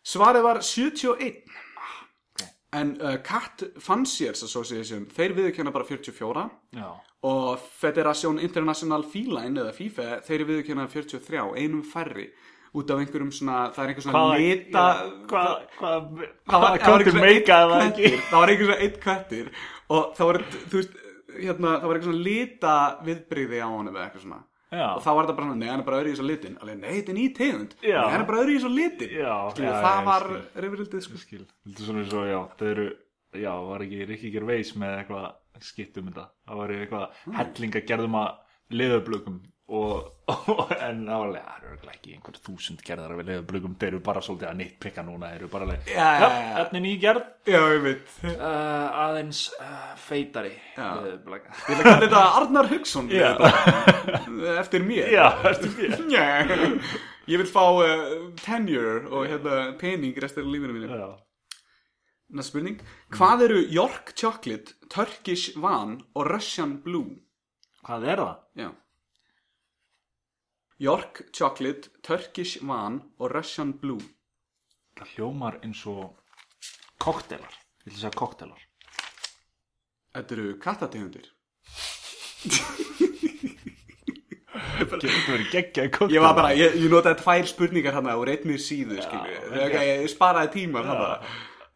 [SPEAKER 2] Svarið var 71. En uh, Cat Fanciers Association, þeir viðurkenna bara 44
[SPEAKER 3] Já
[SPEAKER 2] og Federation International Feline eða FIFA, þeir viðurkenna 43, einum færri út af einhverjum svona, það er einhver svona
[SPEAKER 3] Hvaða-
[SPEAKER 2] lita
[SPEAKER 3] já, Hvað, hvað
[SPEAKER 2] það var, það var
[SPEAKER 3] Hvað er
[SPEAKER 2] einhver svona
[SPEAKER 3] meika
[SPEAKER 2] einn
[SPEAKER 3] eða ekki
[SPEAKER 2] köttur, það var einhver svona eitt köttur og það var, þú veist, hérna, það var einhver svona lita viðbrigði á honum eða eitthvað svona
[SPEAKER 3] Já.
[SPEAKER 2] og þá var þetta bara svona, nei, hann er bara öðru í svo litin alveg, nei, þetta er ný tegund, nei,
[SPEAKER 3] Já.
[SPEAKER 2] hann er bara öðru í svo litin
[SPEAKER 3] Já,
[SPEAKER 2] Skilju,
[SPEAKER 3] já,
[SPEAKER 2] það
[SPEAKER 3] já,
[SPEAKER 2] var
[SPEAKER 3] ég
[SPEAKER 2] reyfrildið, sko
[SPEAKER 3] skil Þetta er svona eins og, já, það eru Já, var ekki Rikki Gervais með eitthvað skitt um þetta Það var eitthvað hellinga gerðum að liðablökum og, og en það var alveg, "Ah, það eru örugglega ekki einhver þúsund gerðar af liðablökum, þeir eru bara svolítið að nitpikka núna, þeir eru bara alveg
[SPEAKER 2] Já, já, já.
[SPEAKER 3] Þannig ný gerð
[SPEAKER 2] já, ég veit, ég
[SPEAKER 3] uh, aðeins uh, feitari liðablöka
[SPEAKER 2] ætla að kalla þetta Arnar Hugson
[SPEAKER 3] Já.
[SPEAKER 2] þetta. eh, eftir mér
[SPEAKER 3] Já, ertu mér
[SPEAKER 2] Njæ. ég vil fá uh, tenure og hérna, pening restur af lífinu mínu
[SPEAKER 3] Já,
[SPEAKER 2] Næsta spurning. Hvað eru York Chocolate, Turkish Van og Russian Blue?
[SPEAKER 3] hvað er það?
[SPEAKER 2] Já. York Chocolate, Turkish Van og Russian Blue.
[SPEAKER 3] Það hljómar eins og koktelar, ég ætla að segja koktelar
[SPEAKER 2] Þetta eru kattategundir.
[SPEAKER 3] Getur verið geggjaði koktelar
[SPEAKER 2] Ég var bara, ég, ég notaði tvær spurningar hana úr einni síðu, skilju.
[SPEAKER 3] ok.
[SPEAKER 2] Okay, ég sparaði tímar hana.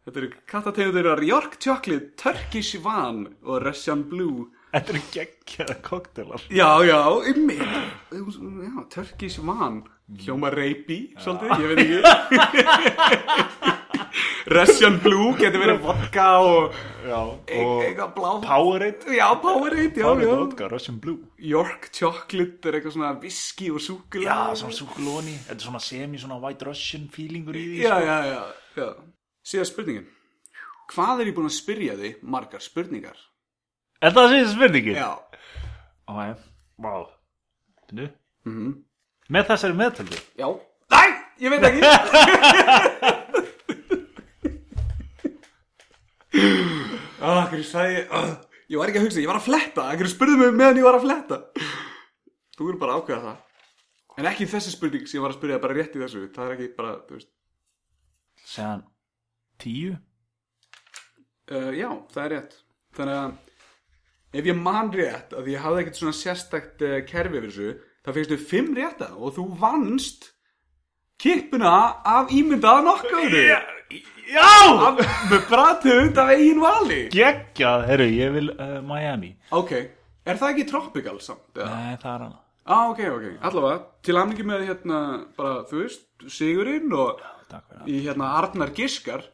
[SPEAKER 2] Þetta eru kattategundir og York Chocolate, Turkish Van og Russian Blue.
[SPEAKER 3] Þetta eru geggjaða koktelar
[SPEAKER 2] Já, já, ymmið Já, Turkish Van Hljóma reypi, svolítið, ég veit ekki Russian Blue getur verið vodka og
[SPEAKER 3] Já,
[SPEAKER 2] e-
[SPEAKER 3] og
[SPEAKER 2] eitthvað blá
[SPEAKER 3] Powerade
[SPEAKER 2] Já, Powerade, já,
[SPEAKER 3] Powerade
[SPEAKER 2] já
[SPEAKER 3] vodka, Russian Blue
[SPEAKER 2] York Chocolate er eitthvað svona viski og súkulega
[SPEAKER 3] Ah, svona súkulóni Þetta er svona semi svona White Russian feelingur í því
[SPEAKER 2] já, já, já, já Síðan spurningin. Hvað er ég búin að spyrja því margar spurningar?
[SPEAKER 3] Er það síðan spurningin? Ok, vá Finnu?
[SPEAKER 2] Mhm.
[SPEAKER 3] Með þessari meðtöldu
[SPEAKER 2] Já. Næ, ég veit ekki. Ah, hverju sagði ég? Ah, ég var ekki að hugsa, ég var að fletta. Hverju spurði mig meðan ég var að fletta? Þú verður bara að ákveða það. En ekki þessi spurning sem ég var að spyrja bara rétt í þessu. Það er ekki bara, þú veist.
[SPEAKER 3] Segðan tíu?
[SPEAKER 2] Uh, já, það er rétt. Þannig að ef ég man rétt að ég hafði ekkert svona sérstakt uh, kerfi fyrir þessu, þá fyrstu fimm rétta og þú vannst kippuna af ímyndaða nokkuðu.
[SPEAKER 3] Já!
[SPEAKER 2] Af, með brathund af eigin vali.
[SPEAKER 3] Gekkjað, herru, ég vil uh, Miami
[SPEAKER 2] Ok, er það ekki tropical samt? eða?
[SPEAKER 3] Nei, það er hana
[SPEAKER 2] Á, ah, ok, ok. Allavega, til amningi með hérna, bara, þú veist, Sigurinn og
[SPEAKER 3] Takk fyrir það
[SPEAKER 2] í hérna Arnar Giskar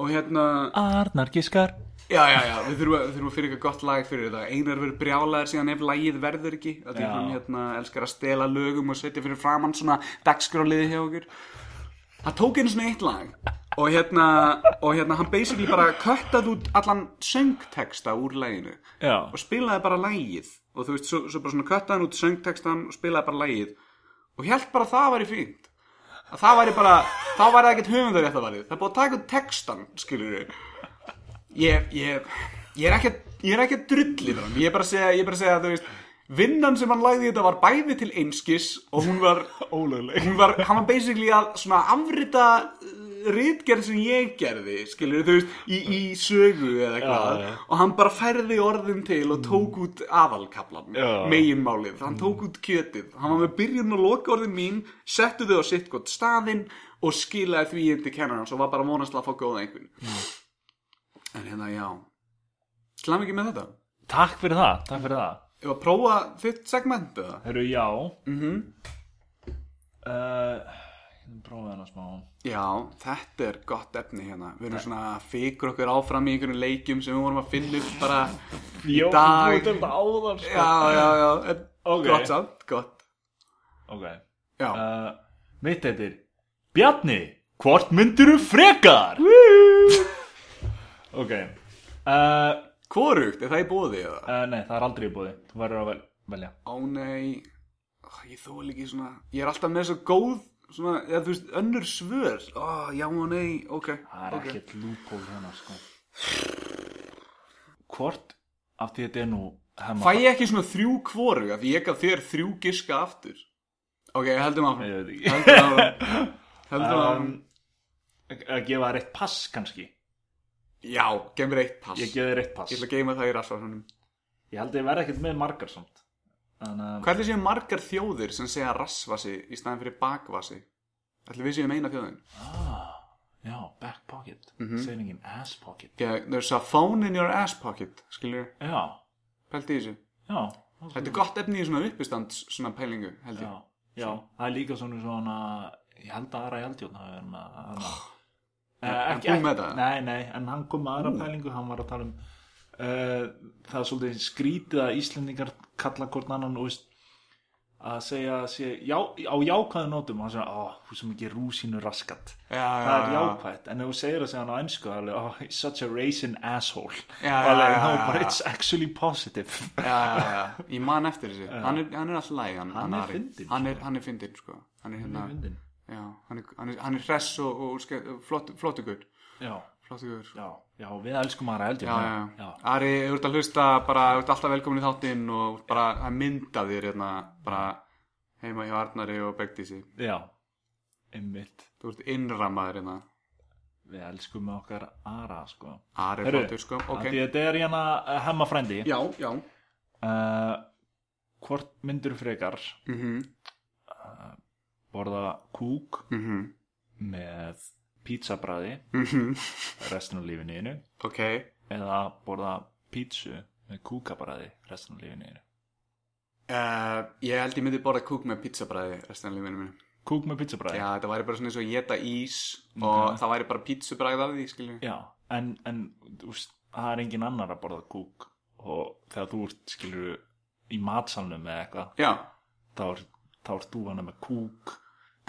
[SPEAKER 2] og hérna
[SPEAKER 3] Arnar Giskar
[SPEAKER 2] Já, já, já, við þurfum, að- við þurfum að fyrir eitthvað gott lag fyrir þetta Einar verður brjálaður síðan ef lagið verður ekki Það er
[SPEAKER 3] Já.
[SPEAKER 2] hann hérna, elskar að stela lögum og setja fyrir framann svona dagskrálið hjá okkur Það tók einu svona eitt lag og hérna, og hérna hann basically bara köttaði út allan söngteksta úr laginu
[SPEAKER 3] Já,
[SPEAKER 2] og spilaði bara lagið og þú veist, svo, svo bara svona köttaði hann út söngtekstan og spilaði bara lagið og held bara að það væri fínt að það væri bara, þá væri það ekkert höfundar rétt að varðið, það er búið að taka út textan skilur við ég, ég, ég er ekki að- ég er ekki að drulli þannig, ég er bara að segja, ég er bara að segja þú veist, vinnan sem hann lagði í þetta var bæði til einskis og hún var
[SPEAKER 3] ólögleg
[SPEAKER 2] hún var, hann var basically að svona afrita rítgerð sem ég gerði, skilur þú veist, í, í sögu eða eitthvað
[SPEAKER 3] Já, já.
[SPEAKER 2] og hann bara færði orðin til og tók út aðalkaplan,
[SPEAKER 3] Já. Mm.
[SPEAKER 2] meginmálið, hann tók út kjötið, hann var með byrjun og loka orðin mín, settu þau á sitt gott staðinn og skilaði því inn til kennarans og var bara vonast að fá góða einhvern.
[SPEAKER 3] Mm.
[SPEAKER 2] En hérna, já, slæm ekki með þetta.
[SPEAKER 3] Takk fyrir það, takk fyrir það
[SPEAKER 2] Ef að prófa þitt segment eða?
[SPEAKER 3] Herru, já mm
[SPEAKER 2] Mhm.
[SPEAKER 3] -hmm. Ég prófaði hana smá
[SPEAKER 2] Já, þetta er gott efni hérna Við erum svona að fikur okkur áfram í einhverjum leikjum sem við vorum að finna upp bara í
[SPEAKER 3] Jó,
[SPEAKER 2] dag
[SPEAKER 3] þú ert þetta áðan sko.
[SPEAKER 2] Já, já, já, en
[SPEAKER 3] Ok.
[SPEAKER 2] gott samt, gott
[SPEAKER 3] Ok
[SPEAKER 2] Já,
[SPEAKER 3] uh, Mitt heitir Bjarni, hvort myndirðu frekar? ok uh,
[SPEAKER 2] hvorugt, er það í bóði eða?
[SPEAKER 3] Uh, nei, það er aldrei í bóði. Þú verður að vel, velja.
[SPEAKER 2] Ó nei, Ó, ég þól ekki svona Ég er alltaf með svo góð, svona, eða þú veist, önnur svör Ó, já og nei, ok
[SPEAKER 3] Það er
[SPEAKER 2] ok.
[SPEAKER 3] ekkert lúpól hérna, sko. Hvort af því þetta er nú hemmar...
[SPEAKER 2] Fæ ég ekki svona þrjú hvorug af Því ég gaf þér þrjú giska aftur Ok, heldum áfram
[SPEAKER 3] Ég veit ekki.
[SPEAKER 2] Heldum áfram Heldum
[SPEAKER 3] Um,
[SPEAKER 2] áfram
[SPEAKER 3] að gefa þér eitt pass, kannski.
[SPEAKER 2] Já, gemur eitt pass
[SPEAKER 3] Ég gefa þér eitt
[SPEAKER 2] Ég
[SPEAKER 3] pass.
[SPEAKER 2] ætla að geima það í rassvarsanum.
[SPEAKER 3] Ég held að ég verði ekkert með margar samt. um, Þannig að...
[SPEAKER 2] Hvað ætli séu margar þjóðir sem segja rassvasi í staðin fyrir bakvasi? Ætli við séum eina þjóðin?
[SPEAKER 3] Ah, Já, back pocket. Mm ass pocket.
[SPEAKER 2] Yeah, there's a phone in your ass pocket, skilur,
[SPEAKER 3] Já,
[SPEAKER 2] pælti í þessu.
[SPEAKER 3] já.
[SPEAKER 2] Þetta er gott efni í svona uppistands, svona pælingu, held ég.
[SPEAKER 3] Já, já. Það er líka svona svona... Ég held að aðra jaldjóðna hafi verið með hana.
[SPEAKER 2] Ah. hann kom með þetta?
[SPEAKER 3] Nei, nei, en hann kom með aðra pælingu, hann var að tala um uh, það er svolítið skrítið að Íslendingar kalla hvort annan og veist að segja, segja já, á jákvæðu nótum og hann segja, ó, þú sem ekki rúsinu raskat
[SPEAKER 2] Já, já,
[SPEAKER 3] það er
[SPEAKER 2] já.
[SPEAKER 3] jákvætt, en ef þú segir það segja hann á ennsku það er alveg, oh, he's such a racing asshole
[SPEAKER 2] Já,
[SPEAKER 3] Og alveg,
[SPEAKER 2] já, já,
[SPEAKER 3] no,
[SPEAKER 2] já,
[SPEAKER 3] but
[SPEAKER 2] já.
[SPEAKER 3] it's actually positive
[SPEAKER 2] Já, já, já, ég man eftir þessu. Hann er, hann er alltaf læg, hann,
[SPEAKER 3] Hann er
[SPEAKER 2] Ari.
[SPEAKER 3] fyndinn,
[SPEAKER 2] Hann er, hann er fyndin, sko. Hann er hérna, já, hann er, hann er, hann er hress og, og, og ske- flott, flottugur.
[SPEAKER 3] já,
[SPEAKER 2] Flottugur, sko.
[SPEAKER 3] já, já, við elskum aðra heldur
[SPEAKER 2] Já, já, já. Ari, þú ert að hlusta bara, þú ert alltaf velkomin í þáttinn og bara að mynda þér hérna, bara heima hjá Arnari og Begdísi.
[SPEAKER 3] já, já, einmitt
[SPEAKER 2] Þú ert innramaður hérna.
[SPEAKER 3] við elskum okkar aðra, sko
[SPEAKER 2] Ari er
[SPEAKER 3] Heyrðu,
[SPEAKER 2] flottur, sko.
[SPEAKER 3] okay.
[SPEAKER 2] Ok.
[SPEAKER 3] því þetta er hérna uh, hemma frændi
[SPEAKER 2] Já, já.
[SPEAKER 3] uh, hvort myndur frekar
[SPEAKER 2] Mhm,
[SPEAKER 3] borða kúk
[SPEAKER 2] mhm,
[SPEAKER 3] með pizzabræði
[SPEAKER 2] mhm.
[SPEAKER 3] restin af lífinu einu
[SPEAKER 2] Ok. Eh,
[SPEAKER 3] eða borða pítsu með kúkabræði restin af lífinu einu
[SPEAKER 2] Uh, ég held ég myndi borða kúk með pizzabræði restan af lífinu mínu.
[SPEAKER 3] kúk með pizzabræði
[SPEAKER 2] Já, þetta væri bara svona eins og geta ís og
[SPEAKER 3] Ok.
[SPEAKER 2] það væri bara pizzabræði af því, skilju.
[SPEAKER 3] Já, en, en úst, það er engin annar að borða kúk og þegar þú ert skilur í matsalnum eða eitthvað
[SPEAKER 2] Já,
[SPEAKER 3] þá er, þá er þú hana með kúk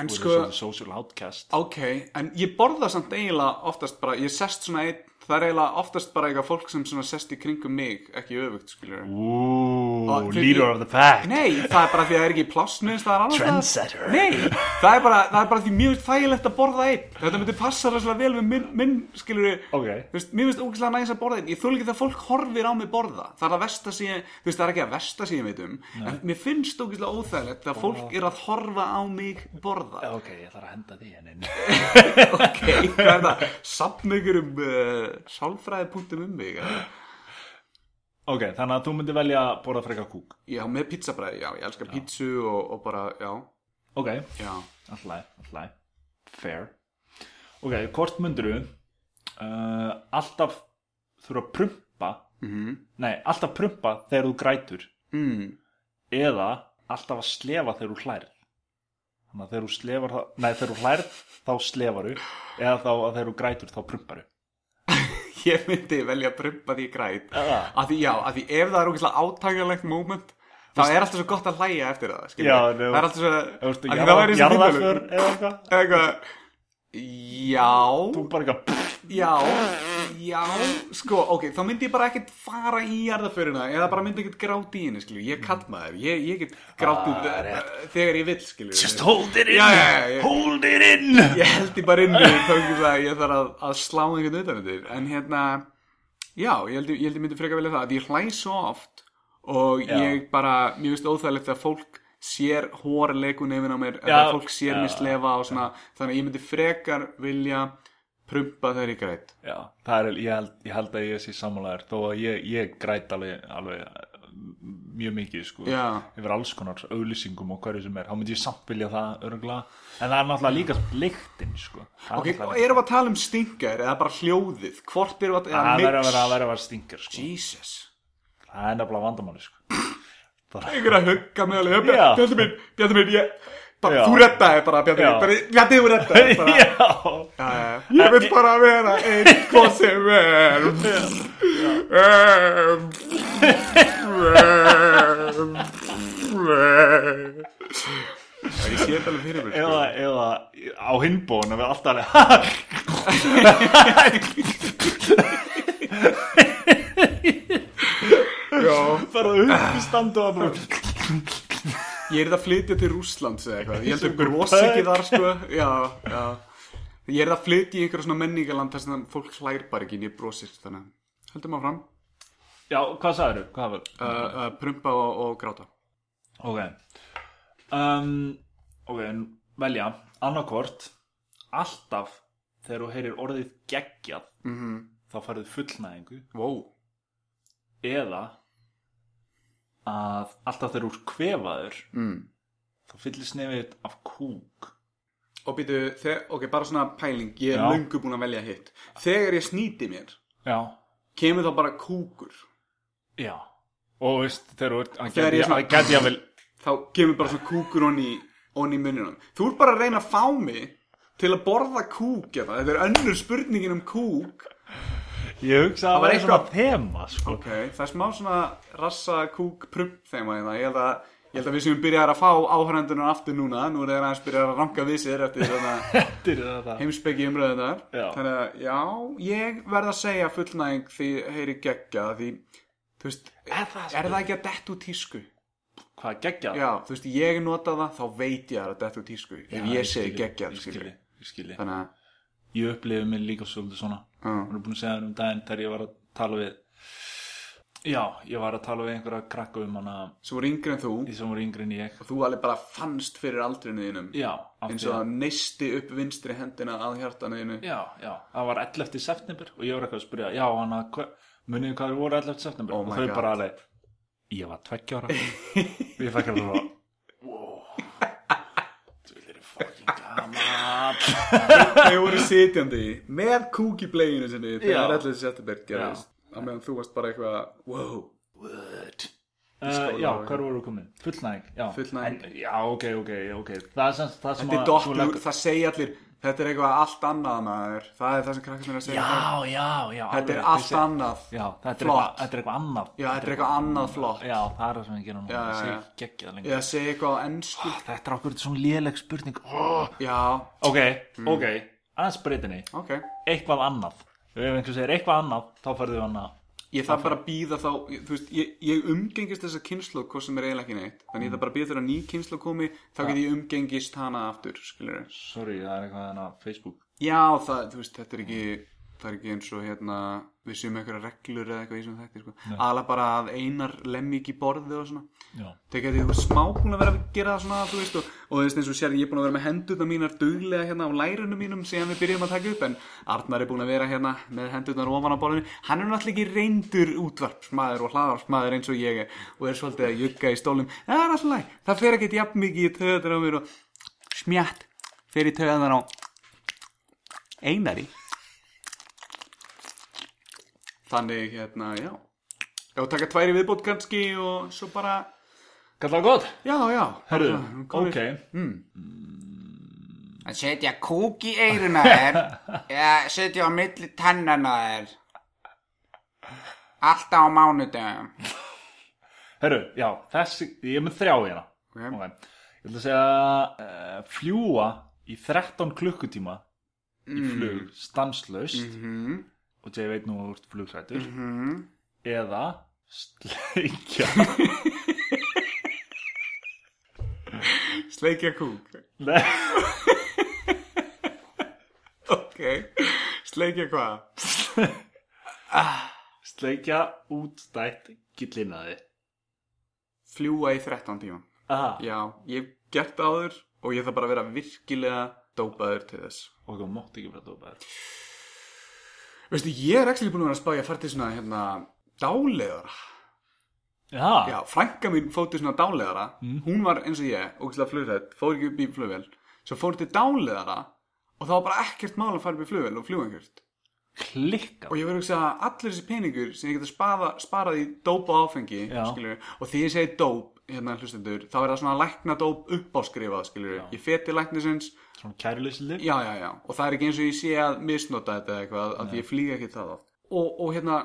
[SPEAKER 2] En
[SPEAKER 3] Þú
[SPEAKER 2] sko-
[SPEAKER 3] sko, social outcast
[SPEAKER 2] Ok, en ég borða samt eiginlega oftast bara, ég sest svona einn, það er eiginlega oftast bara eitthvað fólk sem svona sest í kringum mig, ekki öfugt, skiljur.
[SPEAKER 3] Ooh,
[SPEAKER 2] Og-
[SPEAKER 3] leader of the pack
[SPEAKER 2] Nei, það er bara því að það er ekki pláss minnst það er annars. staðar.
[SPEAKER 3] Trendsetter.
[SPEAKER 2] Nei, það er bara, það er bara því mjög þægilegt að borða einn. Þetta myndi passa rosalega vel við minn, minn skiljur.
[SPEAKER 3] Ok.
[SPEAKER 2] Þú veist, mér finnst ógæslega næs að borða einn. Ég þúl ekki þegar fólk horfir á mig borða. Það er að versta sem ég, þú veist, það er ekki að versta sem ég veit um. En mér finnst ógæslega óþægilegt þegar fólk er að horfa á mig borða.
[SPEAKER 3] Ok, ég þarf að henda því hérna hennin
[SPEAKER 2] ok, hvað er það? Sapna ykkur um uh, sálfræði.um um mig eða?
[SPEAKER 3] Ok, þannig að þú myndir velja að borða frekar kúk
[SPEAKER 2] Já, með pizzabræði, já, ég elska pizzu og, og bara, já,
[SPEAKER 3] Ok,
[SPEAKER 2] já
[SPEAKER 3] alltaf, alltaf Fair Ok, hvort myndir þú uh, Alltaf þurfa að prumpa
[SPEAKER 2] mm
[SPEAKER 3] Nei, alltaf prumpa þegar þú grætur
[SPEAKER 2] mm.
[SPEAKER 3] Eða alltaf að slefa þegar þú hlær Þannig að þegar þú slefar þá- Nei, þegar þú hlær þá slefar þú Eða þá að þegar þú grætur þá prumpar þú
[SPEAKER 2] Ég myndi velja að prumpa því ég græt
[SPEAKER 3] Eða
[SPEAKER 2] Af því, já, af því ef það er ógeðslega átakanlegt moment þá er alltaf svo gott að hlæja eftir það, skiljum
[SPEAKER 3] Já,
[SPEAKER 2] við
[SPEAKER 3] nú-
[SPEAKER 2] Það er alltaf svo,
[SPEAKER 3] Þú veist,
[SPEAKER 2] af því það væri
[SPEAKER 3] jarða-
[SPEAKER 2] svo fyndið.
[SPEAKER 3] jarðarför eða eitthvað
[SPEAKER 2] Eða eitthvað Já
[SPEAKER 3] Þú bara eitthvað
[SPEAKER 2] Já, já, sko, ok, þá myndi ég bara ekkert fara í jarðaförina eða bara myndi ekkert gráti í henni, skilju, ég kall maður, ég, ég get grátið
[SPEAKER 3] Ah,
[SPEAKER 2] ah, þegar ég vil, skilju.
[SPEAKER 3] Just hold it in
[SPEAKER 2] Já, já, já, já.
[SPEAKER 3] Hold it in
[SPEAKER 2] Ég held ég bara inn í tókum það að ég þarf að, að slá einhvern utanundir, en hérna, já, ég held ég, ég held ég myndi frekar velja það, að ég hlæ svo oft og
[SPEAKER 3] Já.
[SPEAKER 2] ég bara, mér finnst óþægilegt að fólk sér hórleikun yfir á mér,
[SPEAKER 3] Já,
[SPEAKER 2] að fólk sér
[SPEAKER 3] já.
[SPEAKER 2] mér slefa og svona, þannig að ég myndi frekar vilja prumpa þegar ég græt.
[SPEAKER 3] Já, það er, ég held, ég held að ég sé sammálaður þó að ég, ég græt alveg, alveg uh, mjög mikið sko
[SPEAKER 2] Já.
[SPEAKER 3] yfir alls konar auðlýsingum og hverju sem er þá myndi ég samt vilja það örgla en það er náttúrulega líka lyktin sko Það
[SPEAKER 2] Ok,
[SPEAKER 3] náttúrulega-
[SPEAKER 2] erum við að tala um stingar eða bara hljóðið? Hvort erum við að eða
[SPEAKER 3] það
[SPEAKER 2] mix?
[SPEAKER 3] verður að vera, að vera, að vera stingur sko
[SPEAKER 2] Jesus.
[SPEAKER 3] það er nefnilega vandamáli sko bara,
[SPEAKER 2] Einhver að hugga mig alveg.
[SPEAKER 3] Já.
[SPEAKER 2] Bjarni minn, Bjarni minn, ég... Bara,
[SPEAKER 3] Já.
[SPEAKER 2] þú rettaði bara, Bjarni minn.
[SPEAKER 3] Já.
[SPEAKER 2] Bara, Bjarni, þú rettaði bara.
[SPEAKER 3] já
[SPEAKER 2] Já, já. Ég vil bara vera einn hvað sem er. Ehm. Em, em, em. Já, Ég sé þetta alveg fyrir mér.
[SPEAKER 3] eða, eða á hinbóin að við alltaf alveg
[SPEAKER 2] sko. Já.
[SPEAKER 3] bara upp í standu og bara
[SPEAKER 2] Ég er það að flytja til Rússlands eða eitthvað Ég held að gros ekki þar sko Já, já Ég er það að flytja í einhverja svona menningaland þar sem fólk hlær bara ekki en ég brosir þannig að- Höldum áfram
[SPEAKER 3] já, hvað sagður Hvað var?
[SPEAKER 2] uh, uh, Prumpa og, og gráta
[SPEAKER 3] Ok um, Ok, en velja annarkvort Alltaf þegar þú heyrir orðið geggjað
[SPEAKER 2] mm -hmm.
[SPEAKER 3] þá farið fullnæðingu
[SPEAKER 2] Wow
[SPEAKER 3] eða að alltaf þegar þú er kvefaður
[SPEAKER 2] mm.
[SPEAKER 3] þá fyllist nefið af kúk
[SPEAKER 2] Og býtu, þe- ok, bara svona pæling Ég er
[SPEAKER 3] Já.
[SPEAKER 2] löngu búin að velja hitt Þegar ég snýti mér
[SPEAKER 3] Já,
[SPEAKER 2] Kemur þá bara kúkur
[SPEAKER 3] já Og veist, þegar þú ert að
[SPEAKER 2] Þegar ég
[SPEAKER 3] gæti-
[SPEAKER 2] svona-
[SPEAKER 3] að gæti að vel
[SPEAKER 2] Þá kemur bara svona kúkur onni, onni munninum Þú ert bara að reyna að fá mig til að borða kúk eða Þetta er önnur spurningin um kúk
[SPEAKER 3] Ég hugsa að
[SPEAKER 2] var
[SPEAKER 3] það er svona
[SPEAKER 2] eitthvað-
[SPEAKER 3] þema sko.
[SPEAKER 2] Ok, það er smá svona rassa, kúk, prump þeima hérna. Ég held að, ég held að við séum byrjar að fá áhörendunum aftur núna. Nú er þeir aðeins byrjar að ranka við sér eftir þetta
[SPEAKER 3] Þetta er þetta
[SPEAKER 2] heimspeki umröðunar.
[SPEAKER 3] Já.
[SPEAKER 2] Þannig að, já, ég verð að segja fullnæging því heyri geggja því, þú veist,
[SPEAKER 3] Er það
[SPEAKER 2] er það ekki að dett úr tísku?
[SPEAKER 3] Hvað geggjað?
[SPEAKER 2] Já, þú veist, ég nota það, þá veit ég að það er dett úr tísku. Ef ég segi
[SPEAKER 3] skil-
[SPEAKER 2] geggjað,
[SPEAKER 3] ég
[SPEAKER 2] skilur.
[SPEAKER 3] skil- Ég skilji
[SPEAKER 2] Þannig að,
[SPEAKER 3] ég upplifi mig líka svolítið svona
[SPEAKER 2] Já.
[SPEAKER 3] hún er búin að segja þér um daginn þegar ég var að tala við já, ég var að tala við einhverja krakka um hana
[SPEAKER 2] svo voru yngri en þú,
[SPEAKER 3] því sem voru yngri en ég
[SPEAKER 2] og þú alveg bara fannst fyrir aldrinu þínum.
[SPEAKER 3] já, af
[SPEAKER 2] Eins
[SPEAKER 3] því
[SPEAKER 2] og
[SPEAKER 3] að-
[SPEAKER 2] að neisti upp vinstri hendina að hjartanu þínu.
[SPEAKER 3] já, já, það var 11. september og ég var eitthvað að spyrja, já, hann að muniðu hvað þau voru 11. september
[SPEAKER 2] Oh
[SPEAKER 3] og
[SPEAKER 2] my
[SPEAKER 3] þau
[SPEAKER 2] God.
[SPEAKER 3] bara alveg, ég var tveggja ára og ég fækja alveg bara wow þú vilir er fucking gaman
[SPEAKER 2] Þau voru sitjandi með kúk í bleginu sinni þegar
[SPEAKER 3] Já.
[SPEAKER 2] allir september gerðist á meðan þú varst bara eitthvað wow,
[SPEAKER 3] Word
[SPEAKER 2] skóla
[SPEAKER 3] Uh, já,
[SPEAKER 2] og-
[SPEAKER 3] hvað voru komin? Fullnæging, já
[SPEAKER 2] Fullnæging.
[SPEAKER 3] en, Já, ok, ok, ok Það er sem, það sem
[SPEAKER 2] þetta er
[SPEAKER 3] að- þú
[SPEAKER 2] dopplu
[SPEAKER 3] leggur-
[SPEAKER 2] það segja allir Þetta er eitthvað allt annað maður Það er það sem krakkarnir er að segja
[SPEAKER 3] já, já, já
[SPEAKER 2] Þetta er
[SPEAKER 3] alveg,
[SPEAKER 2] allt
[SPEAKER 3] þessi-
[SPEAKER 2] annað
[SPEAKER 3] já, þetta, er
[SPEAKER 2] Flott.
[SPEAKER 3] eitthvað, þetta er eitthvað annað
[SPEAKER 2] Já, þetta er eitthvað annað flott
[SPEAKER 3] já, það er það sem ég gera nú
[SPEAKER 2] Já, já,
[SPEAKER 3] Ég segi
[SPEAKER 2] já.
[SPEAKER 3] geggjað lengi.
[SPEAKER 2] Ég segi eitthvað á ennsku
[SPEAKER 3] þetta er okkur svona léleg spurning oh.
[SPEAKER 2] Já,
[SPEAKER 3] ok, ok aðeins breytinni,
[SPEAKER 2] ok
[SPEAKER 3] eitthvað annað ef einhver segir eitthvað annað, þá færðu við annað
[SPEAKER 2] Ég þarf bara að býða þá, ég- þú veist, ég, ég umgengist þessa kynnslóð hvort sem er eiginlega ekki neitt Þannig ég þarf bara að býða þegar ný kynnslóð komi Þá get ég umgengist hana aftur, skilur
[SPEAKER 3] sorry, það er eitthvað enn að Facebook
[SPEAKER 2] Já, það, þú veist, þetta er ekki það er ekki eins og hérna við séum einhverja reglur eða eitthvað í sem þetta sko. alveg bara að einar lemmi ekki borðið og svona
[SPEAKER 3] já,
[SPEAKER 2] þegar þú ert smá búin að vera að gera það svona þú veist, og, og þú veist eins og sér ég er búin að vera með hendurna mínar duglega hérna á lærinu mínum síðan við byrjum að taka upp en Arnar er búin að vera hérna með hendurnar ofan á borðinu hann er náttúrulega ekki reyndur útvarpsmaður og hlaðarpsmaður eins og ég er og er svolítið að jugga í stólum það er alltaf læg, það fer ekki jafn mikið í töðar á mér og smjætt fer í töðar á Einari Þannig hérna, já Já, taka tværi viðbót kannski og svo bara
[SPEAKER 3] kallar gott
[SPEAKER 2] Já, já
[SPEAKER 3] Herru,
[SPEAKER 2] bara-
[SPEAKER 3] ok,
[SPEAKER 1] Að setja kúk í eiruna þér eða setja á milli tennana þér Alltaf á mánudagum
[SPEAKER 3] herru, já, þessi, ég er með þrjá hérna
[SPEAKER 2] Ok.
[SPEAKER 3] Ok. Ég ætla að segja uh, fljúa í 13 klukkutíma
[SPEAKER 1] Mm.
[SPEAKER 3] í flug stanslaust
[SPEAKER 2] Mhm,
[SPEAKER 3] og þegar ég veit nú að þú ert flugrættur
[SPEAKER 2] mhm.
[SPEAKER 3] eða sleikja
[SPEAKER 2] Sleikja kúk
[SPEAKER 3] Nei,
[SPEAKER 2] Ok Sleikja hvað?
[SPEAKER 3] sleikja útstætt gillinaði
[SPEAKER 2] Fljúa í 13 tíma
[SPEAKER 3] Aha,
[SPEAKER 2] Já, ég hef gert það áður og ég þarf bara að vera virkilega dópaður til þess
[SPEAKER 3] og þú mátt ekki vera dópaður
[SPEAKER 2] Veistu, ég er ekki búin að vera að spá ég að fara til svona hérna, dálegar
[SPEAKER 3] Já,
[SPEAKER 2] Já, frænka mín fór til svona dálegara Hún var eins og ég, ógæslega flugrætt Fór ekki upp í flugvél Svo fór til dálegara Og það var bara ekkert mál að fara upp í flugvél og fljúga einhvert
[SPEAKER 3] klikkað
[SPEAKER 2] Og ég verið að hugsa að allir þessi peningur sem ég geta spaða, sparað í dóp og áfengi
[SPEAKER 3] Já.
[SPEAKER 2] skilur, Og því ég segi dóp hérna hlustendur, þá er það svona lækna dóp uppáskrifað, skilur, ég feti læknisins
[SPEAKER 3] Svona kærleysileg
[SPEAKER 2] já, já, já, og það er ekki eins og ég sé að misnota þetta eða eitthvað, að ég flýga ekki það oft og, og hérna,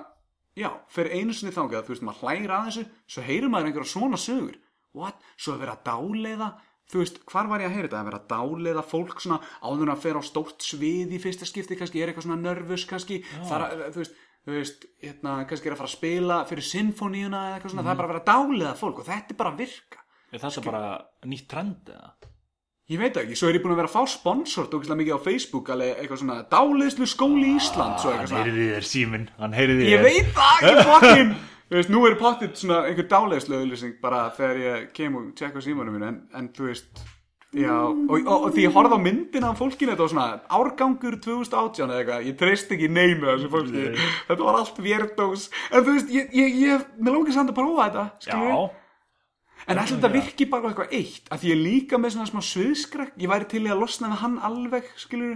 [SPEAKER 2] já, fyrir einu sinni þangað, þú veist, maður hlægir að þessu svo heyrir maður einhverja svona sögur what, svo er verið að dáleiða þú veist, hvar var ég að heyra þetta, að vera að dáleiða fólk svona áður en að fer á stórt svið í fyrsta skipti, kannski er eitthvað svona nervus kannski, þar að, þú veist þú veist, hérna, kannski er að fara að spila fyrir sinfoníuna eða eitthvað svona, það er bara að vera að dáleiða fólk og þetta er bara að virka
[SPEAKER 3] Er þetta bara nýtt trend eða?
[SPEAKER 2] Ég veit það ekki, svo er ég búin að vera að fá sponsort ógeðslega mikið á Facebook, alveg eitthvað svona dáliðslu skóli í Ísland, svo eitthvað svona
[SPEAKER 3] heyriði þér síminn, hann heyriði
[SPEAKER 2] Ég veit það, ég fokkin Þú veist, nú er pottitt svona einhver dáliðslu auðlýsing bara þegar ég kem og tjekka símanum mínu, en, en þú veist Já, og, og, og því ég horfði á myndina af fólkinu þetta var svona árgangur 2018 eða eitthvað, ég treyst ekki neinu þessu fólki, þetta var allt vérdós en þú veist, ég, ég, ég mér lókið samt að prófa þetta, skilurðu?
[SPEAKER 3] Já,
[SPEAKER 2] En ætlum þetta virki bara á eitthvað eitt að því ég er líka með svona smá sviðskrekk ég væri til í að losna við hann alveg, skilur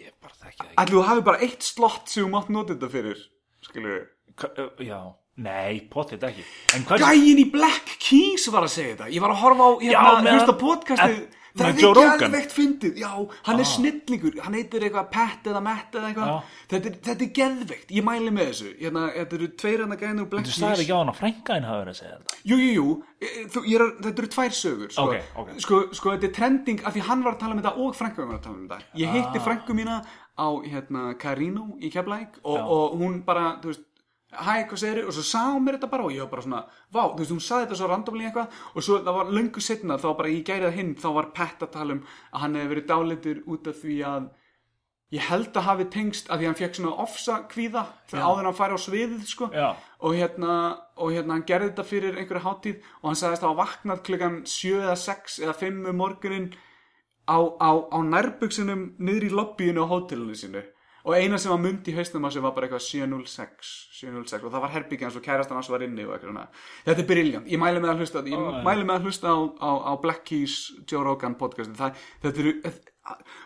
[SPEAKER 3] ég bara þekki það ekki
[SPEAKER 2] Ætlum þú hafi bara eitt slott sem þú mátt nota þetta fyrir, skilur
[SPEAKER 3] Ka- ö, Já, nei, potið ekki En hvað
[SPEAKER 2] Gæin í Black Keys var að segja þetta ég var að horfa á,
[SPEAKER 3] Já,
[SPEAKER 2] hérna,
[SPEAKER 3] með-
[SPEAKER 2] hlusta á podcastið
[SPEAKER 3] en-
[SPEAKER 2] það
[SPEAKER 3] með
[SPEAKER 2] er
[SPEAKER 3] Joe
[SPEAKER 2] ekki
[SPEAKER 3] Rogan. Ah.
[SPEAKER 2] alvegt fyndið, já, hann er snillingur hann heitir eitthvað Pat eða Matt eða
[SPEAKER 3] Já.
[SPEAKER 2] eitthvað þetta, er- þetta er geðveikt, ég mæli með þessu hérna, þetta eru tveir hann að gæin úr Black
[SPEAKER 3] Þú
[SPEAKER 2] Keys
[SPEAKER 3] sagði ekki á hann að frænka hinn hafa verið að segja þetta
[SPEAKER 2] Jú, jú, jú, e, þú, ég er, að- þetta eru tvær sögur sko.
[SPEAKER 3] Ok, ok.
[SPEAKER 2] Sko, sko, þetta er trending af því hann var að tala um þetta og frænku mín var að tala um þetta Ég hitti ah. frænku mína á hérna, Carino í Keflæk og, og hún bara, þú veist, hæ, hvað segir og svo sá hún mér þetta bara og ég var bara svona vá, þú veist, hún saði þetta svo randomlega eitthvað og svo það var löngu setna, þá bara ég gærið hinn þá var Pett að tala um að hann hefði verið dálitur út af því að ég held að hafi tengst að því hann fekk svona ofsa kvíða áður en hann færi á sviðið sko
[SPEAKER 3] Já.
[SPEAKER 2] og hérna, og hérna hann gerði þetta fyrir einhverju hátíð og hann sagðist að hafa vaknað klukkan 7 eða 6 eða 5 um morgunin á, á, á nærbuksunum niður í lobbyinu á hótelinu sínu og eina sem hann myndi í hausnum að sem var bara eitthvað 706, 706 og það var herbyggja hans og kærastan hans var inni og eitthvað svona þetta er briljant, ég mæli með að hlusta á þetta, ég mæli með að hlusta á, á, á Black Keys Joe Rogan podcastin það, þetta eru eh,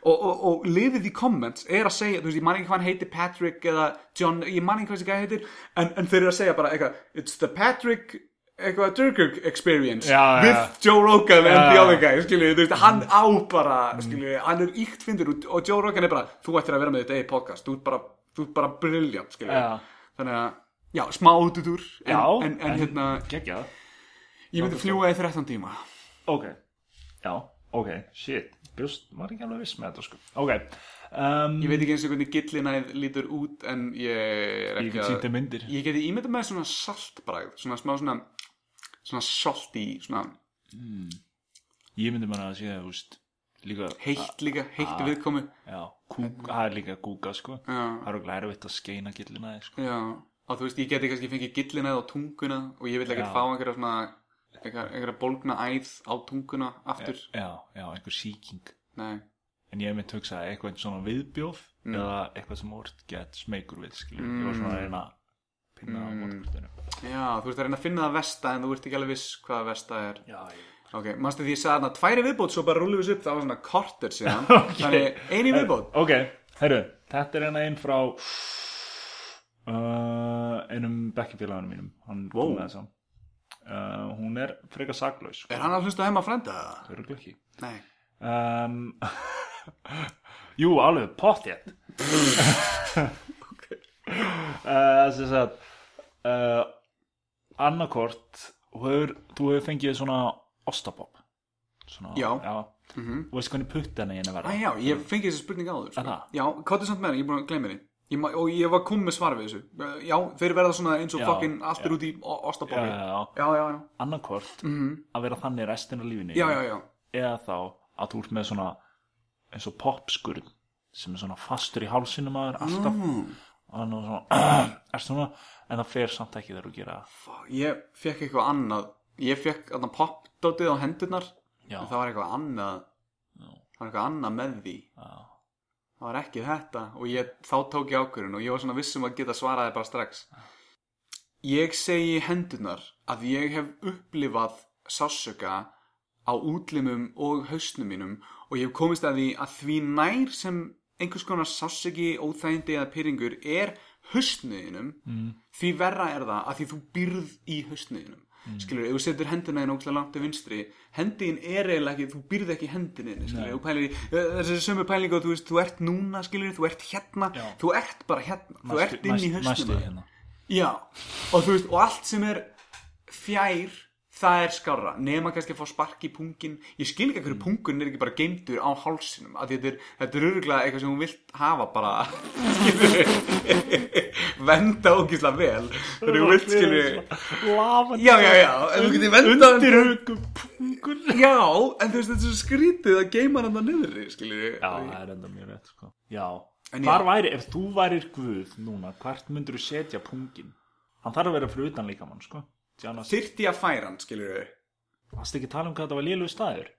[SPEAKER 2] og, og, og liðið í comments er að segja þú veist, ég man ekki hvað hann heitir Patrick eða John, ég man ekki hvað þessi gæði heitir en, en þeir eru að segja bara eitthvað it's the Patrick eitthvað Durkirk experience
[SPEAKER 3] Já, já,
[SPEAKER 2] with
[SPEAKER 3] já.
[SPEAKER 2] Joe Rogan and
[SPEAKER 3] Já,
[SPEAKER 2] the
[SPEAKER 3] já.
[SPEAKER 2] other guy skilju, þú veist, hann
[SPEAKER 3] Mm.
[SPEAKER 2] á bara skilju, hann er íkt fyndur og, og Joe Rogan er bara, þú ættir að vera með þetta í podcast þú ert bara, þú ert bara brilljant skilju
[SPEAKER 3] Já.
[SPEAKER 2] þannig að, já, smá útudur en,
[SPEAKER 3] Já,
[SPEAKER 2] en, en, hérna,
[SPEAKER 3] geggjað
[SPEAKER 2] ég myndi fljúa í 13 tíma
[SPEAKER 3] Ok, já, ok, shit Bjóst, var ekki alveg viss með þetta sko Ok, um,
[SPEAKER 2] ég veit ekki eins og hvernig gillinæð lítur út en ég er
[SPEAKER 3] ég
[SPEAKER 2] ekki
[SPEAKER 3] get sýnt þeim myndir
[SPEAKER 2] ég geti ímynda með svona saltbræð svona smá svona svona salti, svona
[SPEAKER 3] Ég myndi manna að sé það, þú veist Líka,
[SPEAKER 2] heitt líka, heitt
[SPEAKER 3] Ah.
[SPEAKER 2] viðkomi
[SPEAKER 3] já, kúka, það er líka kúka sko
[SPEAKER 2] já,
[SPEAKER 3] Það er okkur erfitt að skeina gillina þig sko
[SPEAKER 2] Já, og þú veist, ég geti kannski fengið gillinæð á tunguna og ég vil ekkert
[SPEAKER 3] Já.
[SPEAKER 2] fá einhverja svona einhverja, einhverja bólgna æð á tunguna aftur.
[SPEAKER 3] Já, já, einhver sýking
[SPEAKER 2] Nei,
[SPEAKER 3] En ég myndi hugsa eitthvað svona viðbjóð Eða eitthvað sem orð get smeykur við skilur Ég var svona að reyna að pinna á mótkurtunum
[SPEAKER 2] já, þú veist að reyna að finna það vesta en þú ert ekki alveg viss hvað vesta er.
[SPEAKER 3] Já, ég
[SPEAKER 2] Ok, mannstu því ég sagði þarna tværi viðbót svo bara rúlum við þessu upp, það var svona korter síðan.
[SPEAKER 3] Ok.
[SPEAKER 2] Þannig, eini viðbót.
[SPEAKER 3] Ok, herru, þetta er hérna einn frá uh, einum bekkifélagunum mínum hann kom
[SPEAKER 2] Wow.
[SPEAKER 3] með þessa. uh, hún er frekar saklaus sko.
[SPEAKER 2] Er hann að hlusta heima að frenda það?
[SPEAKER 3] það eru glöggi
[SPEAKER 2] Nei.
[SPEAKER 3] um, Jú, alveg, pottjætt uh, sem sagt uh, annarkort þú hefur, þú hefur fengið svona ostapopp svona,
[SPEAKER 2] Já.
[SPEAKER 3] já. og veist hvernig puttana
[SPEAKER 2] Æ,
[SPEAKER 3] hérna verða
[SPEAKER 2] já, ég fengi þessi spurning áður. sko.
[SPEAKER 3] Er það?
[SPEAKER 2] Já, hvað er samt með henni? Ég er búin að gleyma henni. Ég, ma- og ég var komið með svar við þessu. Uh, Já, þeir verða svona eins og
[SPEAKER 3] Já,
[SPEAKER 2] fucking allt
[SPEAKER 3] já.
[SPEAKER 2] er út í
[SPEAKER 3] Já,
[SPEAKER 2] ostabopi.
[SPEAKER 3] já, já.
[SPEAKER 2] Já, já, já.
[SPEAKER 3] annarkort
[SPEAKER 2] Mhm.
[SPEAKER 3] að vera þannig restin af lífinu
[SPEAKER 2] Já, já, já.
[SPEAKER 3] eða þá að þú ert með svona eins og popskurð sem er svona fastur í hálsinum að þér alltaf
[SPEAKER 2] Mm.
[SPEAKER 3] og hann er svona, er svona en það fer samt ekki þegar þú gera það.
[SPEAKER 2] Fuck, Ég fekk eitthvað annað Ég fekk þarna popdótið á hendurnar
[SPEAKER 3] já,
[SPEAKER 2] En það var eitthvað annað Það var eitthvað annað með því
[SPEAKER 3] já,
[SPEAKER 2] Það var ekki þetta Og ég, þá tók ég ákvörðun Og ég var svona vissum að geta svaraði bara strax Ég segi hendurnar Að ég hef upplifað sásöka Á útlimum og hausnum mínum Og ég hef komist að því að því nær sem Einhvers konar sásöki, óþægindi eða pyrringur Er hausnuðinum
[SPEAKER 3] mm,
[SPEAKER 2] því verra er það að því þú byrð í hausniðinum mm. skilur, ef þú setur hendina þín ógæslega langt til vinstri hendiðin er eiginlega ekki, þú byrð ekki hendinni þinni, skilur, þú pælir í eh, þessi sömu pælingu að þú veist, þú ert núna, skilur, þú ert hérna
[SPEAKER 3] Já.
[SPEAKER 2] þú ert bara hérna, þú
[SPEAKER 3] næstu-
[SPEAKER 2] ert inn í
[SPEAKER 3] næstu- næstu
[SPEAKER 2] hausnina
[SPEAKER 3] því hérna.
[SPEAKER 2] já, og þú veist, og allt sem er fjær það er skárra, nema kannski að fá spark í pungin ég skil ekki að hverju pungun er ekki bara geimdur á hálsinum, að þetta er, þetta er örgulega eitthvað sem hún vilt hafa bara skilur venda ógislega vel þegar hún vilt skilur
[SPEAKER 3] Lafandi.
[SPEAKER 2] Já, já, já, en þú getur vendað
[SPEAKER 3] undir hugum pungur já,
[SPEAKER 2] Já, en þú veist þetta er svo skrítið að geima hann að niðri, skilur
[SPEAKER 3] það er enda mjög rétt sko. já,
[SPEAKER 2] En
[SPEAKER 3] hvar
[SPEAKER 2] ég-
[SPEAKER 3] væri, ef þú værir guð núna, hvert myndur þú setja pungin hann þarf að vera fyrir utan líkamann sko. Því annars-
[SPEAKER 2] Þyrfti ég að færa hann, skilur
[SPEAKER 3] varstu ekki að tala um hvað þetta var lélug staður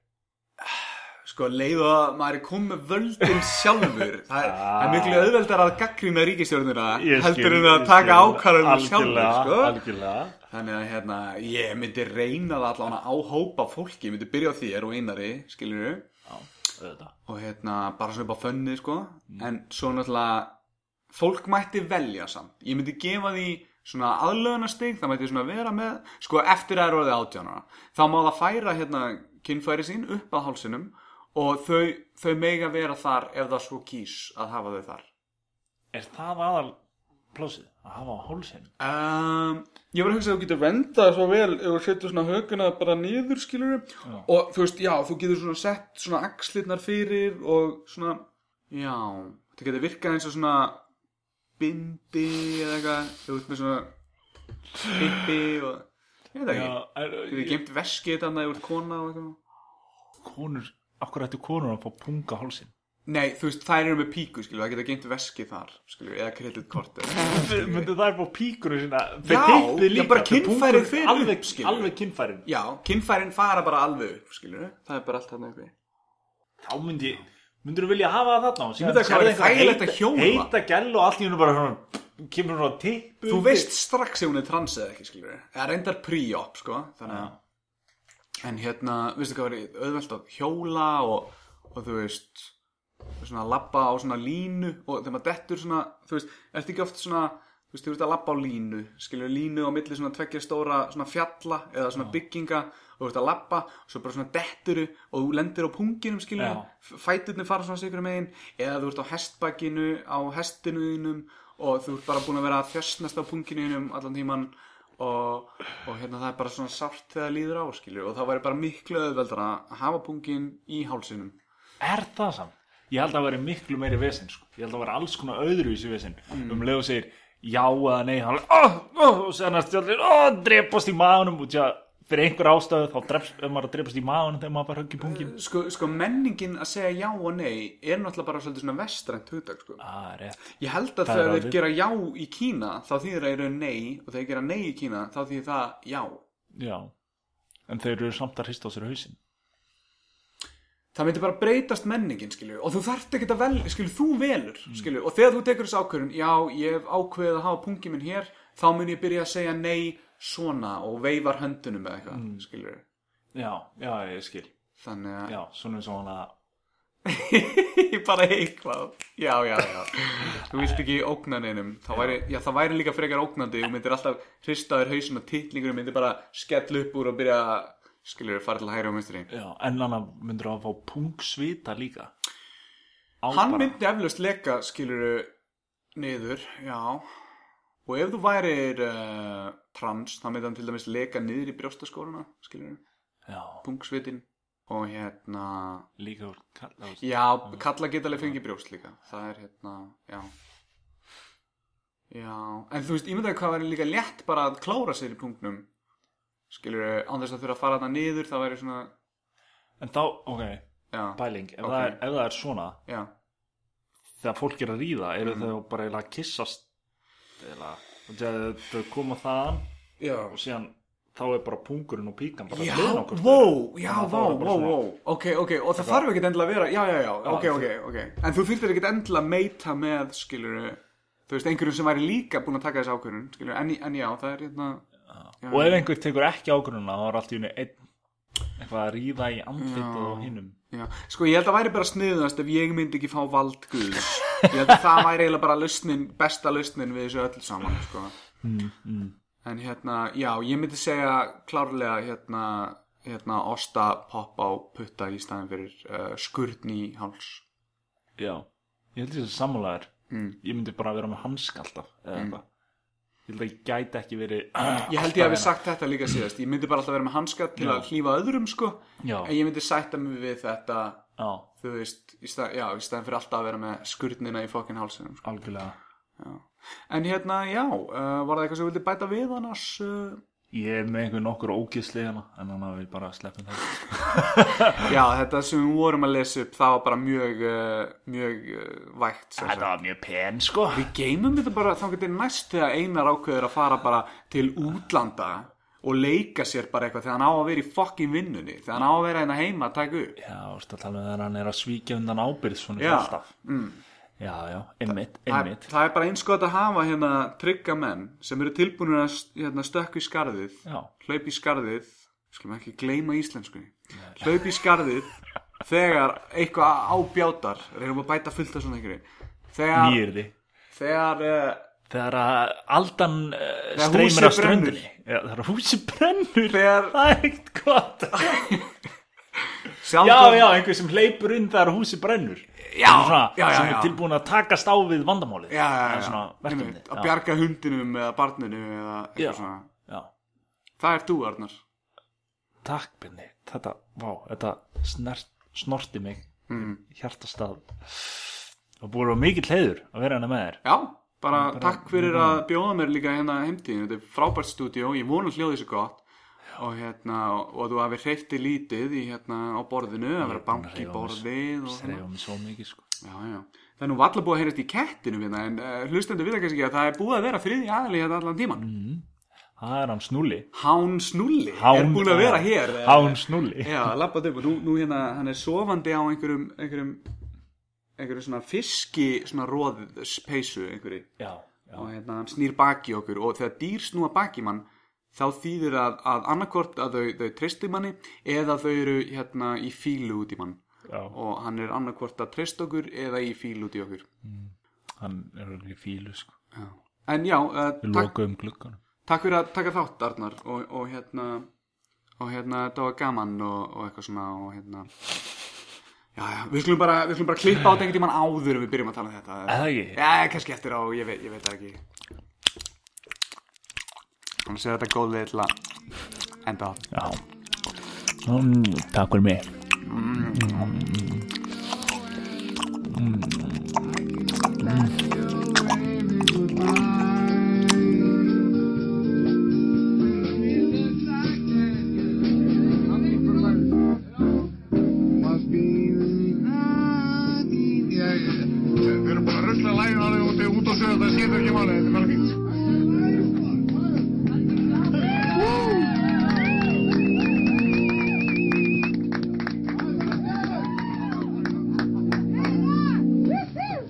[SPEAKER 2] Sko, leið og að maður er komið með völdin sjálfur Það er,
[SPEAKER 3] Ah.
[SPEAKER 2] það er miklu auðveldar að gaggrýna ríkistjórnina
[SPEAKER 3] Ég skil,
[SPEAKER 2] heldur en að
[SPEAKER 3] ég
[SPEAKER 2] taka
[SPEAKER 3] skil.
[SPEAKER 2] ákvarðan sjálfur,
[SPEAKER 3] Algjörlega,
[SPEAKER 2] sko
[SPEAKER 3] algjörlega.
[SPEAKER 2] Þannig að hérna, ég myndi reyna það allan á hópa fólki, ég myndi byrja á þér og einari, skilur
[SPEAKER 3] Já, auðvitað.
[SPEAKER 2] og hérna bara svona upp á fönni sko en svo náttúrulega fólk mætti velja samt ég myndi gefa því svona aðlöðunastig það mætti svona vera með sko eftir að er orðið átjánara þá má það færa hérna kynfæri sín upp að hálsinum og þau, þau mega vera þar ef það svo kýs að hafa þau þar
[SPEAKER 3] Er það aðal plásið að hafa á hálsinn?
[SPEAKER 2] Um, ég var að hugsa að þú getur vendað svo vel ef þú setur svona höguna bara niður skilur
[SPEAKER 3] Já.
[SPEAKER 2] og þú veist, já, þú getur svona sett svona axlirnar fyrir og svona, já þetta getur virkað eins og svona bindi eða eitthvað þú veist með svona bindi og ég veit ekki,
[SPEAKER 3] er,
[SPEAKER 2] þú getur gemt veskið þannig að þú ert kona og eitthvað
[SPEAKER 3] konur, akkur ættu konur að fá punga á hálsinn?
[SPEAKER 2] Nei, þú veist, þær eru með píku, skilur, það getur gemt veskið þar, skilur, eða kreditkort
[SPEAKER 3] Myndi það er fá píkur og sína?
[SPEAKER 2] Já,
[SPEAKER 3] hittið
[SPEAKER 2] já, bara
[SPEAKER 3] þau
[SPEAKER 2] kynfærið
[SPEAKER 3] pungur-
[SPEAKER 2] fer upp,
[SPEAKER 3] Alveg,
[SPEAKER 2] skilur.
[SPEAKER 3] alveg kynfærin.
[SPEAKER 2] Já, kynfærin fara bara alveg upp, skilur það er bara allt þarna uppi
[SPEAKER 3] Þá myndi ég, myndur þú vilja hafa það þarna?
[SPEAKER 2] Ég myndi að það væri þægilegt að hjóla.
[SPEAKER 3] Heita gæll og allt í hennu bara svona, kemur hún á tippu.
[SPEAKER 2] Þú veist strax ef hún er trans eða ekki, skilur Eða reyndar pre-op, sko Þannig að En hérna, veistu hvað verið auðvelt að hjóla og, og þú veist Svona labba á svona línu Og þegar maður dettur svona, þú veist Ertu ekki oft svona, þú þú veist, þú ert að labba á línu skilur línu á milli svona tveggja stóra svona fjalla eða svona bygginga og þú ert að labba, svo bara svona detturu og þú lendir á punginum skilur
[SPEAKER 3] Já.
[SPEAKER 2] yeah. fæturnir fara svona sigur megin eða þú ert á hestbakkinu, á hestinuðinum og þú ert bara búin að vera að þjössnast á punginuðinum allan tíman og, og hérna það er bara svona sárt þegar líður á skilur og það væri bara miklu auðveldar að hafa pungin í hálsinum
[SPEAKER 3] Er það samt? Ég held að það væri miklu meiri vesen sko. Ég held að það væri alls konar öðruvísi vesen
[SPEAKER 2] Mm.
[SPEAKER 3] Um leið og segir já eða nei hann, oh, oh, og sér næst allir oh, drepast í maðunum og tjá, fyrir einhver ástöðu þá drepst, er maður að drepast í maðunum þegar maður bara höggi pungin
[SPEAKER 2] sko, sko menningin að segja já og nei er náttúrulega bara svolítið svona vestrænt hugtak sko.
[SPEAKER 3] ah, rétt.
[SPEAKER 2] ég held að
[SPEAKER 3] Það er
[SPEAKER 2] þegar þeir
[SPEAKER 3] ráðið.
[SPEAKER 2] gera já í Kína þá þýðir það eru nei og þegar þeir gera nei í Kína þá þýðir það já
[SPEAKER 3] Já En þeir eru samt að hrista á sér hausinn
[SPEAKER 2] það myndi bara breytast menningin skilju og þú þarft ekkert að velja, skilju, þú velur
[SPEAKER 3] Mm.
[SPEAKER 2] skilju, og þegar þú tekur þessu ákvörðun já, ég hef ákveðið að hafa pungi minn hér þá mun ég byrja að segja nei svona og veifar höndunum eða eitthvað mm. skilju,
[SPEAKER 3] Já, já, ég skil
[SPEAKER 2] þannig að
[SPEAKER 3] Já, svona eins og hann að
[SPEAKER 2] ég bara eitthvað já, já, já þú vilt ekki ógna neinum það væri, já, það væri líka frekar ógnandi þú myndir alltaf hristaður hausin og titlingur myndir bara skell upp úr og byrja að skilur fara til hægri og minnstri
[SPEAKER 3] Já, en hann að myndur að fá pungsvita líka Á
[SPEAKER 2] hann
[SPEAKER 3] bara-
[SPEAKER 2] myndi eflaust leka skilur niður, já og ef þú værir uh, trans, þá myndi hann til dæmis leka niður í brjóstaskóruna, skilur
[SPEAKER 3] Já,
[SPEAKER 2] pungsvitin og hérna
[SPEAKER 3] líka úr kallast
[SPEAKER 2] Já, kalla geta alveg fengið brjóst líka Það er hérna, já Já, en þú veist, ímyndaði hvað væri líka létt bara að klára sér í punktnum Skilur, án þess að þurfa að fara þarna niður Það væri svona,
[SPEAKER 3] En þá, ok,
[SPEAKER 2] já,
[SPEAKER 3] pæling ef,
[SPEAKER 2] Ok.
[SPEAKER 3] það er, ef það er svona
[SPEAKER 2] já
[SPEAKER 3] þegar fólk er að ríða eru
[SPEAKER 2] Mhm.
[SPEAKER 3] þau bara eiginlega að kissast eiginlega og þegar þau koma þaðan
[SPEAKER 2] Já,
[SPEAKER 3] og síðan þá er bara pungurinn og píkan bara
[SPEAKER 2] já,
[SPEAKER 3] hliðin á hvort
[SPEAKER 2] wow,
[SPEAKER 3] öðru.
[SPEAKER 2] já,
[SPEAKER 3] Þannig að
[SPEAKER 2] vá,
[SPEAKER 3] það er bara
[SPEAKER 2] vá,
[SPEAKER 3] svona-
[SPEAKER 2] vá Ok, ok, og það þarf ekkert endilega að vera Já, já, já, ok, ok, ok En þú þurftir ekkert endilega að meita með, skilur Þú veist, einhverjum sem væri líka búin að taka þessi ákvörun Skilur, en, en já, það er hérna
[SPEAKER 3] og ef einhver tekur ekki ágrunna þá er allt í unni einn eitthvað að ríða í andlitið á hinnum
[SPEAKER 2] Já, sko ég held að væri bara sniðast ef ég myndi ekki fá vald guðs ég held að það væri eiginlega bara lausnin, besta lausnin við þessu öll saman sko. en hérna, já, ég myndi segja klárlega hérna, hérna osta popp á putta í staðin fyrir uh, skurn í háls
[SPEAKER 3] já, ég held þess að sammálaður mm. ég myndi bara vera með hansk alltaf eða eitthvað ég held að ég gæti ekki verið
[SPEAKER 2] ég held ég hafi sagt þetta líka síðast ég myndi bara alltaf vera með hanska til að hlífa öðrum sko,
[SPEAKER 3] Já.
[SPEAKER 2] en ég myndi sætta mig við þetta
[SPEAKER 3] já,
[SPEAKER 2] þú veist, í staðin, já, í staðin fyrir alltaf að vera með skurnina í fokkin hálsinum sko.
[SPEAKER 3] algjörlega
[SPEAKER 2] En hérna, já, uh, var það eitthvað sem þú vildi bæta við annars? Uh,
[SPEAKER 3] ég er með einhver nokkur ógisli hérna en þannig að við bara sleppum það
[SPEAKER 2] já, þetta sem við vorum að lesa upp, það var bara mjög, uh, mjög uh, vægt. sem sagt.
[SPEAKER 3] þetta var mjög pen sko
[SPEAKER 2] Við geymum þetta bara þá getur næst þegar einar ákveður að fara bara til útlanda og leika sér bara eitthvað þegar hann á að vera í fokkin vinnunni, þegar hann á að vera hérna heima að taka upp.
[SPEAKER 3] Já, þú veist að tala um þegar hann er að svíkja undan ábyrð svona
[SPEAKER 2] Já,
[SPEAKER 3] alltaf. Mm. Já, já, einmitt,
[SPEAKER 2] Það,
[SPEAKER 3] einmitt.
[SPEAKER 2] það er bara eins gott að hafa hérna trygga menn sem eru tilbúinir að hérna, stökku í skarðið
[SPEAKER 3] Já,
[SPEAKER 2] hlaup í skarðið skulum ekki gleyma íslenskunni hlaup í skarðið þegar eitthvað ábjátar reynum að bæta fullt af svona einhverju þegar,
[SPEAKER 3] nýjir því.
[SPEAKER 2] þegar uh,
[SPEAKER 3] Þegar að aldan uh,
[SPEAKER 2] Þegar
[SPEAKER 3] streymir
[SPEAKER 2] húsið
[SPEAKER 3] af ströndinni. Já, þegar húsi brennur.
[SPEAKER 2] Þegar-
[SPEAKER 3] Það er eitt gott. Já,
[SPEAKER 2] sjaldan,
[SPEAKER 3] já, einhver sem hleypur inn þegar húsi brennur.
[SPEAKER 2] Já,
[SPEAKER 3] Sem er svona,
[SPEAKER 2] já, já,
[SPEAKER 3] Sem
[SPEAKER 2] já.
[SPEAKER 3] er tilbúin að takast á við vandamálið.
[SPEAKER 2] já, já,
[SPEAKER 3] Það er
[SPEAKER 2] já,
[SPEAKER 3] svona verkefni.
[SPEAKER 2] Einmitt, að bjarga hundinum eða barninu eða
[SPEAKER 3] Já.
[SPEAKER 2] eitthvað svona
[SPEAKER 3] Já,
[SPEAKER 2] það er þú Arnar
[SPEAKER 3] takk, Benni. Þetta, vá, þetta snert, snorti mig. Mm. Hjartastað. Og búið að vera mikill heiður að vera hana með þér.
[SPEAKER 2] já, bara, takk fyrir að bjóða mér líka hérna heimtíðinu, þetta er frábært stúdíó ég vona hljóðið sér gott og hérna, og og þú hafi hreifti lítið í hérna á borðinu, að vera
[SPEAKER 3] búinn að
[SPEAKER 2] banki í
[SPEAKER 3] hreyfa mig s-
[SPEAKER 2] borðið og
[SPEAKER 3] Strefa mig svo mikið, sko.
[SPEAKER 2] Já, já. Það er nú valla búið að heyrast í kettinum hérna, en uh, hlustendur vita kannski ekki að það er búið að vera friði aðli hérna allan tíman.
[SPEAKER 3] Mm. Það er hann snúli
[SPEAKER 2] Hán Snúlli er
[SPEAKER 3] Hán-
[SPEAKER 2] búin að vera hér.
[SPEAKER 3] Hán snúli
[SPEAKER 2] Já, lappað upp og nú, nú hérna, hann er sofandi á einhverjum, einhverjum, einhverjum svona fiski, svona róðspeysu einhverju.
[SPEAKER 3] Já, já,
[SPEAKER 2] Og hérna, hann snýr baki í okkur og þegar dýr snúa baki í mann, þá þýðir að, að annarkort að þau, þau treysti manni eða þau eru hérna í fílu út í mann.
[SPEAKER 3] já.
[SPEAKER 2] Og hann er annarkort að treysta okkur eða í fílu út í okkur.
[SPEAKER 3] Hann er alveg í fílu sko.
[SPEAKER 2] Já. En já, uh,
[SPEAKER 4] Við
[SPEAKER 2] takk,
[SPEAKER 4] lokuðum glugganum.
[SPEAKER 2] takk fyrir að taka þátt Arnar og, og hérna og hérna þetta var gaman og, og eitthvað svona og hérna Já, já, við skulum bara, við skulum bara klippa á þetta einhvern tímann áður en við byrjum að tala um þetta.
[SPEAKER 3] Eða ekki?
[SPEAKER 2] Já, kannski eftir á, ég veit, ég veit það ekki Þannig að þetta er góð leið til að enda á
[SPEAKER 4] Já. Mm, takk fyrir mig.
[SPEAKER 5] Must be the- Yeah, yeah. Við erum bara að rusla lægin á þig út út á söðu, það skiptir ekki máli, þetta er bara fínt.